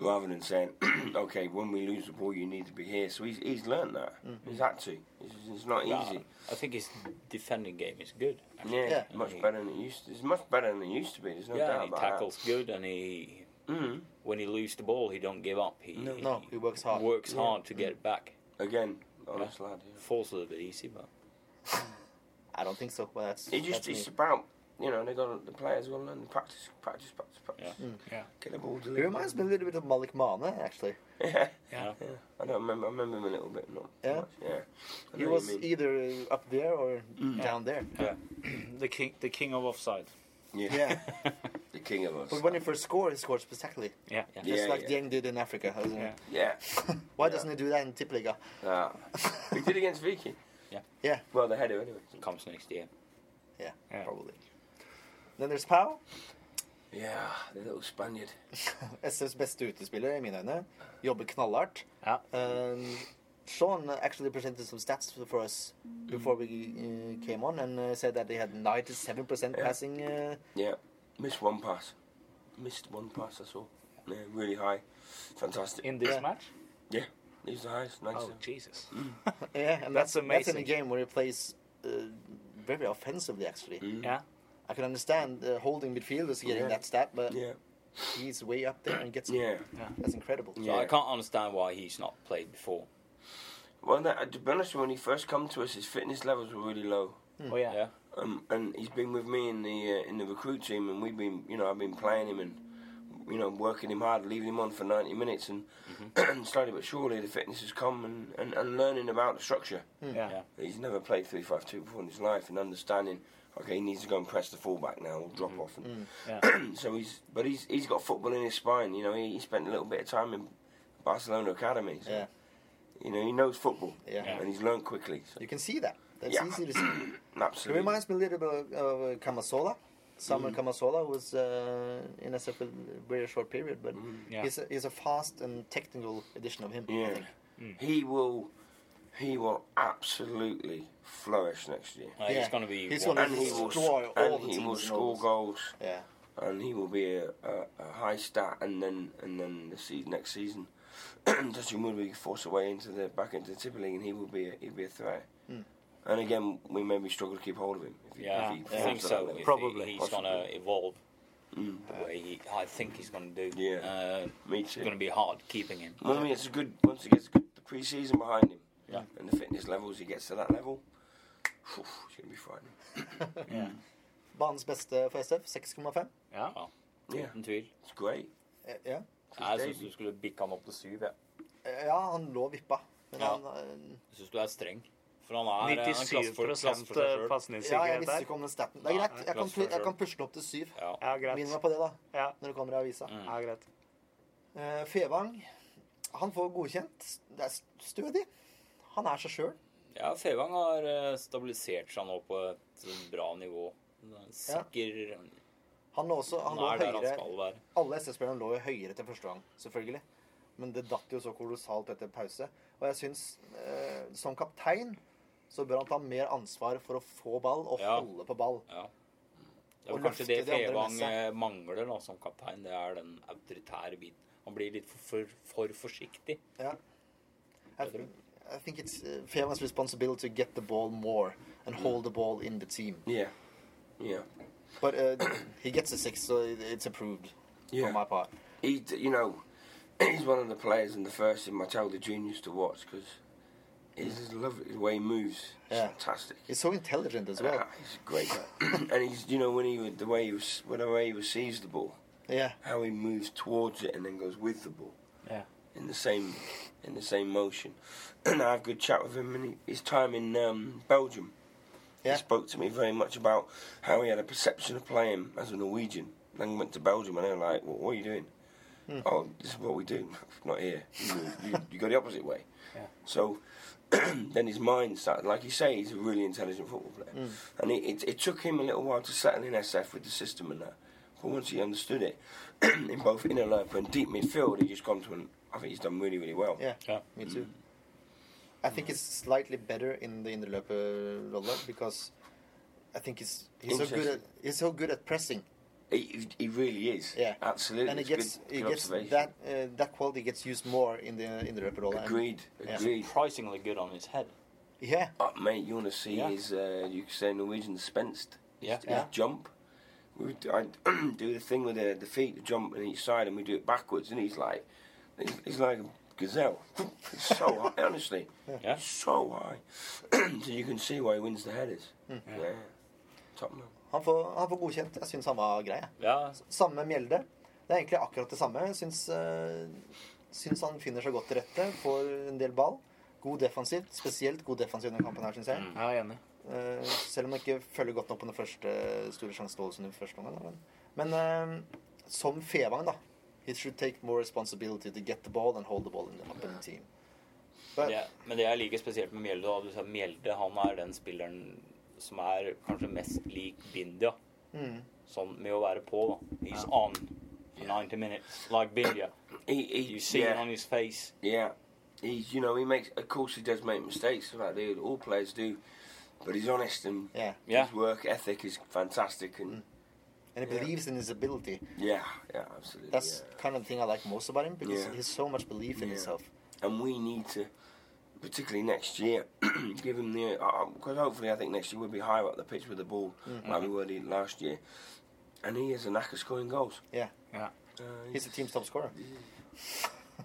[SPEAKER 3] rather than saying okay, when we lose the ball, you need to be here. So he's he's learned that. He's had to. It's, it's not easy.
[SPEAKER 2] I think his defending game is good.
[SPEAKER 3] Yeah,
[SPEAKER 1] Yeah.
[SPEAKER 3] much better than it used. To, it's much better than it used to be. There's no
[SPEAKER 2] Yeah,
[SPEAKER 3] doubt
[SPEAKER 2] and he
[SPEAKER 3] about
[SPEAKER 2] tackles good, and he
[SPEAKER 3] that. Mm.
[SPEAKER 2] when he loses the ball, he don't give up. He
[SPEAKER 3] No.
[SPEAKER 1] No, he works hard.
[SPEAKER 2] works
[SPEAKER 3] Yeah.
[SPEAKER 2] hard to get it back.
[SPEAKER 3] Again, honest lad. Yeah.
[SPEAKER 2] Falls a little bit easy, but
[SPEAKER 1] I don't think so, but that's,
[SPEAKER 3] It just
[SPEAKER 1] that's me.
[SPEAKER 3] it's about you know they got the players got to learn practice practice practice practice.
[SPEAKER 2] Yeah.
[SPEAKER 5] Yeah.
[SPEAKER 3] Get the ball
[SPEAKER 1] He
[SPEAKER 3] delivered.
[SPEAKER 1] reminds me a little bit of Malik Mane, actually.
[SPEAKER 3] Yeah.
[SPEAKER 5] Yeah.
[SPEAKER 2] yeah.
[SPEAKER 3] I don't remember. I remember him a little bit. Not
[SPEAKER 1] Yeah.
[SPEAKER 3] Much. Yeah. I
[SPEAKER 1] He
[SPEAKER 3] know
[SPEAKER 1] was
[SPEAKER 3] what you mean.
[SPEAKER 1] either up there or
[SPEAKER 4] Mm.
[SPEAKER 1] down there.
[SPEAKER 4] The king, the king of offside.
[SPEAKER 3] yeah.
[SPEAKER 1] Yeah.
[SPEAKER 3] The king of us.
[SPEAKER 1] But when he first scores, he scores spectacularly.
[SPEAKER 4] Yeah.
[SPEAKER 3] Yeah,
[SPEAKER 1] Just like
[SPEAKER 3] yeah.
[SPEAKER 1] Dieng did in Africa. doesn't he?
[SPEAKER 4] Yeah.
[SPEAKER 3] yeah.
[SPEAKER 1] Why
[SPEAKER 3] Yeah.
[SPEAKER 1] doesn't he do that in Tipliga?
[SPEAKER 3] Uh, we did against Vicky.
[SPEAKER 2] Yeah.
[SPEAKER 1] Yeah.
[SPEAKER 3] Well, the header anyway.
[SPEAKER 2] comes next year.
[SPEAKER 1] Yeah,
[SPEAKER 4] Yeah.
[SPEAKER 1] probably. Then there's Pau.
[SPEAKER 3] Yeah, the little Spaniard.
[SPEAKER 1] SFs beste utespiller i mine øyne. Jobber knallhardt.
[SPEAKER 4] Ja.
[SPEAKER 1] Um, Sean actually presented some stats for us before we uh, came on and uh, said that they had 97%
[SPEAKER 3] Yeah.
[SPEAKER 1] passing. Uh,
[SPEAKER 3] Yeah. Missed one pass. Missed one pass. That's all. Yeah. Really high. Fantastic.
[SPEAKER 4] In this
[SPEAKER 1] Yeah.
[SPEAKER 4] match?
[SPEAKER 3] yeah. He's the highest. Nice.
[SPEAKER 4] Oh, Jesus.
[SPEAKER 1] yeah, and
[SPEAKER 4] That's
[SPEAKER 1] That's in a
[SPEAKER 4] amazing.
[SPEAKER 3] Mm.
[SPEAKER 1] game where he plays uh, very offensively, actually.
[SPEAKER 4] Yeah.
[SPEAKER 1] I can understand uh, holding midfielders getting
[SPEAKER 3] Yeah.
[SPEAKER 1] that stat, but
[SPEAKER 3] Yeah.
[SPEAKER 1] he's way up there and gets
[SPEAKER 3] Yeah.
[SPEAKER 1] That's incredible.
[SPEAKER 2] So
[SPEAKER 3] Yeah.
[SPEAKER 2] I can't understand why he's not played before.
[SPEAKER 3] Well, that, to be honest, when he first come to us, his fitness levels were really low.
[SPEAKER 4] Oh yeah.
[SPEAKER 2] Yeah.
[SPEAKER 3] Um, and he's been with me in the uh, in the recruit team, and we've been, you know, I've been playing him and you know working him hard, leaving him on for ninety minutes, and slowly but surely the fitness has come, and, and, and learning about the structure.
[SPEAKER 4] Yeah.
[SPEAKER 2] Yeah.
[SPEAKER 3] He's never played three five two before in his life, and understanding. Okay, he needs to go and press the fullback now, or drop off. And so he's, but he's he's got football in his spine. You know, he, he spent a little bit of time in Barcelona academy. So,
[SPEAKER 1] Yeah.
[SPEAKER 3] You know, he knows football.
[SPEAKER 1] Yeah.
[SPEAKER 2] Yeah.
[SPEAKER 3] And he's learned quickly. So,
[SPEAKER 1] You can see that. That's
[SPEAKER 3] Yeah.
[SPEAKER 1] easy to see. It
[SPEAKER 3] absolutely.
[SPEAKER 1] reminds me a little bit of uh, Kamasola.
[SPEAKER 3] Mm.
[SPEAKER 1] Samuel Kamasola was uh, in SF for a very short period, but
[SPEAKER 4] Yeah.
[SPEAKER 1] he's, a, he's a fast and technical edition of him. I
[SPEAKER 3] Mm. Yeah.
[SPEAKER 1] think.
[SPEAKER 2] Mm.
[SPEAKER 3] He will he will absolutely flourish next year.
[SPEAKER 2] Uh,
[SPEAKER 1] Yeah.
[SPEAKER 2] He's going to be.
[SPEAKER 1] He's
[SPEAKER 2] one-
[SPEAKER 1] gonna
[SPEAKER 3] And he will
[SPEAKER 1] Destroy
[SPEAKER 3] sc-
[SPEAKER 1] all
[SPEAKER 3] and
[SPEAKER 1] the
[SPEAKER 3] he
[SPEAKER 1] teams
[SPEAKER 3] will
[SPEAKER 1] in
[SPEAKER 3] score
[SPEAKER 1] August.
[SPEAKER 3] goals
[SPEAKER 1] Yeah.
[SPEAKER 3] and he will be a, a, a high stat and then and then the se- next season Justin Wood will be forced away into the back into the Tipper League and he will be a, he'll be a threat.
[SPEAKER 1] Hmm.
[SPEAKER 3] And again, we maybe struggle to keep hold of him. If he,
[SPEAKER 2] Yeah,
[SPEAKER 3] if he
[SPEAKER 2] I
[SPEAKER 3] performs
[SPEAKER 2] think
[SPEAKER 3] at that
[SPEAKER 2] so.
[SPEAKER 3] level.
[SPEAKER 2] If
[SPEAKER 4] Probably.
[SPEAKER 2] he- he's going to
[SPEAKER 3] Possibly.
[SPEAKER 2] evolve the way he. I think he's going to do.
[SPEAKER 3] Yeah.
[SPEAKER 2] Uh,
[SPEAKER 3] Me
[SPEAKER 2] it's going
[SPEAKER 3] too. Mm.
[SPEAKER 2] to be hard keeping him.
[SPEAKER 3] Once he gets a good, once he gets a good pre-season behind him,
[SPEAKER 2] Yeah.
[SPEAKER 3] and the fitness levels, he gets to that level. Phew, it's going to be frightening.
[SPEAKER 4] Yeah.
[SPEAKER 1] Banens beste for SF, 6,5.
[SPEAKER 4] Ja.
[SPEAKER 3] Yeah,
[SPEAKER 2] Uten tvil.
[SPEAKER 3] it's great.
[SPEAKER 1] Eh, Ja.
[SPEAKER 2] Jeg
[SPEAKER 3] David.
[SPEAKER 2] syns du skulle bikka han opp til syv. Jeg
[SPEAKER 1] Eh, ja, han lå vippa. Men
[SPEAKER 2] Ja.
[SPEAKER 1] han, eh,
[SPEAKER 2] Jeg syns du er streng. For han er eh, han er en klasse for, klasse
[SPEAKER 5] 97
[SPEAKER 2] for seg sjøl.
[SPEAKER 1] ja, jeg
[SPEAKER 5] pasningssikkerhet
[SPEAKER 1] visste
[SPEAKER 5] der.
[SPEAKER 1] ikke om den staten. Det er
[SPEAKER 2] Nei,
[SPEAKER 1] greit. Jeg kan,
[SPEAKER 2] klasse for
[SPEAKER 1] pl-
[SPEAKER 2] seg
[SPEAKER 1] jeg kan
[SPEAKER 2] selv.
[SPEAKER 1] pushe den opp til 7.
[SPEAKER 2] Ja. Mm.
[SPEAKER 5] Ja, greit.
[SPEAKER 1] Minn meg på det, da,
[SPEAKER 5] Ja,
[SPEAKER 1] når det kommer i avisa.
[SPEAKER 5] ja, greit.
[SPEAKER 1] Eh, Fevang, han får godkjent. Det er stødig. Han er seg sjøl.
[SPEAKER 2] ja, Fevang har eh, stabilisert seg nå på et bra nivå. Sikker
[SPEAKER 1] Han lå også han
[SPEAKER 2] Han
[SPEAKER 1] lå
[SPEAKER 2] er der han
[SPEAKER 1] høyere.
[SPEAKER 2] skal være.
[SPEAKER 1] Alle SS-spillerne lå jo høyere til første gang, selvfølgelig. Men det datt jo så kolossalt etter pause. Og jeg syns eh, som kaptein så bør han ta mer ansvar for å få ball og
[SPEAKER 2] Ja.
[SPEAKER 1] holde på ball.
[SPEAKER 2] Ja. Det er
[SPEAKER 1] Og
[SPEAKER 2] vel kanskje
[SPEAKER 1] løfte
[SPEAKER 2] det
[SPEAKER 1] de andre
[SPEAKER 2] Fevang
[SPEAKER 1] med seg.
[SPEAKER 2] eh, mangler da, som kaptein. Det er den autoritære biten. Han blir litt for, for, for forsiktig.
[SPEAKER 1] Ja.
[SPEAKER 2] Hva tror
[SPEAKER 1] Jeg, I think it's uh, Fevang's responsibility to get the ball more and hold the ball in the team.
[SPEAKER 3] Yeah, yeah,
[SPEAKER 1] But uh, he gets a six, so it- it's approved
[SPEAKER 3] yeah.
[SPEAKER 1] on my part.
[SPEAKER 3] he, d- you know, he's one of the players and the first in my childhood juniors to watch because he's lovely the way he moves. It's
[SPEAKER 1] Yeah.
[SPEAKER 3] fantastic.
[SPEAKER 1] He's so intelligent as well.
[SPEAKER 3] Ah, he's a great guy, and he's you know when he would- the way he was when the way he receives the ball,
[SPEAKER 1] Yeah.
[SPEAKER 3] how he moves towards it and then goes with the ball.
[SPEAKER 4] Yeah.
[SPEAKER 3] In the same, in the same motion, and I had a good chat with him. And he, his time in um, Belgium,
[SPEAKER 1] Yeah.
[SPEAKER 3] he spoke to me very much about how he had a perception of playing as a Norwegian. Then he went to Belgium, and they're like, well, "What are you doing?"
[SPEAKER 1] Hmm.
[SPEAKER 3] Oh, this is what we do. Not here. You, you, you go the opposite way.
[SPEAKER 4] Yeah.
[SPEAKER 3] So then his mind started. Like you say, he's a really intelligent football player,
[SPEAKER 1] Hmm.
[SPEAKER 3] and it, it, it took him a little while to settle in SF with the system and that. But once he understood it, in both inner loop and deep midfield, he just gone to an. I think he's done really, really well.
[SPEAKER 1] Yeah,
[SPEAKER 2] Yeah.
[SPEAKER 1] me too. I think it's slightly better in the Inderløper roller because I think he's he's so good at
[SPEAKER 3] Interesting.
[SPEAKER 1] he's so good at pressing,
[SPEAKER 3] He, he really is.
[SPEAKER 1] Yeah.
[SPEAKER 3] absolutely.
[SPEAKER 1] and he
[SPEAKER 3] It's a
[SPEAKER 1] gets
[SPEAKER 3] good-
[SPEAKER 1] he
[SPEAKER 3] good
[SPEAKER 1] gets
[SPEAKER 3] observation.
[SPEAKER 1] that uh, that quality gets used more in the Inderløper roller. and-
[SPEAKER 3] Agreed.
[SPEAKER 1] Yeah.
[SPEAKER 3] Agreed.
[SPEAKER 2] Surprisingly good on his head.
[SPEAKER 1] Yeah,
[SPEAKER 3] Oh, mate, you want to see
[SPEAKER 2] Yeah.
[SPEAKER 3] his, uh, you could say Norwegian spensed.
[SPEAKER 2] Yeah.
[SPEAKER 3] His,
[SPEAKER 1] Yeah.
[SPEAKER 3] his jump. We would, I do the thing with the, the feet, the jump on each side, and we do it backwards, and he's like, he's, he's like a gazelle. He's so high, honestly.
[SPEAKER 2] Yeah.
[SPEAKER 3] He's so high. so you can see why he wins the headers.
[SPEAKER 2] Hmm.
[SPEAKER 3] Yeah. Top man.
[SPEAKER 1] han får, han får godkjent. Jeg syns han var grei. jeg.
[SPEAKER 2] Ja,
[SPEAKER 1] Samme med Mjelde. Det er egentlig akkurat det samme. Jeg syns, eh, syns han finner seg godt til rette, får en del ball. God defensivt. Spesielt god defensivt denne kampen her, syns jeg.
[SPEAKER 4] Ja, enig.
[SPEAKER 1] Eh, selv om jeg ikke følger godt nok på den første store sjansen til Ålesund i første omgang. da, Men, men eh, som Fevang, da He should take more responsibility to get the ball and hold the ball in the, up in the team. But,
[SPEAKER 2] det, men det jeg liker spesielt med Mjelde, da, du ser Mjelde han er den spilleren som er kanskje mest lik Bindia.
[SPEAKER 1] Mm.
[SPEAKER 2] Sånn med å være på, da. He's on for 90 minutes, like Bindia.
[SPEAKER 3] He, he,
[SPEAKER 2] You see it
[SPEAKER 3] yeah,
[SPEAKER 2] on his face.
[SPEAKER 3] yeah. He's, you know, he makes, of course, he does make mistakes, like they, all players do, but he's honest and
[SPEAKER 1] yeah,
[SPEAKER 2] Yeah. Hmm.
[SPEAKER 3] his work ethic is fantastic, and
[SPEAKER 1] and he
[SPEAKER 3] Yeah.
[SPEAKER 1] believes in his ability.
[SPEAKER 3] yeah, yeah, absolutely.
[SPEAKER 1] That's
[SPEAKER 3] yeah.
[SPEAKER 1] kind of the thing I like most about him because
[SPEAKER 3] Yeah.
[SPEAKER 1] he's so much belief in
[SPEAKER 3] Yeah.
[SPEAKER 1] himself.
[SPEAKER 3] and we need to particularly next year, give him the because hopefully I think next year we'll be higher up the pitch with the ball
[SPEAKER 1] Mm-hmm.
[SPEAKER 3] like we were the last year. And he is a knack of scoring goals.
[SPEAKER 1] Yeah.
[SPEAKER 2] Yeah.
[SPEAKER 3] Uh,
[SPEAKER 1] He's the team's top scorer.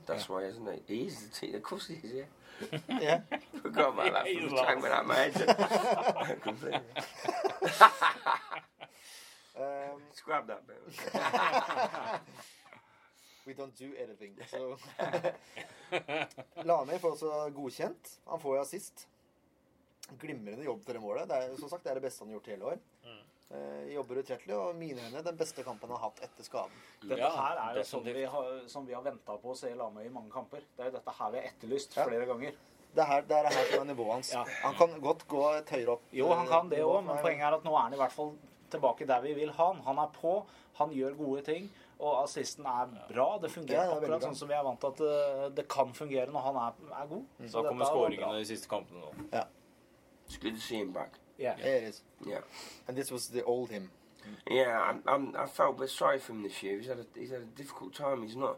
[SPEAKER 3] that's why, isn't it? He is the team. Of course, he is. Yeah,
[SPEAKER 1] Yeah.
[SPEAKER 3] forgot about that.
[SPEAKER 2] He's
[SPEAKER 3] From the time
[SPEAKER 2] lost.
[SPEAKER 3] when I made it. Completely.
[SPEAKER 1] Um,
[SPEAKER 3] Let's grab that bit.
[SPEAKER 1] we don't do anything. So. Lami får også godkjent. Han får jo assist. Glimrende jobb til det målet. Det er, jo, som sagt, det er det beste han har gjort i hele år.
[SPEAKER 4] Mm.
[SPEAKER 1] Eh, jobber utrettelig og miner henne den beste kampen han har hatt etter skaden.
[SPEAKER 4] Dette
[SPEAKER 2] Ja,
[SPEAKER 4] her er jo sånn
[SPEAKER 2] definitivt.
[SPEAKER 4] vi har, som vi har venta på å se Lamøy i mange kamper. Det er jo dette her vi har etterlyst
[SPEAKER 1] Ja.
[SPEAKER 4] flere ganger.
[SPEAKER 1] Det er her, det er her som er nivået hans.
[SPEAKER 4] Ja.
[SPEAKER 1] Han kan godt gå et høyere opp. Eh,
[SPEAKER 4] Jo, han kan det
[SPEAKER 1] Nivå.
[SPEAKER 4] òg, men poenget er at nå er han i hvert fall tilbake der vi vil ha han. Han er på, han gjør gode ting, og assisten er bra. Det fungerer
[SPEAKER 1] Ja, det er veldig
[SPEAKER 4] akkurat
[SPEAKER 1] bra.
[SPEAKER 4] sånn som vi er vant til at eh, det kan fungere når han er, er god.
[SPEAKER 2] Da
[SPEAKER 4] dette
[SPEAKER 2] kommer
[SPEAKER 4] var
[SPEAKER 2] skåringene
[SPEAKER 4] bra.
[SPEAKER 2] de siste kampene nå.
[SPEAKER 1] Ja.
[SPEAKER 3] It's good to see him back.
[SPEAKER 4] Yeah.
[SPEAKER 1] It is.
[SPEAKER 3] Yeah.
[SPEAKER 1] And this was the old him.
[SPEAKER 3] Yeah, I'm, I'm, I felt a bit sorry for him this year. He's had a, he's had a difficult time. He's not,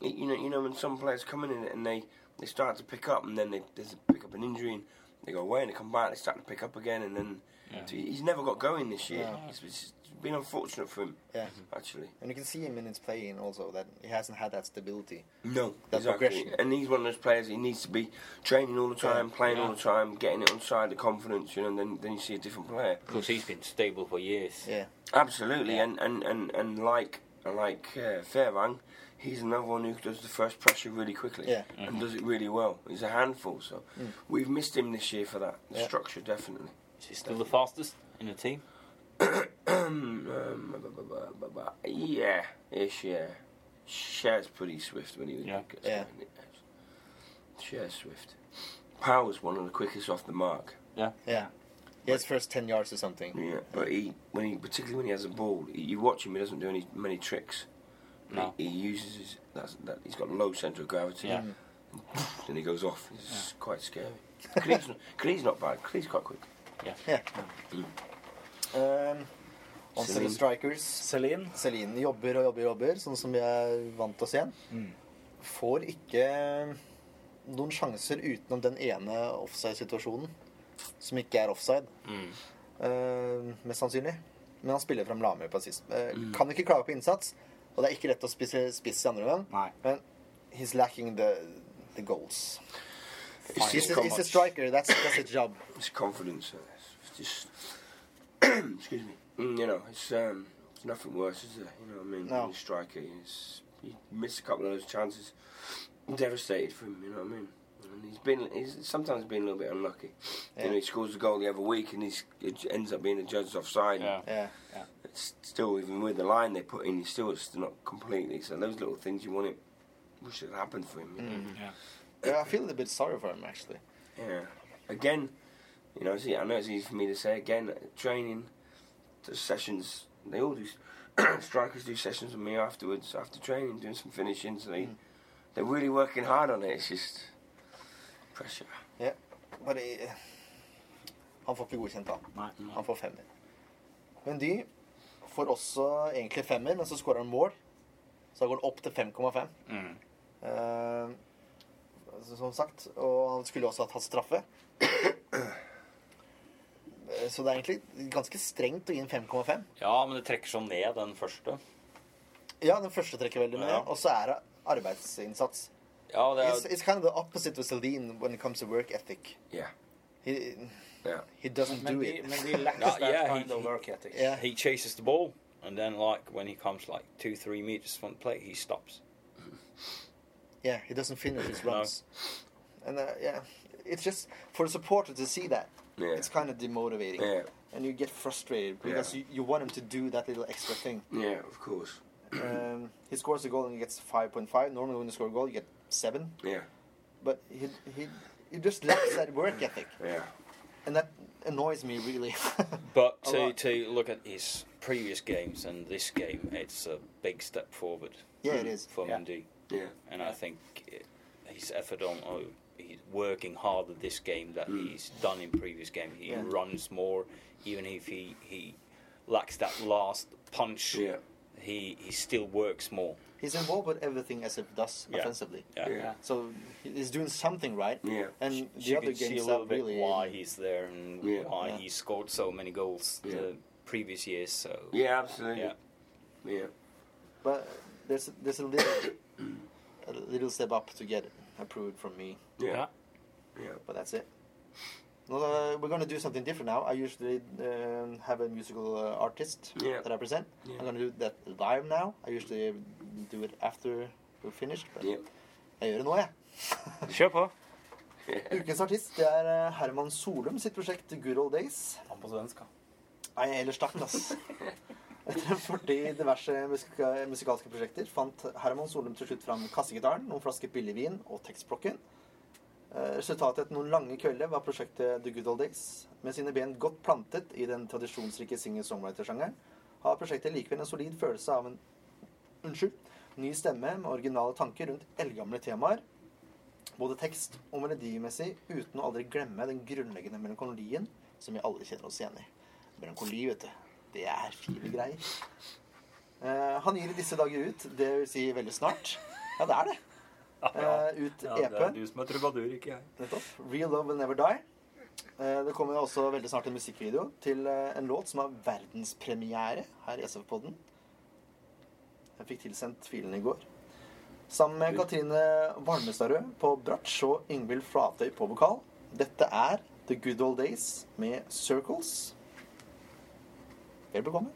[SPEAKER 3] he- you know, you know when some players come in and, and they, they start to pick up and then they, they pick up an injury and they go away and they come back they start to pick up again and then so he's never got going this year.
[SPEAKER 1] Yeah.
[SPEAKER 3] It's, it's been unfortunate for him
[SPEAKER 1] Yeah.
[SPEAKER 3] actually.
[SPEAKER 1] And you can see him in his playing also that he hasn't had that stability.
[SPEAKER 3] No,
[SPEAKER 1] That
[SPEAKER 3] exactly.
[SPEAKER 1] progression.
[SPEAKER 3] And he's one of those players he needs to be training all the time, playing all the time, getting it on side, the confidence, you know. And then then you see a different player.
[SPEAKER 2] Because he's been stable for years.
[SPEAKER 1] Yeah.
[SPEAKER 3] Absolutely, and and and and like like uh, Fairang, he's another one who does the first pressure really quickly
[SPEAKER 1] Yeah. Mm.
[SPEAKER 3] and does it really well. He's a handful, so we've missed him this year for that the
[SPEAKER 1] Yeah.
[SPEAKER 3] structure definitely.
[SPEAKER 2] He's still the fastest in the team.
[SPEAKER 3] um, bu- bu- bu- bu- bu- yeah, ish, yeah. Share's pretty swift when he was
[SPEAKER 2] Yeah.
[SPEAKER 3] gets
[SPEAKER 1] Yeah.
[SPEAKER 3] going, yeah. Share's swift. Power's one of the quickest off the mark.
[SPEAKER 1] Yeah. He has first 10 yards or something.
[SPEAKER 3] Yeah, but he when he particularly when he has a ball, he, you watch him. He doesn't do any many tricks.
[SPEAKER 2] No.
[SPEAKER 3] He, he uses his that's, that he's got low centre of gravity.
[SPEAKER 2] Yeah.
[SPEAKER 3] Then he goes off. It's quite scary. Klee's not, Klee's not bad. Klee's quite quick.
[SPEAKER 1] Yeah.
[SPEAKER 3] Mm.
[SPEAKER 1] Um, on to the
[SPEAKER 3] Celine.
[SPEAKER 1] strikers.
[SPEAKER 4] Celine
[SPEAKER 1] Celine jobber og jobber og jobber, sånn som vi er vant til å se han.
[SPEAKER 3] Mm.
[SPEAKER 1] Får ikke um, noen sjanser utenom den ene offside-situasjonen, som ikke er offside,
[SPEAKER 3] Mm.
[SPEAKER 1] eh, mest sannsynlig. Men han spiller frem Lame på sist. Eh,
[SPEAKER 3] Mm.
[SPEAKER 1] Kan ikke klage på innsats, og det er ikke lett å spisse, spisse i andre gang.
[SPEAKER 4] Nei.
[SPEAKER 1] Men he's lacking the, the goals.
[SPEAKER 3] It's
[SPEAKER 1] He's
[SPEAKER 3] just
[SPEAKER 1] a,
[SPEAKER 3] got
[SPEAKER 1] he's a
[SPEAKER 3] much-
[SPEAKER 1] striker. That's, that's his job.
[SPEAKER 3] It's confidence. uh, It's just excuse me. Mm, You know, it's um, it's nothing worse, is there? You know, what I mean,
[SPEAKER 1] No.
[SPEAKER 3] Being a striker, it's, you miss a couple of those chances, devastated for him. You know what I mean? And he's been, he's sometimes been a little bit unlucky. You know,
[SPEAKER 1] Yeah.
[SPEAKER 3] he scores the goal the other week, and he's, it ends up being a judge offside.
[SPEAKER 2] Yeah.
[SPEAKER 1] Yeah.
[SPEAKER 3] It's still, even with the line they put in, he's still it's not completely. So those little things you want it, wish it happened for him. You know?
[SPEAKER 1] yeah, I feel a bit sorry for him, actually.
[SPEAKER 3] Yeah. Again, you know, see, I know it's easy for me to say. Again, training, the sessions, they all do. strikers do sessions with me afterwards after training, doing some finishings. They, they're really working hard on it. It's just pressure.
[SPEAKER 1] Yeah. But eh, han får ikke godkjent, da.
[SPEAKER 4] Nei.
[SPEAKER 1] Han får femmer. Men de får også egentlig femmer, men så skårer han mål. Så da går det opp til 5,5. Eh, altså, som sagt. Og han skulle også hatt straffe. Eh, så det er egentlig ganske strengt å gi en 5,5.
[SPEAKER 2] Ja, men det trekker sånn ned, den første.
[SPEAKER 1] Ja, den første trekker veldig med.
[SPEAKER 2] Ja.
[SPEAKER 1] Og så er det arbeidsinnsats.
[SPEAKER 2] Ja, det
[SPEAKER 1] It's,
[SPEAKER 2] er
[SPEAKER 1] it's kind of the opposite with Celine when it comes to work ethic.
[SPEAKER 3] Yeah.
[SPEAKER 1] He,
[SPEAKER 3] Yeah.
[SPEAKER 1] he doesn't
[SPEAKER 4] Men
[SPEAKER 1] do
[SPEAKER 4] de,
[SPEAKER 1] it.
[SPEAKER 4] men de lacks
[SPEAKER 2] Ja,
[SPEAKER 4] that
[SPEAKER 2] yeah,
[SPEAKER 4] kind
[SPEAKER 2] he-
[SPEAKER 4] of work ethic.
[SPEAKER 1] Yeah.
[SPEAKER 2] He chases the ball, and then, like, when he comes like two, three meters from the plate, he stops.
[SPEAKER 1] Yeah, he doesn't finish his
[SPEAKER 2] No.
[SPEAKER 1] runs. And uh, yeah, it's just for a supporter to see that,
[SPEAKER 3] Yeah.
[SPEAKER 1] it's kind of demotivating.
[SPEAKER 3] Yeah.
[SPEAKER 1] And you get frustrated because
[SPEAKER 3] Yeah.
[SPEAKER 1] you, you want him to do that little extra thing.
[SPEAKER 3] Yeah, of course.
[SPEAKER 1] Um, he scores a goal and he gets 5.5. Normally, when you score a goal, you get 7.
[SPEAKER 3] Yeah.
[SPEAKER 1] But he, he, he just lacks that work ethic.
[SPEAKER 3] Yeah.
[SPEAKER 1] And that annoys me, really.
[SPEAKER 2] But
[SPEAKER 1] A
[SPEAKER 2] to,
[SPEAKER 1] lot.
[SPEAKER 2] to look at his previous games and this game, it's a big step forward
[SPEAKER 1] yeah, it is.
[SPEAKER 2] for
[SPEAKER 4] Yeah.
[SPEAKER 2] Mendy.
[SPEAKER 3] Yeah.
[SPEAKER 2] And I think it- his effort on, oh, he's working harder this game that he's done in previous game. He
[SPEAKER 1] Mm. Yeah.
[SPEAKER 2] runs more, even if he, he lacks that last punch.
[SPEAKER 3] Yeah.
[SPEAKER 2] he he still works more.
[SPEAKER 1] He's involved with everything SF does
[SPEAKER 2] Yeah.
[SPEAKER 1] offensively.
[SPEAKER 2] Yeah.
[SPEAKER 3] Yeah.
[SPEAKER 1] So he's doing something right.
[SPEAKER 3] Yeah.
[SPEAKER 1] And the
[SPEAKER 2] you
[SPEAKER 1] other
[SPEAKER 2] can see a
[SPEAKER 1] games
[SPEAKER 2] little
[SPEAKER 1] are
[SPEAKER 2] bit
[SPEAKER 1] really
[SPEAKER 2] why he's there and
[SPEAKER 3] Yeah.
[SPEAKER 2] why
[SPEAKER 1] Yeah.
[SPEAKER 2] he scored so many goals
[SPEAKER 3] Yeah.
[SPEAKER 2] the previous years. So
[SPEAKER 3] Yeah, absolutely.
[SPEAKER 2] yeah,
[SPEAKER 3] yeah.
[SPEAKER 1] But there's there's a little a little step up to get approved from me.
[SPEAKER 3] Yeah.
[SPEAKER 1] But that's it. Well, uh, we're gonna do something different now. I usually um, have a musical uh, artist
[SPEAKER 3] Yeah.
[SPEAKER 1] that I present.
[SPEAKER 3] Yeah.
[SPEAKER 1] I'm gonna do that live now. I usually do it after we're finished. But
[SPEAKER 3] Yeah.
[SPEAKER 1] jeg gjør det nå, jeg.
[SPEAKER 2] kjør på.
[SPEAKER 3] Yeah.
[SPEAKER 1] Ukens artist det er eh, Herman Solum sitt prosjekt Good Old Days.
[SPEAKER 2] Han på svensk, han.
[SPEAKER 1] Nei, jeg er heller stakk, ass. Etter 40 diverse musika musikalske prosjekter fant Herman Solum til slutt fram kassegitaren, noen flasker billig vin og tekstblokken. Eh, Resultatet etter noen lange kvelder var prosjektet The Good Old Days. Med sine ben godt plantet i den tradisjonsrike singer-songwriter-sjangeren har prosjektet likevel en solid følelse av en unnskyld, ny stemme med originale tanker rundt eldgamle temaer. Både tekst og melodimessig, uten å aldri glemme den grunnleggende melankolien som vi alle kjenner oss igjen i. Melankoli, vet du. Det er fine greier. Eh, han gir i disse dager ut, det vil si veldig snart Ja, det er det. Eh, ut EP-en.
[SPEAKER 2] du som er trubadur, ikke jeg.
[SPEAKER 1] Nettopp. Real Love Will Never Die. Eh, Det kommer jo også veldig snart en musikkvideo til eh, en låt som har verdenspremiere her i SF-podden. Jeg fikk tilsendt filen i går. Sammen med Katrine Valmestadrød på bratsj og Ingvild Flatøy på vokal. Dette er The Good Old Days med Circles. Vel bekomme.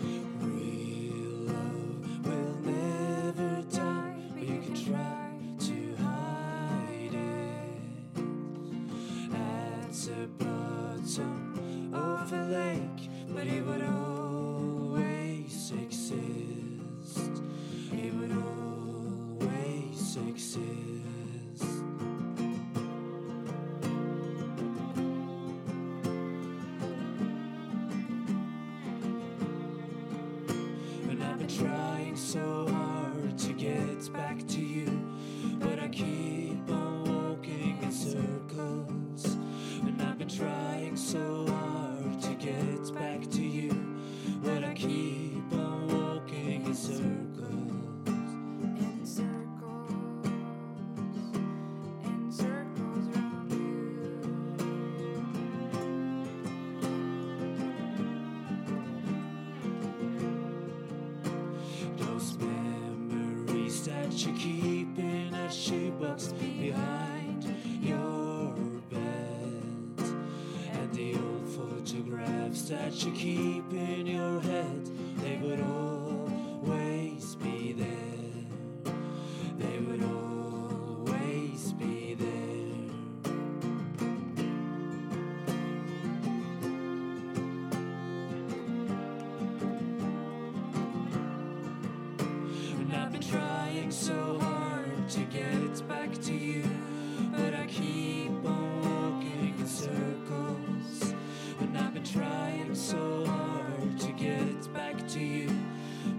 [SPEAKER 5] Real love will never die, but you can try to hide it. At the bottom of a lake, but it would always exist. It would always exist. And I've been trying so hard to get back to you. But I keep on walking in circles. And I've been trying so hard to get back to you. But I keep on walking in circles.
[SPEAKER 6] In circles, in circles round you.
[SPEAKER 5] Those memories that you keep in a shoebox behind your bed, and the old photographs that you keep in your head, they would always be there. They would always be there. And I've been trying so hard to get back to you, but I keep on walking in circles. And I've been trying so hard to get back to you,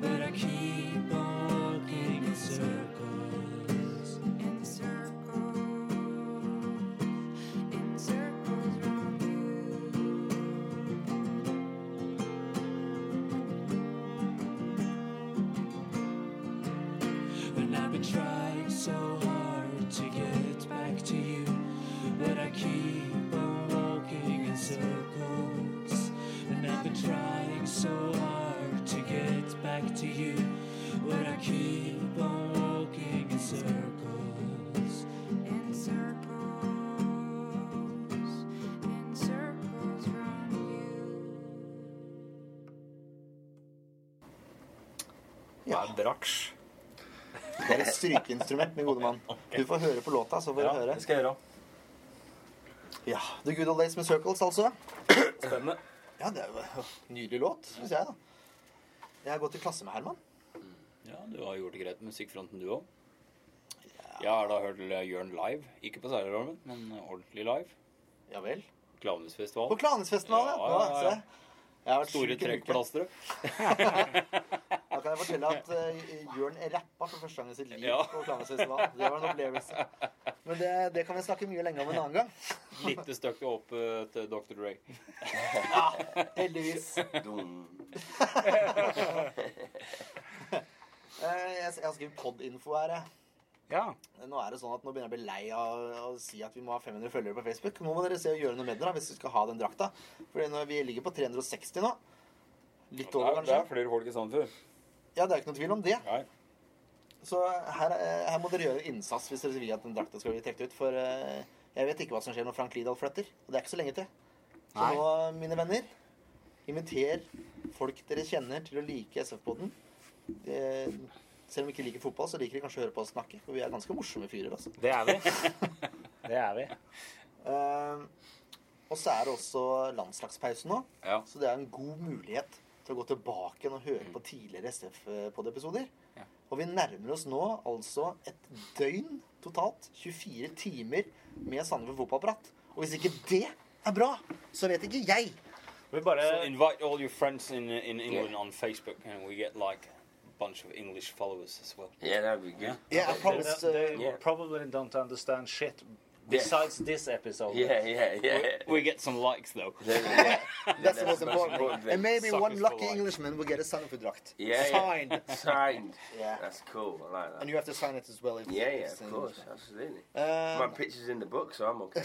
[SPEAKER 5] but I keep on walking in circles.
[SPEAKER 6] In circles, in circles round you.
[SPEAKER 5] And I've been trying so hard to get back to you, but I keep on walking in circles. And I've been trying so hard to get back to you, but I keep on walking in circles.
[SPEAKER 6] In circles, in circles round you.
[SPEAKER 2] Ja.
[SPEAKER 1] Ja.
[SPEAKER 2] Er bratsj.
[SPEAKER 1] Det er et strykeinstrument, min gode mann. Du får høre på låta, så får du høre.
[SPEAKER 2] skal jeg gjøre.
[SPEAKER 1] Ja, The Good Old Days med Circles, altså.
[SPEAKER 2] Spennende.
[SPEAKER 1] Ja, det er jo en nydelig låt, syns jeg, da. Jeg har gått i klasse med Herman.
[SPEAKER 2] Ja, du har gjort det greit på musikkfronten, du òg. Jeg har da hørt eh, Jørn live. Ikke på Seilerholmen, men ordentlig live.
[SPEAKER 1] Ja vel.
[SPEAKER 2] Klavnesfestival.
[SPEAKER 1] På Klanesfestivalen, ja.
[SPEAKER 2] Ja, ja, ja.
[SPEAKER 1] ja, ja. Jeg har vært
[SPEAKER 2] Store
[SPEAKER 1] syk en uke.
[SPEAKER 2] trekkplastre.
[SPEAKER 1] Da kan jeg fortelle at eh, Jørn rappa for første gang i sitt liv
[SPEAKER 2] Ja.
[SPEAKER 1] på Klangesfestival. Det var en opplevelse. Men det, det kan vi snakke mye lenge om en annen gang.
[SPEAKER 2] Litt støkt opp eh, til Dr. Dre.
[SPEAKER 1] Heldigvis.
[SPEAKER 3] Dun.
[SPEAKER 1] Eh, Jeg, jeg har skrevet pod-info her, jeg.
[SPEAKER 4] Ja.
[SPEAKER 1] Nå er det sånn at nå begynner jeg å bli lei av å si at vi må ha 500 følgere på Facebook. Nå må dere se og gjøre noe med det da, hvis vi skal ha den drakta. For når vi ligger på 360 nå. Litt
[SPEAKER 2] Det
[SPEAKER 1] over,
[SPEAKER 2] er, det er
[SPEAKER 1] kanskje.
[SPEAKER 2] flere folk i Sandefjord.
[SPEAKER 1] Ja, det er ikke noe tvil om det.
[SPEAKER 2] Nei.
[SPEAKER 1] Så her, eh, her må dere gjøre en innsats hvis dere vil at den drakta skal bli trukket ut. For eh, jeg vet ikke hva som skjer når Frank Lidahl flytter. Og det er ikke så lenge til. Så
[SPEAKER 4] Nei.
[SPEAKER 1] nå, mine venner, inviter folk dere kjenner til å like SF-poden. Selv om vi ikke liker fotball, så liker de kanskje å høre på oss snakke. For vi er ganske morsomme fyrer, altså.
[SPEAKER 4] Det er vi. Det er vi.
[SPEAKER 1] Eh, og så er det også landslagspause nå,
[SPEAKER 2] Ja.
[SPEAKER 1] så det er en god mulighet til å gå tilbake igjen og høre på tidligere SF-pod-episoder.
[SPEAKER 2] Ja.
[SPEAKER 1] Og vi nærmer oss nå altså et døgn totalt, 24 timer med Sandefjord fotballprat. Og hvis ikke det er bra, så vet ikke jeg.
[SPEAKER 4] Vi bare
[SPEAKER 2] So invite all your friends in, in England on Facebook, and we get like a bunch of English followers as well.
[SPEAKER 3] Yeah, that'd be good.
[SPEAKER 1] Yeah, I
[SPEAKER 4] they,
[SPEAKER 1] promise, uh,
[SPEAKER 4] they
[SPEAKER 3] Yeah.
[SPEAKER 4] probably don't understand shit
[SPEAKER 3] Yeah.
[SPEAKER 4] besides this episode.
[SPEAKER 3] Yeah, yeah, yeah.
[SPEAKER 2] We get some likes though.
[SPEAKER 3] There we go.
[SPEAKER 1] That's the
[SPEAKER 3] That's
[SPEAKER 1] most
[SPEAKER 3] the most
[SPEAKER 1] important
[SPEAKER 3] important
[SPEAKER 1] thing. And
[SPEAKER 3] thing.
[SPEAKER 1] maybe
[SPEAKER 2] Suckers
[SPEAKER 1] one
[SPEAKER 2] for
[SPEAKER 1] lucky
[SPEAKER 2] life.
[SPEAKER 1] Englishman will get a Sandefjord-drakt.
[SPEAKER 3] Yeah, yeah.
[SPEAKER 1] Signed.
[SPEAKER 3] Signed.
[SPEAKER 1] Yeah.
[SPEAKER 3] That's cool. I like that.
[SPEAKER 1] And you have to sign it as well. If
[SPEAKER 3] yeah, yeah,
[SPEAKER 1] it's
[SPEAKER 3] of
[SPEAKER 1] an
[SPEAKER 3] course,
[SPEAKER 1] Englishman.
[SPEAKER 3] absolutely. My
[SPEAKER 1] Um,
[SPEAKER 3] picture's in the book, so I'm okay.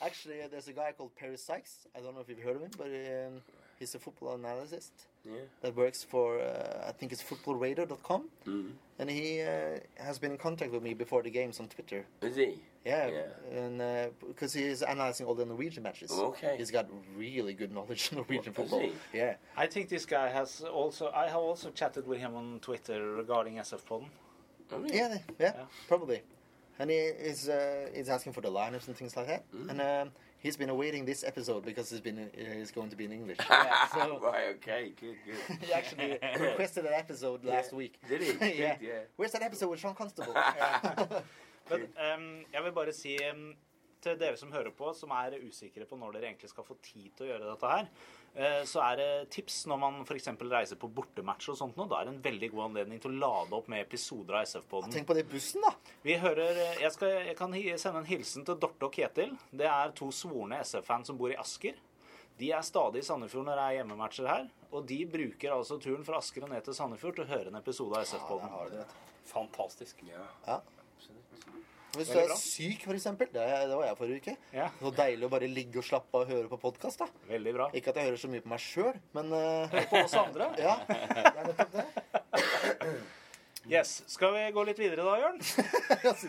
[SPEAKER 1] Actually, uh, there's a guy called Perry Sykes. I don't know if you've heard of him, but um, he's a football analyst
[SPEAKER 3] yeah.
[SPEAKER 1] that works for, uh, I think it's footballradar.com.
[SPEAKER 3] Mm-hmm.
[SPEAKER 1] And he uh, has been in contact with me before the games on Twitter.
[SPEAKER 3] Is he?
[SPEAKER 1] Yeah,
[SPEAKER 3] Yeah.
[SPEAKER 1] and uh, because he he's analyzing all the Norwegian matches.
[SPEAKER 3] Okay.
[SPEAKER 1] He's got really good knowledge of Norwegian
[SPEAKER 3] Well, is
[SPEAKER 1] football.
[SPEAKER 3] he?
[SPEAKER 1] Yeah.
[SPEAKER 4] I think this guy has also. I have also chatted with him on Twitter regarding SF Pollen.
[SPEAKER 3] Oh,
[SPEAKER 1] yeah, yeah, yeah,
[SPEAKER 4] Yeah.
[SPEAKER 1] probably. And he is uh, he's asking for the lineups and things like that.
[SPEAKER 3] Mm.
[SPEAKER 1] And um, he's been awaiting this episode because it's been uh, it's going to be in English. so-
[SPEAKER 3] right, okay, good, good.
[SPEAKER 1] He actually requested an episode last
[SPEAKER 3] Yeah.
[SPEAKER 1] week.
[SPEAKER 3] Did he? Good,
[SPEAKER 1] yeah.
[SPEAKER 3] yeah.
[SPEAKER 1] Where's that episode with Sean Constable?
[SPEAKER 4] Men ehm, jeg vil bare si ehm, til dere som hører på, som er usikre på når dere egentlig skal få tid til å gjøre dette her, eh, så er det tips når man f.eks. reiser på bortematcher og sånt nå. Da er det en veldig god anledning til å lade opp med episoder av SF-poden.
[SPEAKER 1] Tenk på det i bussen, da.
[SPEAKER 4] Vi hører, eh, jeg, skal, jeg kan hi- sende en hilsen til Dorte og Ketil. Det er to svorne SF-fans som bor i Asker. De er stadig i Sandefjord når det er hjemmematcher her. Og de bruker altså turen fra Asker og ned til Sandefjord til å høre en episode av
[SPEAKER 1] der har du
[SPEAKER 4] SF-poden.
[SPEAKER 1] det.
[SPEAKER 2] Fantastisk.
[SPEAKER 3] Yeah.
[SPEAKER 1] Ja. Hvis du
[SPEAKER 4] Veldig
[SPEAKER 1] er
[SPEAKER 4] bra.
[SPEAKER 1] syk, for eksempel. Det, er- det var jeg forrige uke.
[SPEAKER 4] Ja.
[SPEAKER 1] Så deilig å bare ligge og slappe av og høre på podkast, da.
[SPEAKER 4] Veldig bra.
[SPEAKER 1] Ikke at jeg hører så mye på meg sjøl, men eh,
[SPEAKER 4] På oss andre.
[SPEAKER 1] ja. Det er nettopp det.
[SPEAKER 4] Yes. Skal vi gå litt videre da, Jørn?
[SPEAKER 1] Syns,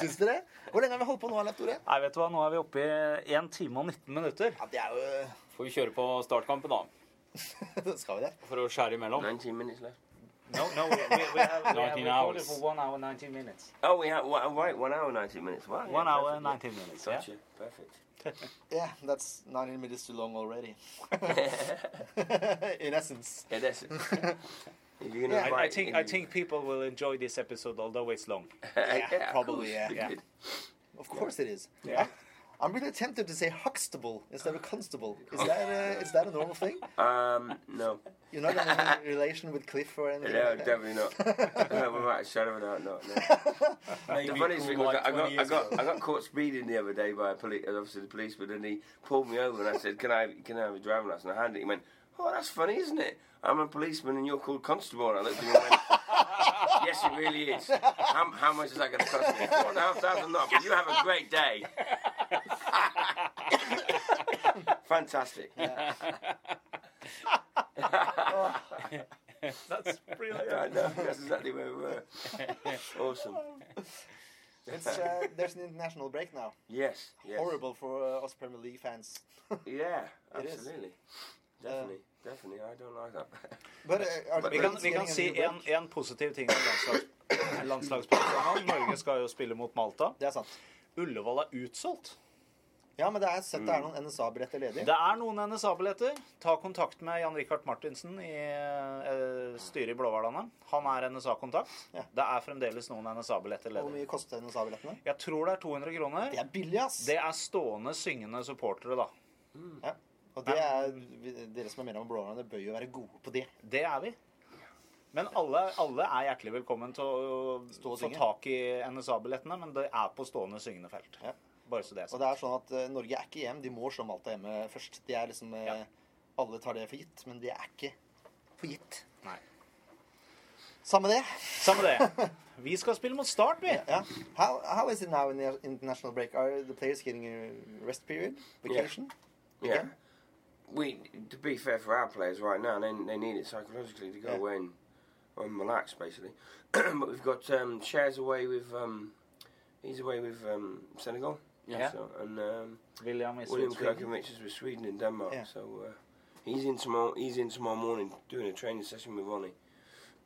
[SPEAKER 1] syns dere? Hvor lenge har vi holdt på nå, Leif Tore?
[SPEAKER 4] Nei, vet du hva, nå er vi oppe i 1 time og 19 minutter.
[SPEAKER 1] Ja, det er jo
[SPEAKER 2] Får vi kjøre på startkampen, da?
[SPEAKER 1] Skal vi det?
[SPEAKER 2] For å skjære imellom?
[SPEAKER 3] 19 minutes left.
[SPEAKER 4] No, no, we, we, we have, we have
[SPEAKER 2] 19
[SPEAKER 4] recorded
[SPEAKER 2] hours.
[SPEAKER 4] for 1 hour 19 minutes.
[SPEAKER 3] Oh, we have, well, right, one hour, 19 minutes. Wow.
[SPEAKER 4] 1
[SPEAKER 3] yeah,
[SPEAKER 4] hour
[SPEAKER 3] perfect,
[SPEAKER 4] and 19 minutes,
[SPEAKER 3] Yeah.
[SPEAKER 4] yeah.
[SPEAKER 3] Gotcha, perfect.
[SPEAKER 1] Yeah, that's 90 minutes too long already. In essence.
[SPEAKER 3] Yeah, that's it. If you're gonna
[SPEAKER 1] Yeah, I-
[SPEAKER 4] I, I
[SPEAKER 3] invite
[SPEAKER 4] think, I
[SPEAKER 3] any-
[SPEAKER 4] think people will enjoy this episode, although it's long.
[SPEAKER 3] yeah, of
[SPEAKER 1] probably,
[SPEAKER 3] course,
[SPEAKER 1] yeah.
[SPEAKER 4] Yeah.
[SPEAKER 3] good.
[SPEAKER 1] Of course it is.
[SPEAKER 4] Yeah.
[SPEAKER 1] I'm really tempted to say Huxtable instead of Constable. Is that a, is that a normal thing?
[SPEAKER 3] Um, no,
[SPEAKER 1] You're not in any relation with Cliff or anything?
[SPEAKER 3] no,
[SPEAKER 1] like that?
[SPEAKER 3] definitely not. no, without a shadow of a doubt, not. No. The funniest thing was that I got, I got, I got caught speeding the other day by a police, an officer of the police, but then he pulled me over and I said, "Can I, can I have a driving license?" And I handed it. He went, "Oh, that's funny, isn't it? I'm a policeman and you're called constable." And I looked at him and went, "Yes, it really is. How, how much is that going to cost me? Four and a half thousand, not. But you have a great day. Fantastic.
[SPEAKER 4] That's brilliant.
[SPEAKER 3] I know. That's exactly where we were. Awesome.
[SPEAKER 1] It's, uh, there's an international break now.
[SPEAKER 3] Yes. yes.
[SPEAKER 1] Horrible for uh, us Premier League fans.
[SPEAKER 3] Yeah,
[SPEAKER 1] It is.
[SPEAKER 3] absolutely. Definitely, definitely. I don't like that.
[SPEAKER 1] But uh, are the
[SPEAKER 3] Vi
[SPEAKER 4] Vi kan,
[SPEAKER 1] Braves
[SPEAKER 4] vi kan
[SPEAKER 1] getting a
[SPEAKER 4] si
[SPEAKER 1] new break?
[SPEAKER 4] én positiv ting om landslags- landslagsplassen. Norge skal jo spille mot Malta.
[SPEAKER 1] Det er sant.
[SPEAKER 4] Ullevål er utsolgt.
[SPEAKER 1] Ja, men det er sett det er
[SPEAKER 3] Mm.
[SPEAKER 1] noen NSA-billetter ledig.
[SPEAKER 4] Det er noen NSA-billetter. Ta kontakt med Jan Rikard Martinsen i eh, styret i Blåhvalane. Han er NSA-kontakt.
[SPEAKER 1] Ja.
[SPEAKER 4] Det er fremdeles noen NSA-billetter
[SPEAKER 1] Hvor
[SPEAKER 4] ledig.
[SPEAKER 1] mye koster NSA-billettene?
[SPEAKER 4] Jeg tror det er 200 kroner.
[SPEAKER 1] Det er billig, ass!
[SPEAKER 4] Det er stående syngende supportere, da.
[SPEAKER 1] Ja. Og det er, dere som er medlem av Blåhårene, bør jo være gode på det.
[SPEAKER 4] Det er vi. Men alle, alle er hjertelig velkommen til å
[SPEAKER 1] Stå og
[SPEAKER 4] få
[SPEAKER 1] synge.
[SPEAKER 4] tak i NSA-billettene, men det er på stående syngende felt.
[SPEAKER 1] Ja.
[SPEAKER 4] Bare så det er
[SPEAKER 1] Og
[SPEAKER 4] sagt.
[SPEAKER 1] det er sånn at eh, Norge er ikke hjem. De må slå Malta hjemme først. De er liksom, eh,
[SPEAKER 4] Ja.
[SPEAKER 1] Alle tar det for gitt, men det er ikke for gitt.
[SPEAKER 4] Nei.
[SPEAKER 1] Samme det.
[SPEAKER 4] Samme det. Vi skal spille mot Start, vi.
[SPEAKER 1] Ja. How, how is it now in the international break? Are the players getting a rest period? Vacation?
[SPEAKER 3] Yeah. We, to be fair for our players right now, they, they need it psychologically to go
[SPEAKER 1] Yeah.
[SPEAKER 3] away and, and relax, basically. but we've got um, shares away with, um, he's away with um, Senegal.
[SPEAKER 4] Yeah.
[SPEAKER 3] So, and um,
[SPEAKER 4] William is
[SPEAKER 3] William
[SPEAKER 4] with Sweden.
[SPEAKER 3] Kirkovich is with Sweden and Denmark.
[SPEAKER 1] Yeah.
[SPEAKER 3] So uh, he's in tomorrow. He's in tomorrow morning doing a training session with Ronnie.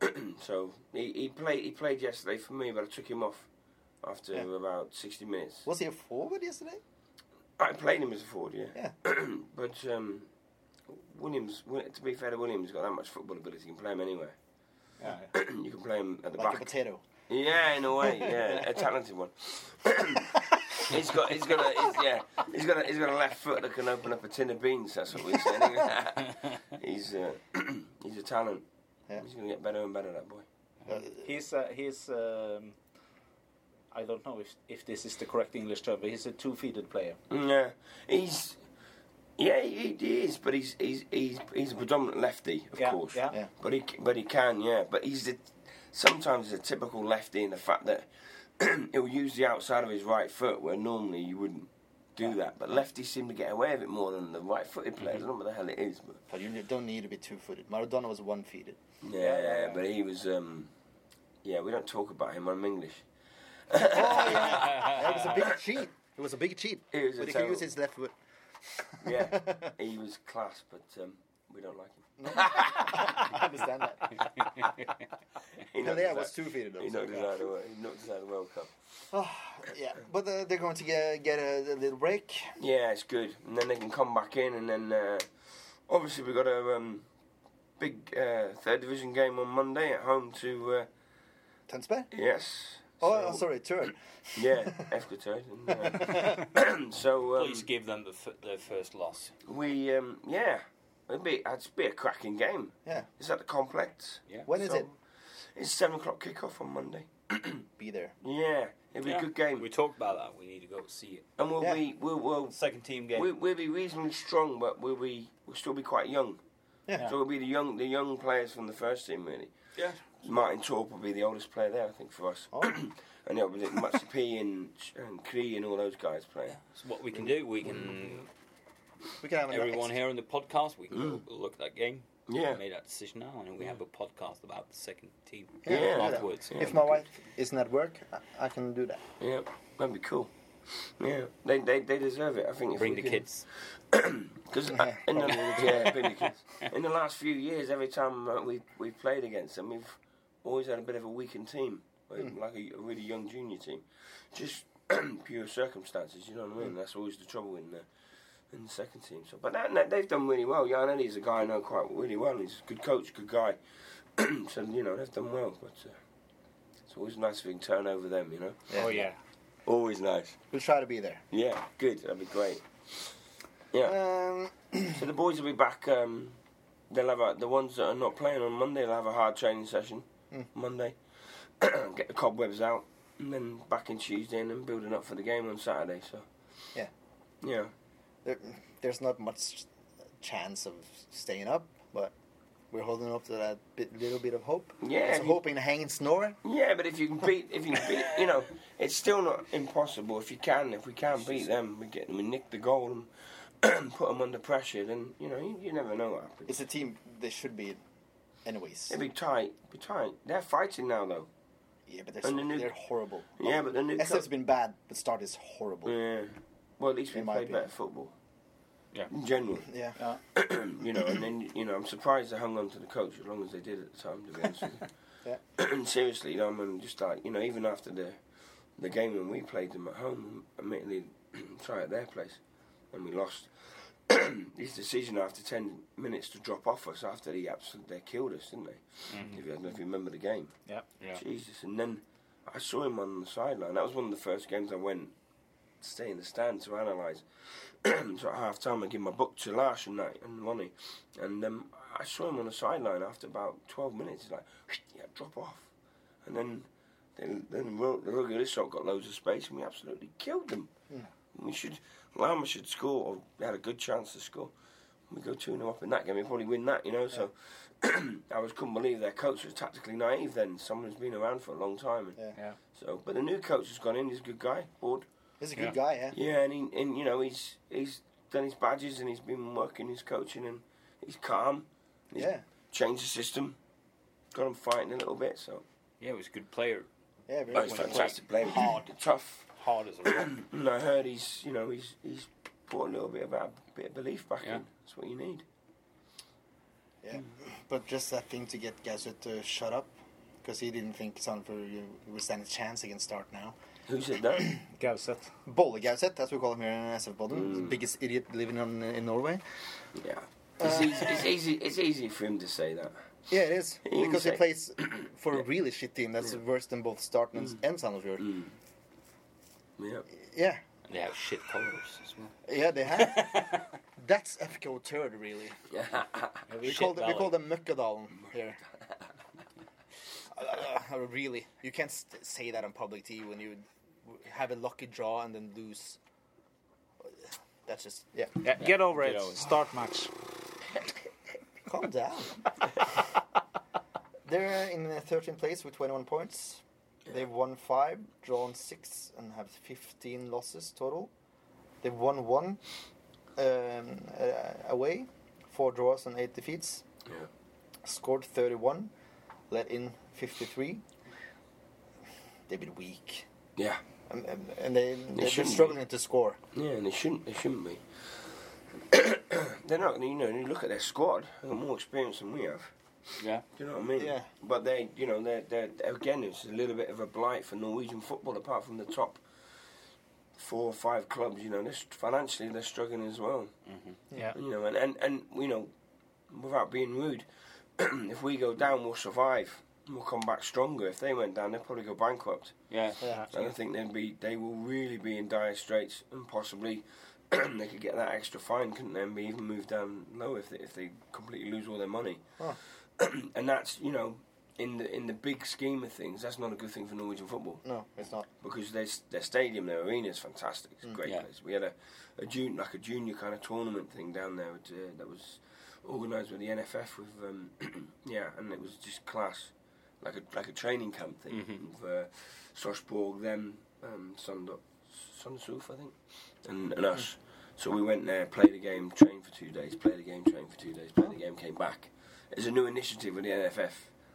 [SPEAKER 3] so he, he played. He played yesterday for me, but I took him off after
[SPEAKER 1] Yeah.
[SPEAKER 3] about sixty minutes.
[SPEAKER 1] Was he a forward yesterday?
[SPEAKER 3] I played him as a forward, yeah.
[SPEAKER 1] Yeah.
[SPEAKER 3] but um, Williams, Wi- to be fair to Williams, he's got that much football ability. You can play him anywhere.
[SPEAKER 4] Ja, ja.
[SPEAKER 3] you can play him at the
[SPEAKER 1] Like a
[SPEAKER 3] back.
[SPEAKER 1] potato.
[SPEAKER 3] Yeah, in a way, yeah, a talented one. he's got, he's got a, he's, yeah, he's got a, he's got a left foot that can open up a tin of beans. That's what we're saying. he's, uh, he's a talent.
[SPEAKER 1] Yeah.
[SPEAKER 3] He's gonna get better and better, that boy.
[SPEAKER 4] He's, uh, he's um, I don't know if, if this is the correct English term, but he's a two-feeded player.
[SPEAKER 3] Yeah, he's, yeah, he, he is, but he's, he's, he's, he's a predominant lefty, of
[SPEAKER 4] Yeah,
[SPEAKER 3] course.
[SPEAKER 4] yeah.
[SPEAKER 1] Yeah.
[SPEAKER 3] But he, c- but he can, yeah. But he's a, sometimes he's a typical lefty in the fact that he'll use the outside of his right foot where normally you wouldn't do that. But lefties seem to get away with it more than the right-footed players. I don't know what the hell it is, but
[SPEAKER 1] But you don't need to be two-footed. Maradona was one-footed.
[SPEAKER 3] yeah, but he was, um, yeah. We don't talk about him. I'm English.
[SPEAKER 1] That was a big cheat. It was a big cheat.
[SPEAKER 3] It was a
[SPEAKER 1] but he could
[SPEAKER 3] terrible-
[SPEAKER 1] use his left foot.
[SPEAKER 3] Yeah, he was class, but um, we don't like him.
[SPEAKER 1] I understand that.
[SPEAKER 3] He
[SPEAKER 1] And
[SPEAKER 3] knocked
[SPEAKER 1] yeah,
[SPEAKER 3] us
[SPEAKER 1] was
[SPEAKER 3] out-
[SPEAKER 1] two-footed.
[SPEAKER 3] He knocked us out of the World- he knocked us out of the World Cup.
[SPEAKER 1] Yeah, but uh, they're going to get, get a, a little break.
[SPEAKER 3] Yeah, it's good. And then they can come back in, and then uh, obviously we've got a um, big uh, third division game on Monday at home to uh,
[SPEAKER 1] Tønsberg?
[SPEAKER 3] yes.
[SPEAKER 1] Oh,
[SPEAKER 3] So-
[SPEAKER 1] oh, sorry, Tørn.
[SPEAKER 3] Yeah, Efka Turd. so um,
[SPEAKER 2] Please give them the, f the first loss.
[SPEAKER 3] we um, yeah, it'd be it'd be a cracking game.
[SPEAKER 1] Yeah.
[SPEAKER 3] It's at the complex.
[SPEAKER 2] Yeah.
[SPEAKER 1] When is
[SPEAKER 3] So
[SPEAKER 1] it?
[SPEAKER 3] It's seven o'clock kickoff on Monday.
[SPEAKER 1] Be there.
[SPEAKER 3] Yeah, it'll be
[SPEAKER 2] Yeah.
[SPEAKER 3] a good game,
[SPEAKER 2] We talked about that. We need to go see it.
[SPEAKER 3] and we'll
[SPEAKER 1] Yeah.
[SPEAKER 3] be we'll we'll,
[SPEAKER 2] Second team game.
[SPEAKER 3] we'll we'll be reasonably strong, but we'll be we'll still be quite young.
[SPEAKER 1] Yeah.
[SPEAKER 3] So it'll be the young the young players from the first team really.
[SPEAKER 2] yeah.
[SPEAKER 3] Martin Torp will be the oldest player there, I think, for us.
[SPEAKER 1] Oh.
[SPEAKER 3] and it'll be Matsy P and, and Cree and all those guys playing.
[SPEAKER 2] So what we can do, we can
[SPEAKER 1] We can have an
[SPEAKER 2] everyone
[SPEAKER 1] ex-
[SPEAKER 2] here on the podcast, we can go look at that game.
[SPEAKER 3] Yeah.
[SPEAKER 2] We made that decision now, and we have a podcast about the second team
[SPEAKER 1] Yeah,
[SPEAKER 3] Yeah.
[SPEAKER 2] afterwards.
[SPEAKER 3] Yeah.
[SPEAKER 1] If my wife isn't at work, I, I can do that.
[SPEAKER 3] Yeah, that'd be cool. Yeah, they they, they deserve it. I think if
[SPEAKER 2] Bring the
[SPEAKER 3] we can-
[SPEAKER 2] kids.
[SPEAKER 3] Because
[SPEAKER 1] Yeah,
[SPEAKER 3] in, the,
[SPEAKER 1] probably.
[SPEAKER 3] yeah, bring the kids. in the last few years, every time uh, we we played against them, we've always had a bit of a weakened team, like like a, a really young junior team. Just pure circumstances, you know what I mean? That's always the trouble in the in the second team. So, but that, that- they've done really well. Jan Eddie's a guy I know quite really well. He's a good coach, good guy. so you know they've done well, but. Uh, it's always nice if we can turn over them, you know.
[SPEAKER 4] Oh, yeah.
[SPEAKER 3] Always nice.
[SPEAKER 1] We'll try to be there.
[SPEAKER 3] Yeah, good. That'd be great. Yeah.
[SPEAKER 1] Um,
[SPEAKER 3] So the boys will be back. Um, they'll have a, the ones that are not playing on Monday. They'll have a hard training session
[SPEAKER 1] Hmm.
[SPEAKER 3] Monday. Get the cobwebs out, and then back in Tuesday, and then building up for the game on Saturday. So
[SPEAKER 1] Yeah.
[SPEAKER 3] yeah,
[SPEAKER 1] there, there's not much chance of staying up, but we're holding up to that bit, little bit of hope.
[SPEAKER 3] Yeah,
[SPEAKER 1] So
[SPEAKER 3] you-
[SPEAKER 1] hoping to hang and snore.
[SPEAKER 3] yeah. But if you can beat, if you can beat, you know, it's still not impossible. If you can, if we can beat them, we get them, we nick the goal, and put them under pressure. Then you know, you, you never know what happens.
[SPEAKER 1] It's a team they should be, anyways.
[SPEAKER 3] It'd be tight, be tight. They're fighting now though.
[SPEAKER 1] Yeah, but they're,
[SPEAKER 3] And the new-
[SPEAKER 1] they're horrible.
[SPEAKER 3] Yeah, but the new
[SPEAKER 1] SF's
[SPEAKER 3] cup-
[SPEAKER 1] been bad, but Start is horrible.
[SPEAKER 3] Yeah. Well, at least we
[SPEAKER 1] In my
[SPEAKER 3] played
[SPEAKER 1] opinion.
[SPEAKER 3] better football.
[SPEAKER 2] Yeah.
[SPEAKER 3] In general,
[SPEAKER 1] Yeah.
[SPEAKER 3] you know, and then you know, I'm surprised they hung on to the coach as long as they did at the time. To be honest with you. Seriously, you know, I mean, just like you know, even after the the game when we played them at home, admittedly, try at their place, and we lost. His decision after ten minutes to drop off us after the absolute they killed us, didn't they? If you, I don't know if you remember the game.
[SPEAKER 4] Yeah.
[SPEAKER 2] Mm-hmm. Yeah.
[SPEAKER 3] Jesus. And then I saw him on the sideline. That was one of the first games I went stay in the stand to analyse. so at half time, I give my book to Lars and that, and Lonnie, and um, I saw him on the sideline after about 12 minutes. He's like, yeah, drop off, and then then then Ro- the rugby shot got loads of space, and we absolutely killed them. We should Lama should score, or they had a good chance to score. We go two 0 up in that game, we probably win that, you know. So I was couldn't believe their coach was tactically naive. Then someone who's been around for a long time. And,
[SPEAKER 1] Yeah.
[SPEAKER 4] Yeah.
[SPEAKER 3] So, but the new coach has gone in. He's a good guy, bored.
[SPEAKER 1] He's a
[SPEAKER 2] Yeah.
[SPEAKER 1] good guy, eh? yeah.
[SPEAKER 3] Yeah, and he, and you know he's he's done his badges and he's been working his coaching and he's calm. He's
[SPEAKER 1] Yeah,
[SPEAKER 3] Changed the system, got him fighting a little bit. So
[SPEAKER 2] Yeah, he was a good player.
[SPEAKER 1] yeah,
[SPEAKER 3] but
[SPEAKER 1] very
[SPEAKER 3] he's
[SPEAKER 1] much.
[SPEAKER 2] when he
[SPEAKER 3] fantastic player, hard, tough.
[SPEAKER 2] Hard as a rock.
[SPEAKER 3] And I heard he's you know he's he's brought a little bit of a bit of belief back
[SPEAKER 2] Yeah.
[SPEAKER 3] in. That's what you need.
[SPEAKER 1] Yeah. Mm-hmm. But just that thing to get Gazet to shut up, because he didn't think Sandefjord would stand a chance against Start now.
[SPEAKER 3] Who said that?
[SPEAKER 4] Gauseth.
[SPEAKER 1] Bolle Gazet, as we call him here in SF-podden, the biggest idiot living on, uh, in Norway.
[SPEAKER 3] yeah. It's easy, it's easy. It's easy for him to say that.
[SPEAKER 1] Yeah, it is.
[SPEAKER 3] He
[SPEAKER 1] Because he
[SPEAKER 3] insane.
[SPEAKER 1] plays for a really shit team that's worse than both Start and, and Sandefjord.
[SPEAKER 3] Yeah.
[SPEAKER 1] Yeah.
[SPEAKER 2] They have shit colors as well.
[SPEAKER 1] Yeah, they have. that's FK Turd, really. We
[SPEAKER 2] Shit
[SPEAKER 1] call, them, we
[SPEAKER 2] valley.
[SPEAKER 1] call them Møkkedalen here. Uh, uh, really, you can't st- say that on public TV when you w- have a lucky draw and then lose. That's just yeah.
[SPEAKER 4] Yeah, Get over
[SPEAKER 2] Get
[SPEAKER 4] it.
[SPEAKER 2] over it.
[SPEAKER 4] Start match.
[SPEAKER 1] Calm down. They're in uh, 13th place with 21 points. They've won five, drawn six, and have 15 losses total. They've won one um, uh, away, four draws and eight defeats.
[SPEAKER 3] Yeah.
[SPEAKER 1] scored 31, let in 53. They've been weak.
[SPEAKER 3] Yeah.
[SPEAKER 1] And, and, and they, they've been
[SPEAKER 3] shouldn't be.
[SPEAKER 1] struggling to score.
[SPEAKER 3] Yeah, and they shouldn't. They shouldn't be. They're not. You know, you look at their squad. They've got more experience than we have.
[SPEAKER 2] Yeah.
[SPEAKER 3] Do you know what I mean?
[SPEAKER 1] Yeah.
[SPEAKER 3] But they, you know, they're, they're again, it's a little bit of a blight for Norwegian football. Apart from the top four or five clubs, you know, they're, st- financially they're struggling as well.
[SPEAKER 2] Mm-hmm.
[SPEAKER 4] Yeah.
[SPEAKER 3] You know, and and, and you know, without being rude, if we go down, we'll survive. We'll come back stronger. If they went down, they'd probably go bankrupt.
[SPEAKER 2] Yeah.
[SPEAKER 1] Yeah.
[SPEAKER 3] And I think they'd be they will really be in dire straits and possibly they could get that extra fine, couldn't they? And be even moved down low if they, if they completely lose all their money.
[SPEAKER 1] Huh.
[SPEAKER 3] and that's you know in the in the big scheme of things, that's not a good thing for Norwegian football
[SPEAKER 1] No, it's not.
[SPEAKER 3] because their s- their stadium, their arena is fantastic. It's a great
[SPEAKER 2] Mm. Yeah.
[SPEAKER 3] place. We had a a jun- like a junior kind of tournament thing down there with, uh, that was organised with the NFF with um, yeah, and it was just class, like a like a training camp thing
[SPEAKER 2] Mhm.
[SPEAKER 3] with uh, Sochborg, them, um, Sundop, Sundsuf, I think, and, and
[SPEAKER 2] Mm.
[SPEAKER 3] us. So we went there, played a game, trained for two days, played a game, trained for two days, played a game, came back. It's a new initiative with the NFF,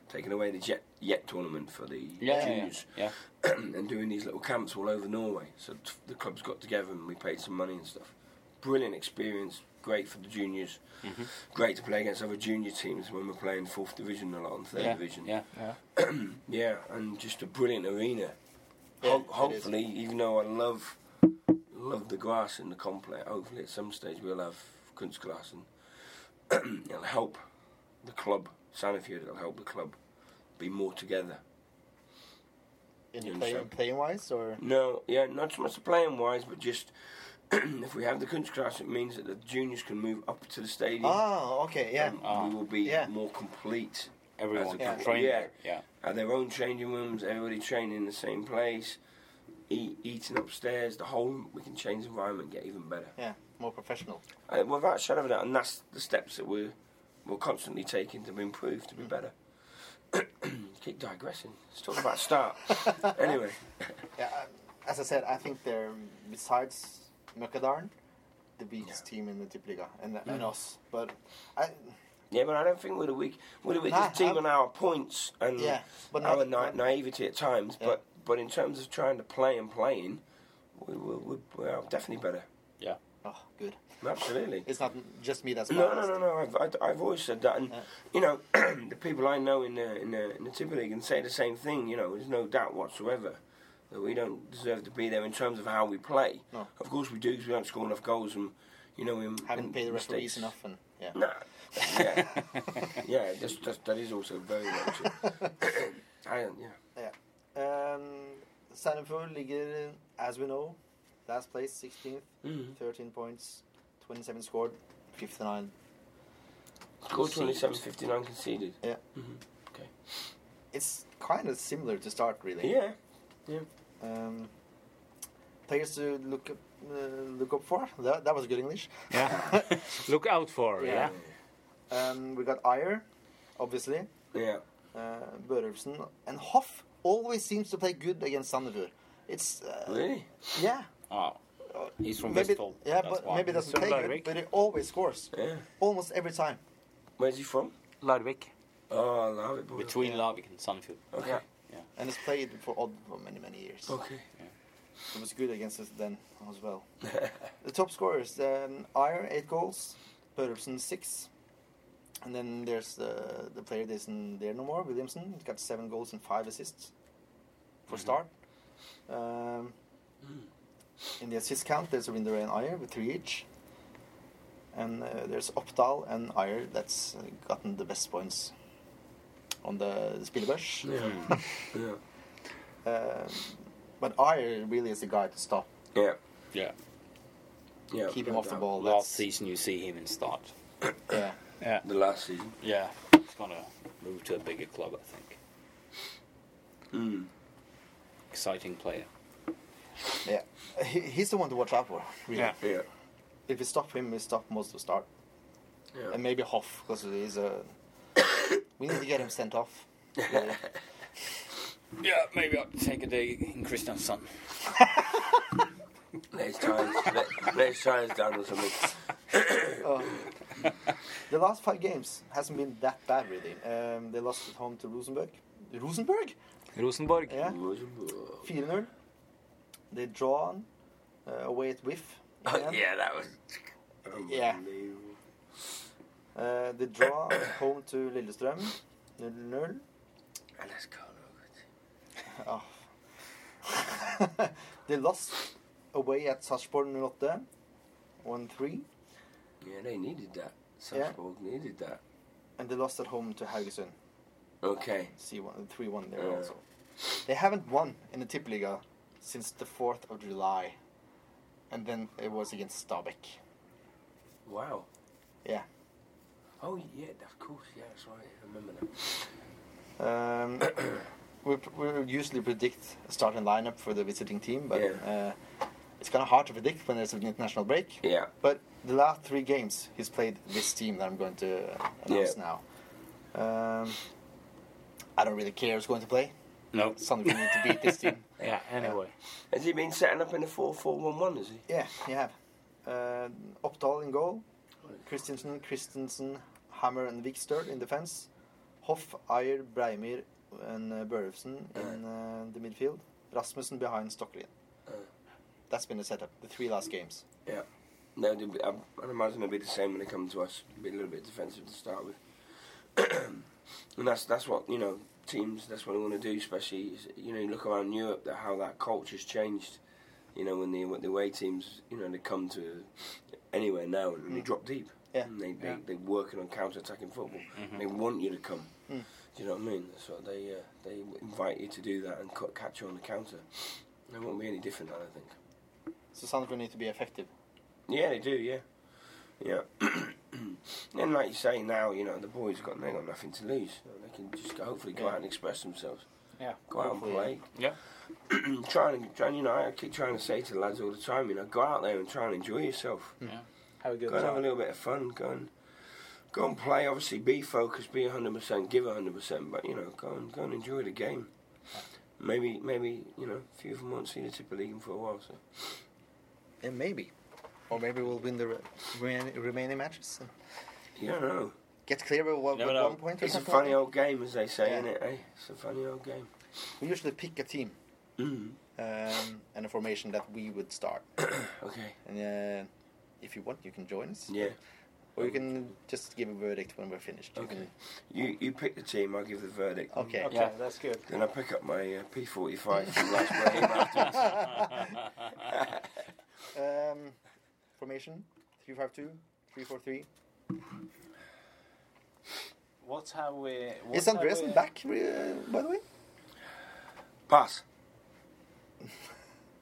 [SPEAKER 3] taking away the Jet Yet tournament for the
[SPEAKER 2] Yeah, yeah, yeah.
[SPEAKER 3] juniors
[SPEAKER 2] yeah.
[SPEAKER 3] and doing these little camps all over Norway. So t- the clubs got together and we paid some money and stuff. Brilliant experience, great for the juniors.
[SPEAKER 2] Mm-hmm.
[SPEAKER 3] Great to play against other junior teams when we're playing fourth division a lot and third
[SPEAKER 2] yeah.
[SPEAKER 3] division.
[SPEAKER 2] Yeah.
[SPEAKER 3] Yeah, and just a brilliant arena.
[SPEAKER 1] Yeah,
[SPEAKER 3] Ho-
[SPEAKER 1] it is.
[SPEAKER 3] hopefully, even though I love love the grass in the complex, hopefully at some stage we'll have kunstgras and it'll help the club. Sandefjord, it'll help the club be more together.
[SPEAKER 1] In
[SPEAKER 3] You
[SPEAKER 1] play,
[SPEAKER 3] understand?
[SPEAKER 1] playing wise, or
[SPEAKER 3] No, yeah, not so much the playing wise, but just if we have the Kunstgras, it means that the juniors can move up to the stadium. Um,
[SPEAKER 1] ah, okay, yeah,
[SPEAKER 3] and
[SPEAKER 2] Ah.
[SPEAKER 3] we will be
[SPEAKER 1] Yeah.
[SPEAKER 3] more complete.
[SPEAKER 2] Everyone
[SPEAKER 3] Yeah.
[SPEAKER 2] can train
[SPEAKER 3] Yeah.
[SPEAKER 2] there. Yeah.
[SPEAKER 3] Have their own changing rooms, everybody training in the same place, eat, eating upstairs, the whole, we can change the environment, get even better.
[SPEAKER 1] yeah, more professional.
[SPEAKER 3] Uh, without a shadow of a doubt, and that's the steps that we're, we're constantly taking to improve, to be better. Keep digressing. Let's talk about start. anyway,
[SPEAKER 1] Yeah, I- as I said, I think they're besides Møkkedalen, the weakest team in the Tippeliga, and, and us. But I,
[SPEAKER 3] Yeah, but I don't think we're the weak. We're the
[SPEAKER 1] Nah,
[SPEAKER 3] weakest team
[SPEAKER 1] I'm-
[SPEAKER 3] on our points and
[SPEAKER 1] Yeah, but not-
[SPEAKER 3] our na- naivety at times.
[SPEAKER 1] Yeah.
[SPEAKER 3] But but in terms of trying to play and playing, we, we, we, we're definitely better.
[SPEAKER 1] oh, good.
[SPEAKER 3] Absolutely.
[SPEAKER 1] It's not just me that's
[SPEAKER 3] No, no,
[SPEAKER 1] biased.
[SPEAKER 3] no, no. I've, I've, I've always said that, and
[SPEAKER 1] Yeah.
[SPEAKER 3] you know, the people I know in the in the, in the Tipper League and say the same thing. You know, there's no doubt whatsoever that we don't deserve to be there in terms of how we play.
[SPEAKER 1] No.
[SPEAKER 3] Of course we do, because we don't score enough goals, and you know, in,
[SPEAKER 1] Haven't
[SPEAKER 3] in
[SPEAKER 1] paid the referees
[SPEAKER 3] mistakes.
[SPEAKER 1] enough, and yeah,
[SPEAKER 3] No. Yeah. yeah, that's, that's, that is also very well true. I don't, yeah.
[SPEAKER 1] Um, Sandefjord ligger, Ehm, as we know, Last place, 16th,
[SPEAKER 3] Mm-hmm.
[SPEAKER 1] 13 points, 27 scored, 59.
[SPEAKER 3] Scored 27, 59 conceded.
[SPEAKER 1] Yeah.
[SPEAKER 3] Mm-hmm.
[SPEAKER 1] It's kind of similar to start, really.
[SPEAKER 3] Yeah.
[SPEAKER 1] Um, players to look up, uh, look up for. That, that was good English.
[SPEAKER 2] Yeah. Look out for,
[SPEAKER 1] Yeah. Um, we got Ayer, obviously.
[SPEAKER 3] Yeah.
[SPEAKER 1] Uh, Børufsen and Hoff always seems to play good against Sandefjord. It's uh,
[SPEAKER 3] Really?
[SPEAKER 1] yeah,
[SPEAKER 2] Oh, he's from
[SPEAKER 1] maybe
[SPEAKER 2] Vestfold.
[SPEAKER 1] yeah,
[SPEAKER 2] that's
[SPEAKER 1] but
[SPEAKER 2] why.
[SPEAKER 1] maybe doesn't play good,
[SPEAKER 4] Sundberg.
[SPEAKER 1] but he always scores
[SPEAKER 3] Yeah.
[SPEAKER 1] almost every time.
[SPEAKER 3] Where's he from?
[SPEAKER 4] Larvik.
[SPEAKER 3] Oh,
[SPEAKER 1] Uh,
[SPEAKER 3] I love it, boy.
[SPEAKER 2] Between
[SPEAKER 1] Yeah.
[SPEAKER 2] Larvik and Sandefjord.
[SPEAKER 3] Okay.
[SPEAKER 4] Yeah.
[SPEAKER 1] And he's played for Odd for many, many years.
[SPEAKER 3] Okay.
[SPEAKER 1] He was good against us then as well. the top scorers, um, Ayer, 8 goals, Pedersen, 6. And then there's the, the player that isn't there no more, Williamson. He's got 7 goals and 5 assists
[SPEAKER 3] Mm-hmm.
[SPEAKER 1] for start. Um,
[SPEAKER 3] Mm.
[SPEAKER 1] In the assist count, there's Rinder and Ayer with 3 each. And uh, there's Opdal and Ayer that's uh, gotten the best points on the Spillebørs.
[SPEAKER 3] Yeah. yeah.
[SPEAKER 1] Um, but Ayer really is the guy to stop.
[SPEAKER 3] Yeah.
[SPEAKER 2] Yeah.
[SPEAKER 3] Yeah. uh,
[SPEAKER 1] Keep him
[SPEAKER 3] no
[SPEAKER 1] off the
[SPEAKER 3] doubt.
[SPEAKER 1] ball.
[SPEAKER 2] Last
[SPEAKER 1] that's-
[SPEAKER 2] season you see him in start.
[SPEAKER 1] Yeah.
[SPEAKER 2] Yeah.
[SPEAKER 3] The last season.
[SPEAKER 2] Yeah. He's going to move to a bigger club, I think.
[SPEAKER 1] Hmm.
[SPEAKER 3] Mm.
[SPEAKER 2] Exciting player.
[SPEAKER 1] Yeah, he, he's the one to watch out for. Really.
[SPEAKER 4] Yeah.
[SPEAKER 3] Yeah.
[SPEAKER 1] If we stop him, we stop most of the start,
[SPEAKER 3] Yeah.
[SPEAKER 1] and maybe Hoff because he's a. we need to get him sent off. really.
[SPEAKER 2] Yeah, maybe I'll take a day in Kristiansand.
[SPEAKER 3] Let's try and let, let's try and stand or something.
[SPEAKER 1] Uh, the last five games hasn't been that bad really. Um, they lost at home to Rosenborg. Rosenborg?
[SPEAKER 4] Rosenborg.
[SPEAKER 1] Yeah, four 0 They drawn uh, away at Whiff.
[SPEAKER 3] Oh, yeah, that was
[SPEAKER 1] Yeah.
[SPEAKER 3] unbelievable.
[SPEAKER 1] Uh, they draw at home to Lillestrøm. 0-0.
[SPEAKER 3] And that's Carlo. good.
[SPEAKER 1] Oh. they lost away at Sarpsborg 08, 1-3,
[SPEAKER 3] Yeah, they needed that.
[SPEAKER 1] Yeah.
[SPEAKER 3] Salzburg needed that.
[SPEAKER 1] and they lost at home to Haugesund,
[SPEAKER 3] Okay.
[SPEAKER 1] C1, 3-1 there
[SPEAKER 3] Yeah.
[SPEAKER 1] also. They haven't won in the Tippeliga since the 4th of July, and then it was against Stabæk.
[SPEAKER 3] Wow.
[SPEAKER 1] Yeah.
[SPEAKER 3] Oh yeah, of course. Yeah, that's right. I remember that.
[SPEAKER 1] Um, we, pr- we usually predict a starting lineup for the visiting team, but
[SPEAKER 3] Yeah.
[SPEAKER 1] uh, it's kind of hard to predict when there's an international break.
[SPEAKER 3] Yeah.
[SPEAKER 1] But the last three games, he's played this team that I'm going to announce now. Um, I don't really care who's going to play.
[SPEAKER 2] No.
[SPEAKER 1] Something we need to beat this team.
[SPEAKER 4] Yeah, anyway.
[SPEAKER 3] Uh, Has he been setting up in a four-four-one-one? Is he?
[SPEAKER 1] Yeah, you have. Uh, Opdal in goal. Christensen, Christensen, Hammer, and Wikstøl in defense. Hoff, Ayer, Breimir, and uh, Børrefsen in uh, the midfield. Rasmussen behind Stokkelin.
[SPEAKER 3] Uh.
[SPEAKER 1] That's been the setup, the three last games.
[SPEAKER 3] Yeah. No, it'll be, I, I'd imagine it'll be the same when they come to us. Be a little bit defensive to start with, and that's that's what you know teams. That's what they want to do. Especially is, you know you look around Europe that how that culture's changed. You know when the when the away teams you know they come to anywhere now and they drop deep.
[SPEAKER 1] Yeah.
[SPEAKER 3] And they they
[SPEAKER 4] Yeah.
[SPEAKER 3] they're working on counter attacking football. They want you to come. Do you know what I mean? So they uh, they invite you to do that and cut, catch you on the counter. It won't be any different, I don't think.
[SPEAKER 1] So Sandefjord need to be effective.
[SPEAKER 3] Yeah, they do. Yeah, yeah. and like you say, now you know the boys got they got nothing to lose. They can just go, hopefully go
[SPEAKER 1] Yeah.
[SPEAKER 3] out and express themselves.
[SPEAKER 4] Yeah.
[SPEAKER 3] Go out
[SPEAKER 1] Hopefully,
[SPEAKER 3] and play.
[SPEAKER 2] Yeah.
[SPEAKER 3] trying to, trying, you know, I keep trying to say to the lads all the time, you know, go out there and try and enjoy yourself.
[SPEAKER 4] Have a good
[SPEAKER 3] Go and have a
[SPEAKER 4] time.
[SPEAKER 3] little bit of fun. Go and go and play. Obviously, be focused. Be hundred percent. Give hundred percent. But you know, go and go and enjoy the game. Maybe, maybe you know, a few of them won't see the Tipper League for a while. So
[SPEAKER 1] And maybe. Or maybe we'll win the re- remaining- remaining matches and
[SPEAKER 3] yeah, I don't know.
[SPEAKER 1] get clear with one,
[SPEAKER 2] Never
[SPEAKER 1] with
[SPEAKER 2] know.
[SPEAKER 1] one point or
[SPEAKER 3] It's a
[SPEAKER 1] something.
[SPEAKER 3] funny
[SPEAKER 1] like
[SPEAKER 3] old game, as they say,
[SPEAKER 1] Yeah.
[SPEAKER 3] isn't it? Eh? It's a funny old game.
[SPEAKER 1] that. We usually pick a team
[SPEAKER 3] Mm.
[SPEAKER 1] um, and a formation that we would start.
[SPEAKER 3] Okay.
[SPEAKER 1] And uh, if you want, you can join us.
[SPEAKER 3] Yeah.
[SPEAKER 1] Or you can just give a verdict when we're finished. You
[SPEAKER 3] Okay.
[SPEAKER 1] can,
[SPEAKER 3] You you pick the team. I'll give the verdict.
[SPEAKER 1] okay.
[SPEAKER 4] Okay,
[SPEAKER 2] Yeah.
[SPEAKER 4] that's good.
[SPEAKER 3] Then I pick up my uh, P45 from last game afterwards.
[SPEAKER 1] Um, formation 352, 343.
[SPEAKER 4] What have we. What
[SPEAKER 1] Is
[SPEAKER 4] have
[SPEAKER 1] Andreasen
[SPEAKER 4] we-
[SPEAKER 1] back, re- uh, by the way?
[SPEAKER 3] Pass. I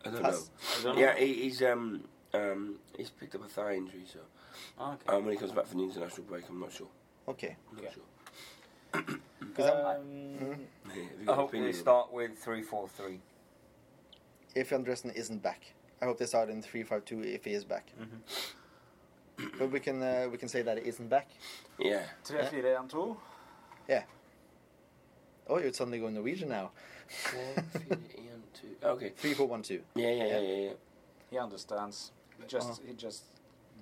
[SPEAKER 3] don't
[SPEAKER 1] Has-
[SPEAKER 4] I
[SPEAKER 3] know.
[SPEAKER 4] don't know.
[SPEAKER 3] Yeah, he, he's um um he's picked up a thigh injury, so
[SPEAKER 4] Ah, okay.
[SPEAKER 3] um, when he comes back from the international break, I'm not sure.
[SPEAKER 1] Ok.
[SPEAKER 3] I'm not
[SPEAKER 2] Okay.
[SPEAKER 3] sure.
[SPEAKER 1] 'Cause I'm- Mm-hmm.
[SPEAKER 4] Um,
[SPEAKER 3] Have you
[SPEAKER 7] I
[SPEAKER 3] got an
[SPEAKER 7] hope we
[SPEAKER 3] opinion?
[SPEAKER 7] start with three four three.
[SPEAKER 1] if Andresen isn't back. I hope they start in 3-5-2 if he is back. But we can uh, we can say that he isn't back.
[SPEAKER 3] Yeah.
[SPEAKER 4] 3-4-1-2.
[SPEAKER 1] Oh, you're suddenly going Norwegian now.
[SPEAKER 3] okay.
[SPEAKER 1] 3-4-1-2.
[SPEAKER 3] Yeah, yeah, yeah, yeah. yeah.
[SPEAKER 4] He understands. He just,
[SPEAKER 1] Oh.
[SPEAKER 4] he just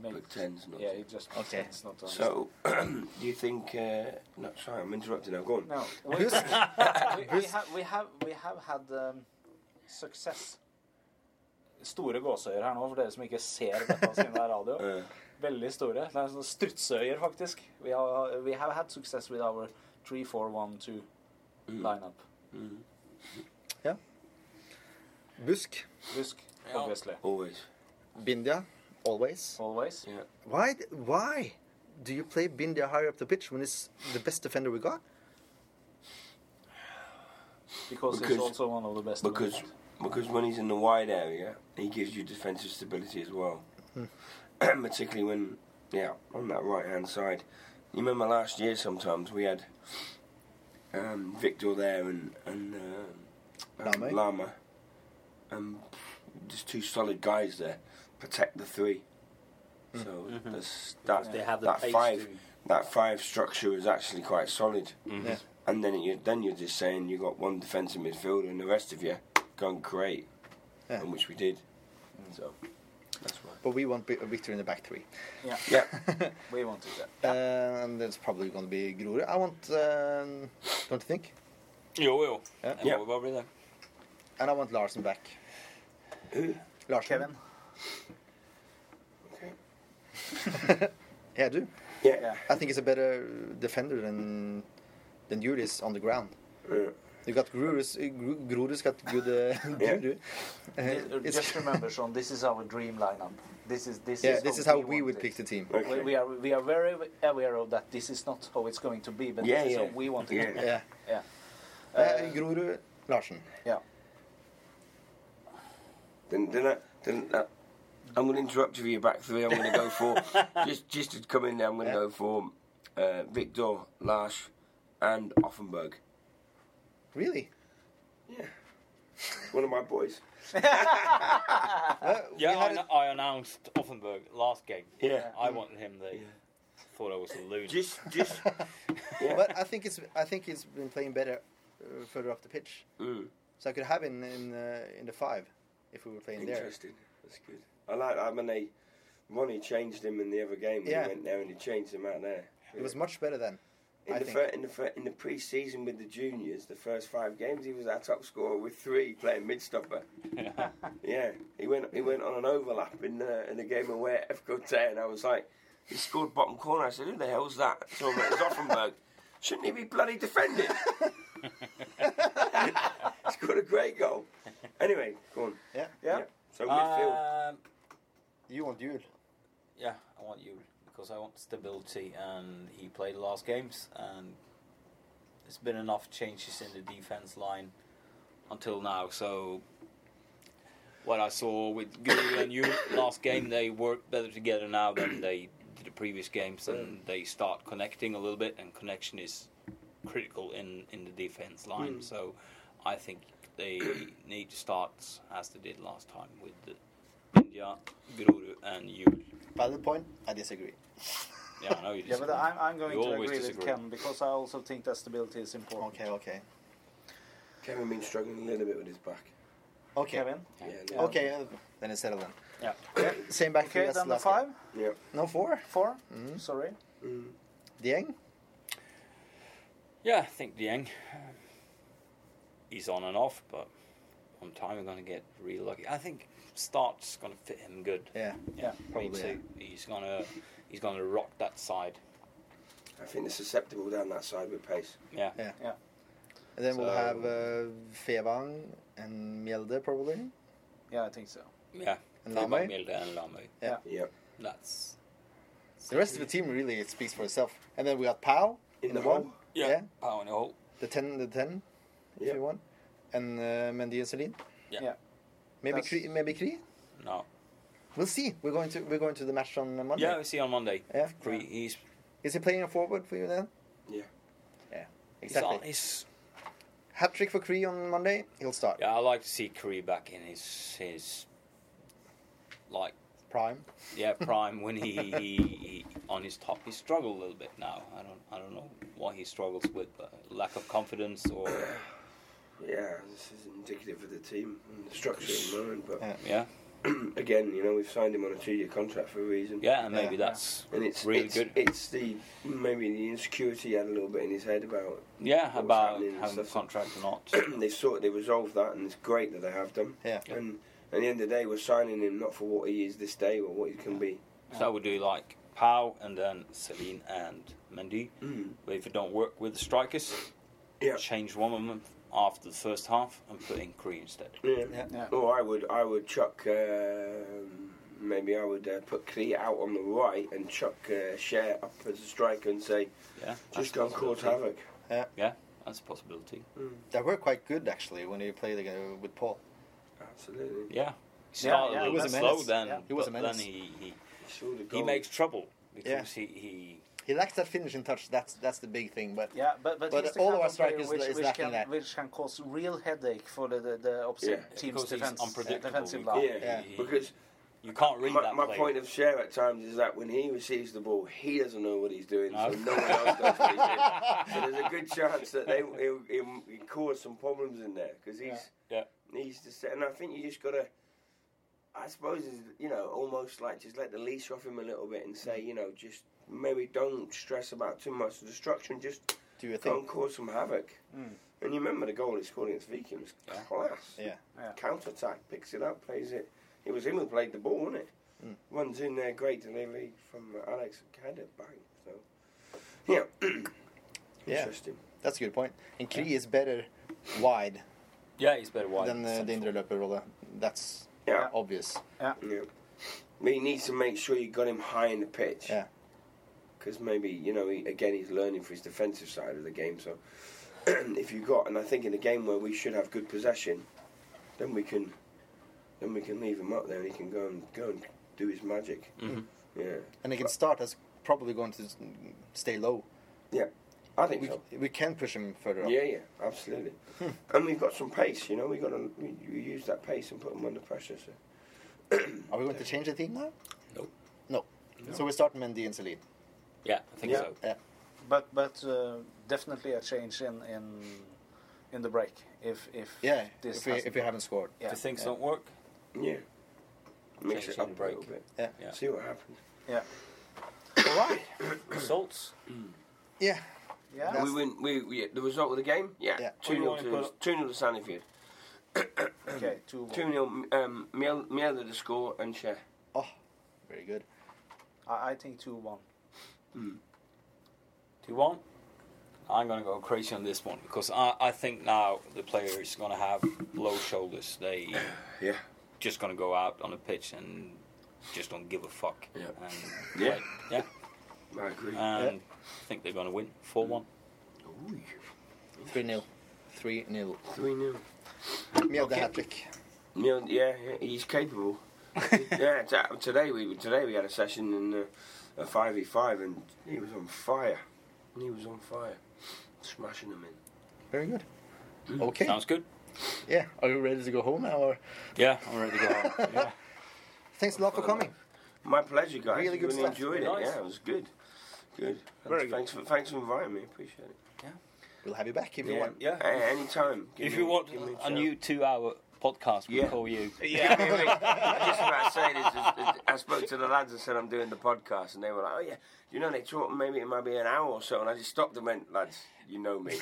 [SPEAKER 4] makes.
[SPEAKER 3] Pretends not.
[SPEAKER 4] Yeah,
[SPEAKER 3] to.
[SPEAKER 4] he just
[SPEAKER 1] Okay.
[SPEAKER 4] pretends not to understand.
[SPEAKER 3] So, do you think? Uh, no, sorry, I'm interrupting now. Go on.
[SPEAKER 4] No, we, we,
[SPEAKER 1] Husk.
[SPEAKER 4] we, have, we, have, we have had um, suksess. Store gåseøyer her nå, for dere som ikke ser dette siden det er radio.
[SPEAKER 3] Uh,
[SPEAKER 4] Veldig store. Det er sånne strutsøyer, faktisk. We have, we have had success with our 3-4-1-2
[SPEAKER 3] mm,
[SPEAKER 4] lineup.
[SPEAKER 3] mm,
[SPEAKER 1] Busk.
[SPEAKER 4] Husk,
[SPEAKER 2] Ja.
[SPEAKER 4] obviously.
[SPEAKER 3] always.
[SPEAKER 1] Bindia. Always.
[SPEAKER 4] Always.
[SPEAKER 3] Yeah.
[SPEAKER 1] Why? d- Why do you play Bindia higher up the pitch when it's the best defender we got?
[SPEAKER 4] Because he's
[SPEAKER 3] Because-
[SPEAKER 4] also one of the best. in the
[SPEAKER 3] Because
[SPEAKER 4] world.
[SPEAKER 3] because when he's in the wide area, he gives you defensive stability as well. Particularly when, yeah, on that right hand side. You remember last year sometimes we had um, Victor there and and um, um,
[SPEAKER 1] Lama.
[SPEAKER 3] Lama, and just two solid guys there protect the three.
[SPEAKER 4] Mm.
[SPEAKER 3] So
[SPEAKER 4] Mm-hmm.
[SPEAKER 3] that's, that
[SPEAKER 7] They have the
[SPEAKER 3] that
[SPEAKER 7] pace
[SPEAKER 3] five
[SPEAKER 7] to-
[SPEAKER 3] that five structure is actually quite solid.
[SPEAKER 4] Mm-hmm.
[SPEAKER 1] Yeah.
[SPEAKER 3] And then you then you're just saying you got one defensive midfielder and the rest of you go and create,
[SPEAKER 1] Yeah.
[SPEAKER 3] and which we did.
[SPEAKER 4] Mm.
[SPEAKER 3] So that's why.
[SPEAKER 1] But we want Bi- Victor in the back three.
[SPEAKER 3] Yeah,
[SPEAKER 4] We wanted that.
[SPEAKER 1] Uh, and it's probably going to be Grorud. I want, um, don't you think?
[SPEAKER 2] Jo, jo.
[SPEAKER 1] Ja.
[SPEAKER 2] Det må jo bare bli det.
[SPEAKER 1] And I want Larsen back. Larsen.
[SPEAKER 4] Kevin.
[SPEAKER 1] Yeah, I do.
[SPEAKER 3] yeah,
[SPEAKER 1] I think he's a better defender than than Juris on the ground.
[SPEAKER 3] yeah.
[SPEAKER 1] You got uh, Grurus, Grurus got good uh,
[SPEAKER 3] Yeah.
[SPEAKER 1] Gruru. Uh, it's-
[SPEAKER 4] Just remember, Sean, this is our dream lineup. This is this
[SPEAKER 1] yeah,
[SPEAKER 4] is
[SPEAKER 1] this is how we
[SPEAKER 4] want
[SPEAKER 1] would
[SPEAKER 4] it.
[SPEAKER 1] pick the team.
[SPEAKER 4] We,
[SPEAKER 3] Okay.
[SPEAKER 4] we are we are very aware of that. This is not how it's going to be, but
[SPEAKER 3] Yeah,
[SPEAKER 4] this
[SPEAKER 3] yeah.
[SPEAKER 4] is how we want it. to
[SPEAKER 3] Yeah.
[SPEAKER 4] be.
[SPEAKER 1] Yeah. Uh,
[SPEAKER 4] Yeah. Uh,
[SPEAKER 1] Grorud, Larsen.
[SPEAKER 3] Then then that, then that, I'm going to interrupt you for your back three. I'm going to go for just just to come in there. I'm going to
[SPEAKER 1] Yeah.
[SPEAKER 3] go for uh, Victor, Larsh, and Offenberg.
[SPEAKER 1] Really?
[SPEAKER 3] Yeah, one of my boys.
[SPEAKER 1] Uh, we
[SPEAKER 2] Yeah, I,
[SPEAKER 1] had
[SPEAKER 2] I announced Offenberg last game.
[SPEAKER 3] Yeah.
[SPEAKER 2] I wanted him. They
[SPEAKER 3] Yeah.
[SPEAKER 2] thought I was a loon.
[SPEAKER 3] Just just.
[SPEAKER 1] it-
[SPEAKER 3] Yeah.
[SPEAKER 1] But I think it's I think he's been playing better uh, further up the pitch.
[SPEAKER 3] Mm,
[SPEAKER 1] So I could have him in uh, in the five if we were playing there.
[SPEAKER 3] interesting. That's good. I like that when they Ronnie changed him in the other game. When
[SPEAKER 1] Yeah.
[SPEAKER 3] He went there and he changed him out there.
[SPEAKER 1] It was much better then.
[SPEAKER 3] In
[SPEAKER 1] I
[SPEAKER 3] the,
[SPEAKER 1] think.
[SPEAKER 3] fir- in the fir- in the pre-season with the juniors, the first five games, he was our top scorer with three playing mid-stopper. yeah, he went he went on an overlap in the in the game away at FCOTE, and I was like, he scored bottom corner. I said, who the hell's that? So it was Offenberg. Shouldn't he be bloody defending? scored a great goal. Anyway, go on.
[SPEAKER 1] Yeah.
[SPEAKER 4] Yeah.
[SPEAKER 3] So midfield.
[SPEAKER 1] Uh,
[SPEAKER 2] Um,
[SPEAKER 1] You want Jules.
[SPEAKER 2] yeah, I want you because I want stability, and he played the last games, and there's been enough changes in the defense line until now. So what I saw with Guru and you last game, they work better together now than they did the previous games, and they start connecting a little bit, and connection is critical in in the defense line. So I think they need to start as they did last time with the. India, Guru, and you.
[SPEAKER 1] Valid point. I disagree.
[SPEAKER 2] Yeah, I know you
[SPEAKER 4] Yeah,
[SPEAKER 2] disagree.
[SPEAKER 4] but I'm, I'm going
[SPEAKER 2] You
[SPEAKER 4] to
[SPEAKER 2] always
[SPEAKER 4] agree with
[SPEAKER 2] disagree.
[SPEAKER 4] Ken because I also think that stability is important.
[SPEAKER 1] Okay. Okay.
[SPEAKER 3] Kevin been struggling a little bit with his back.
[SPEAKER 1] Okay.
[SPEAKER 4] Kevin.
[SPEAKER 3] Yeah.
[SPEAKER 4] Yeah.
[SPEAKER 1] Okay. uh, Then it's settled then.
[SPEAKER 4] Yeah.
[SPEAKER 1] Yeah, Same back three
[SPEAKER 4] Okay,
[SPEAKER 1] as
[SPEAKER 4] then the
[SPEAKER 1] last game.
[SPEAKER 4] five,
[SPEAKER 3] Yeah.
[SPEAKER 1] No four.
[SPEAKER 4] four.
[SPEAKER 1] Hmm?
[SPEAKER 4] Sorry.
[SPEAKER 3] Mm.
[SPEAKER 1] Dieng.
[SPEAKER 2] Yeah, I think Dieng. um, He's on and off, but on time we're going to get really lucky. I think Start's going to fit him good.
[SPEAKER 1] Yeah.
[SPEAKER 4] Yeah,
[SPEAKER 2] me
[SPEAKER 1] probably,
[SPEAKER 2] too. He's going to he's going to rock that side.
[SPEAKER 3] I think they're susceptible down that side with pace.
[SPEAKER 2] Yeah.
[SPEAKER 1] Yeah. And then we'll
[SPEAKER 2] So-
[SPEAKER 1] have uh, Fevang and Mjelde probably.
[SPEAKER 4] Yeah, I think so.
[SPEAKER 2] Yeah.
[SPEAKER 1] And
[SPEAKER 2] They
[SPEAKER 1] Lamøy.
[SPEAKER 2] got Milde and Lamøy.
[SPEAKER 3] Yeah.
[SPEAKER 2] That's
[SPEAKER 1] The rest of the team really it speaks for itself. And then we got Pau
[SPEAKER 3] In the
[SPEAKER 1] one.
[SPEAKER 3] hole.
[SPEAKER 1] Yeah.
[SPEAKER 2] Power in the hole.
[SPEAKER 1] The ten, the ten, if
[SPEAKER 3] Yeah.
[SPEAKER 1] you want. And uh, Mendy and Celine.
[SPEAKER 2] Yeah.
[SPEAKER 4] Yeah.
[SPEAKER 1] Maybe
[SPEAKER 4] That's-
[SPEAKER 1] Cree, maybe Cree.
[SPEAKER 2] No.
[SPEAKER 1] We'll see. We're going to we're going to the match on Monday.
[SPEAKER 2] Yeah, we see on Monday.
[SPEAKER 1] Yeah.
[SPEAKER 2] Free- He's,
[SPEAKER 1] Is he playing a forward for you then?
[SPEAKER 3] Yeah.
[SPEAKER 1] Yeah.
[SPEAKER 2] he's,
[SPEAKER 1] Exactly.
[SPEAKER 2] on, he's
[SPEAKER 1] Hat trick for Cree on Monday. He'll start.
[SPEAKER 2] Yeah, I like to see Curry back in his his like
[SPEAKER 1] Prime.
[SPEAKER 2] yeah prime when he, he, he on his top. He struggled a little bit now. I don't I don't know what he struggles with, but lack of confidence or
[SPEAKER 3] Yeah, this is indicative of the team and the structure at the moment. But
[SPEAKER 1] Yeah.
[SPEAKER 2] yeah
[SPEAKER 3] again, you know, we've signed him on a two-year contract for a reason.
[SPEAKER 2] yeah and maybe
[SPEAKER 1] Yeah.
[SPEAKER 2] that's
[SPEAKER 3] And it's
[SPEAKER 2] really
[SPEAKER 3] it's,
[SPEAKER 2] good.
[SPEAKER 3] It's the maybe the insecurity he had a little bit in his head about
[SPEAKER 2] yeah
[SPEAKER 3] what's
[SPEAKER 2] about
[SPEAKER 3] happening and
[SPEAKER 2] having a
[SPEAKER 3] stuff.
[SPEAKER 2] contract or not.
[SPEAKER 3] they've sorted they resolved that and it's great that they have done.
[SPEAKER 1] Yeah.
[SPEAKER 3] And at the end of the day we're signing him not for what he is this day or what he can be.
[SPEAKER 2] So I would do like Pau and then Celine and Mendy.
[SPEAKER 3] Mm.
[SPEAKER 2] But if you don't work with the strikers,
[SPEAKER 3] Yeah.
[SPEAKER 2] change one of them after the first half and put in Curry instead.
[SPEAKER 3] Yeah.
[SPEAKER 1] Yeah.
[SPEAKER 4] Yeah.
[SPEAKER 3] Or I would I would chuck um, maybe I would uh, put Clee out on the right and chuck uh, Share up as a striker and say
[SPEAKER 2] Yeah, that's
[SPEAKER 3] just
[SPEAKER 2] a
[SPEAKER 3] go and cause
[SPEAKER 2] possibility.
[SPEAKER 3] havoc.
[SPEAKER 2] Yeah, that's a possibility.
[SPEAKER 1] They were quite good actually when he played together with Paul.
[SPEAKER 3] Absolutely.
[SPEAKER 2] Yeah. He
[SPEAKER 4] Yeah,
[SPEAKER 2] started
[SPEAKER 4] yeah,
[SPEAKER 2] a
[SPEAKER 4] he
[SPEAKER 2] little
[SPEAKER 4] was
[SPEAKER 1] a
[SPEAKER 2] slow
[SPEAKER 1] menace.
[SPEAKER 2] then,
[SPEAKER 4] Yeah.
[SPEAKER 1] He was
[SPEAKER 2] but
[SPEAKER 1] a
[SPEAKER 2] then
[SPEAKER 1] menace.
[SPEAKER 2] he, he,
[SPEAKER 3] He saw the
[SPEAKER 2] he
[SPEAKER 3] goal.
[SPEAKER 2] makes trouble because he, he
[SPEAKER 1] He lacks that finishing touch. That's that's the big thing. But
[SPEAKER 4] Yeah, but but,
[SPEAKER 1] But
[SPEAKER 4] he's the
[SPEAKER 1] all
[SPEAKER 4] kind
[SPEAKER 1] our
[SPEAKER 4] of player
[SPEAKER 1] strikers
[SPEAKER 4] which,
[SPEAKER 1] is
[SPEAKER 4] which
[SPEAKER 1] lacking
[SPEAKER 4] can
[SPEAKER 1] that.
[SPEAKER 4] which can cause real headache for the the, the opposite
[SPEAKER 3] Yeah.
[SPEAKER 4] team's
[SPEAKER 2] because he's
[SPEAKER 4] defense, uh,
[SPEAKER 2] unpredictable.
[SPEAKER 4] defensive
[SPEAKER 2] You
[SPEAKER 4] line.
[SPEAKER 2] can't-
[SPEAKER 1] Yeah.
[SPEAKER 2] he-
[SPEAKER 3] because
[SPEAKER 2] you can't read
[SPEAKER 3] my,
[SPEAKER 2] that
[SPEAKER 3] my
[SPEAKER 2] play.
[SPEAKER 3] point of share at times is that when he receives the ball, he doesn't know what he's doing,
[SPEAKER 2] No.
[SPEAKER 3] so no one else does. what he's doing. So there's a good chance that they he'll, he'll, he'll cause some problems in there because he's
[SPEAKER 2] Yeah.
[SPEAKER 3] he's just and I think you just gotta. I suppose is you know almost like just let the leash off him a little bit and
[SPEAKER 2] Mm.
[SPEAKER 3] say you know just maybe don't stress about too much of the structure and just
[SPEAKER 1] do you
[SPEAKER 3] go
[SPEAKER 1] think?
[SPEAKER 3] and cause some havoc.
[SPEAKER 4] Mm.
[SPEAKER 3] And you remember the goal he scored against Viking was
[SPEAKER 2] Yeah.
[SPEAKER 3] class
[SPEAKER 1] Hmm. Yeah.
[SPEAKER 3] counter attack, picks it up, plays it. It was him who played the ball, wasn't it?
[SPEAKER 1] Mm.
[SPEAKER 3] Runs in there, great delivery from uh, Alex Cadder, bang. So, yeah,
[SPEAKER 1] Yeah.
[SPEAKER 3] interesting.
[SPEAKER 1] That's a good point. And Cree is better wide
[SPEAKER 2] Yeah, he's better wide.
[SPEAKER 1] than uh, the
[SPEAKER 2] central.
[SPEAKER 1] indreløperrolle. That's
[SPEAKER 3] Yeah.
[SPEAKER 1] obvious.
[SPEAKER 3] Yeah, but he needs to make sure you got him high in the pitch.
[SPEAKER 1] Yeah.
[SPEAKER 3] because maybe you know he, again he's learning for his defensive side of the game. So, if you got, and I think in a game where we should have good possession, then we can, then we can leave him up there and he can go and go and do his magic.
[SPEAKER 2] Mhm.
[SPEAKER 3] Yeah,
[SPEAKER 1] Mm-hmm.
[SPEAKER 3] Uh,
[SPEAKER 1] And he can start as probably going to s- stay low.
[SPEAKER 3] I think
[SPEAKER 1] we,
[SPEAKER 3] so.
[SPEAKER 1] we can push him further up.
[SPEAKER 3] Yeah, yeah, absolutely.
[SPEAKER 1] Hmm.
[SPEAKER 3] And we've got some pace, you know. We got to we, we use that pace and put them under pressure. So
[SPEAKER 1] Are we going to change the team now?
[SPEAKER 2] Nope.
[SPEAKER 1] No. So we start Mendy and Celine.
[SPEAKER 2] Yeah, I think
[SPEAKER 3] Yeah.
[SPEAKER 2] so.
[SPEAKER 4] But but uh, definitely a change in in in the break if if
[SPEAKER 1] Yeah,
[SPEAKER 4] this
[SPEAKER 1] if we,
[SPEAKER 4] hasn't-
[SPEAKER 1] if we haven't scored.
[SPEAKER 4] yeah,
[SPEAKER 2] if things
[SPEAKER 1] yeah.
[SPEAKER 2] don't work,
[SPEAKER 3] yeah, mix
[SPEAKER 2] Change
[SPEAKER 3] it up
[SPEAKER 2] and
[SPEAKER 3] a little
[SPEAKER 2] break.
[SPEAKER 3] bit.
[SPEAKER 1] Yeah.
[SPEAKER 2] Yeah.
[SPEAKER 3] See what happens.
[SPEAKER 1] All right.
[SPEAKER 2] results.
[SPEAKER 1] Yeah.
[SPEAKER 4] yeah.
[SPEAKER 1] That's-
[SPEAKER 3] we win. We, we the result of the game. Yeah,
[SPEAKER 1] Yeah.
[SPEAKER 3] two 0
[SPEAKER 2] What do you wanna
[SPEAKER 3] to two 0 to Sandefjord.
[SPEAKER 4] okay two one.
[SPEAKER 3] Two 0 um, Miel, Mielder to score and share.
[SPEAKER 1] Very good.
[SPEAKER 4] I, I think two one.
[SPEAKER 2] 2 1. I'm going to go crazy on this one because I, I think now the player is going to have low shoulders. They
[SPEAKER 3] Yeah.
[SPEAKER 2] just going to go out on the pitch and just don't give a fuck.
[SPEAKER 3] Yeah.
[SPEAKER 2] And
[SPEAKER 3] Yeah.
[SPEAKER 2] play. yeah. Uh,
[SPEAKER 3] I agree.
[SPEAKER 2] And I think they're going to win 4 1.
[SPEAKER 1] 3 0. 3 0.
[SPEAKER 3] Three 0
[SPEAKER 1] Mjelde
[SPEAKER 2] Okay.
[SPEAKER 1] hat trick.
[SPEAKER 3] Miel, yeah, yeah, he's capable. yeah, t- today we today we had a session in uh, a five v five and he was on fire. He was on fire, smashing them in.
[SPEAKER 1] Very good. Okay.
[SPEAKER 2] Sounds good?
[SPEAKER 1] Yeah. Are you ready to go home now? Or?
[SPEAKER 2] Yeah, I'm ready to go home. Yeah.
[SPEAKER 1] Thanks a lot for coming.
[SPEAKER 3] My pleasure, guys.
[SPEAKER 1] Really
[SPEAKER 3] Really
[SPEAKER 1] good stuff.
[SPEAKER 3] enjoyed it.
[SPEAKER 2] Nice.
[SPEAKER 3] Yeah, it was good. Good.
[SPEAKER 1] Very good.
[SPEAKER 3] thanks For, thanks for inviting me. Appreciate it.
[SPEAKER 1] We'll have you back if you want.
[SPEAKER 2] yeah.
[SPEAKER 3] Hey, anytime. Give
[SPEAKER 2] If
[SPEAKER 3] me-
[SPEAKER 2] you want
[SPEAKER 3] give me
[SPEAKER 2] a
[SPEAKER 3] shout.
[SPEAKER 2] new two hour podcast, we
[SPEAKER 3] Yeah.
[SPEAKER 2] call you.
[SPEAKER 3] Yeah, I, mean, like, I just about to say this. is- I spoke to the lads and said I'm doing the podcast, and they were like, "Oh yeah, you know they thought maybe it might be an hour or so," and I just stopped them and went, "Lads, you know me.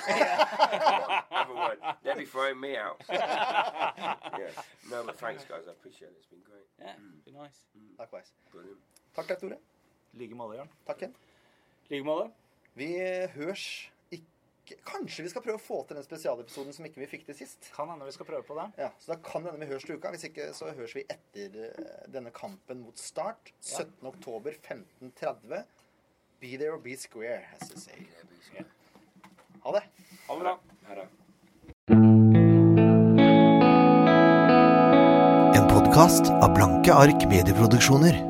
[SPEAKER 3] Everyone, they'd be throwing me out." yeah. No, but thanks, guys. I appreciate it. It's been great.
[SPEAKER 2] Yeah, be nice.
[SPEAKER 1] Likewise.
[SPEAKER 3] Brilliant.
[SPEAKER 1] Takk, Leif Tore.
[SPEAKER 4] Like måte, Jørn.
[SPEAKER 1] Takk igjen.
[SPEAKER 2] Like måte.
[SPEAKER 1] Vi eh, hørs ikke Kanskje vi skal prøve å få til den spesialepisoden som ikke vi fikk til sist.
[SPEAKER 4] Kan hende vi skal prøve på det.
[SPEAKER 1] Ja, Så da kan denne vi hørs til uka. Hvis ikke så hørs vi etter eh, denne kampen mot Start. 17. oktober 15.30. Be there or be square, as they say.
[SPEAKER 3] Yeah, basically.
[SPEAKER 1] Ha det.
[SPEAKER 2] Ha det bra.
[SPEAKER 3] Hello.
[SPEAKER 7] podkast av Blanke ark medieproduksjoner.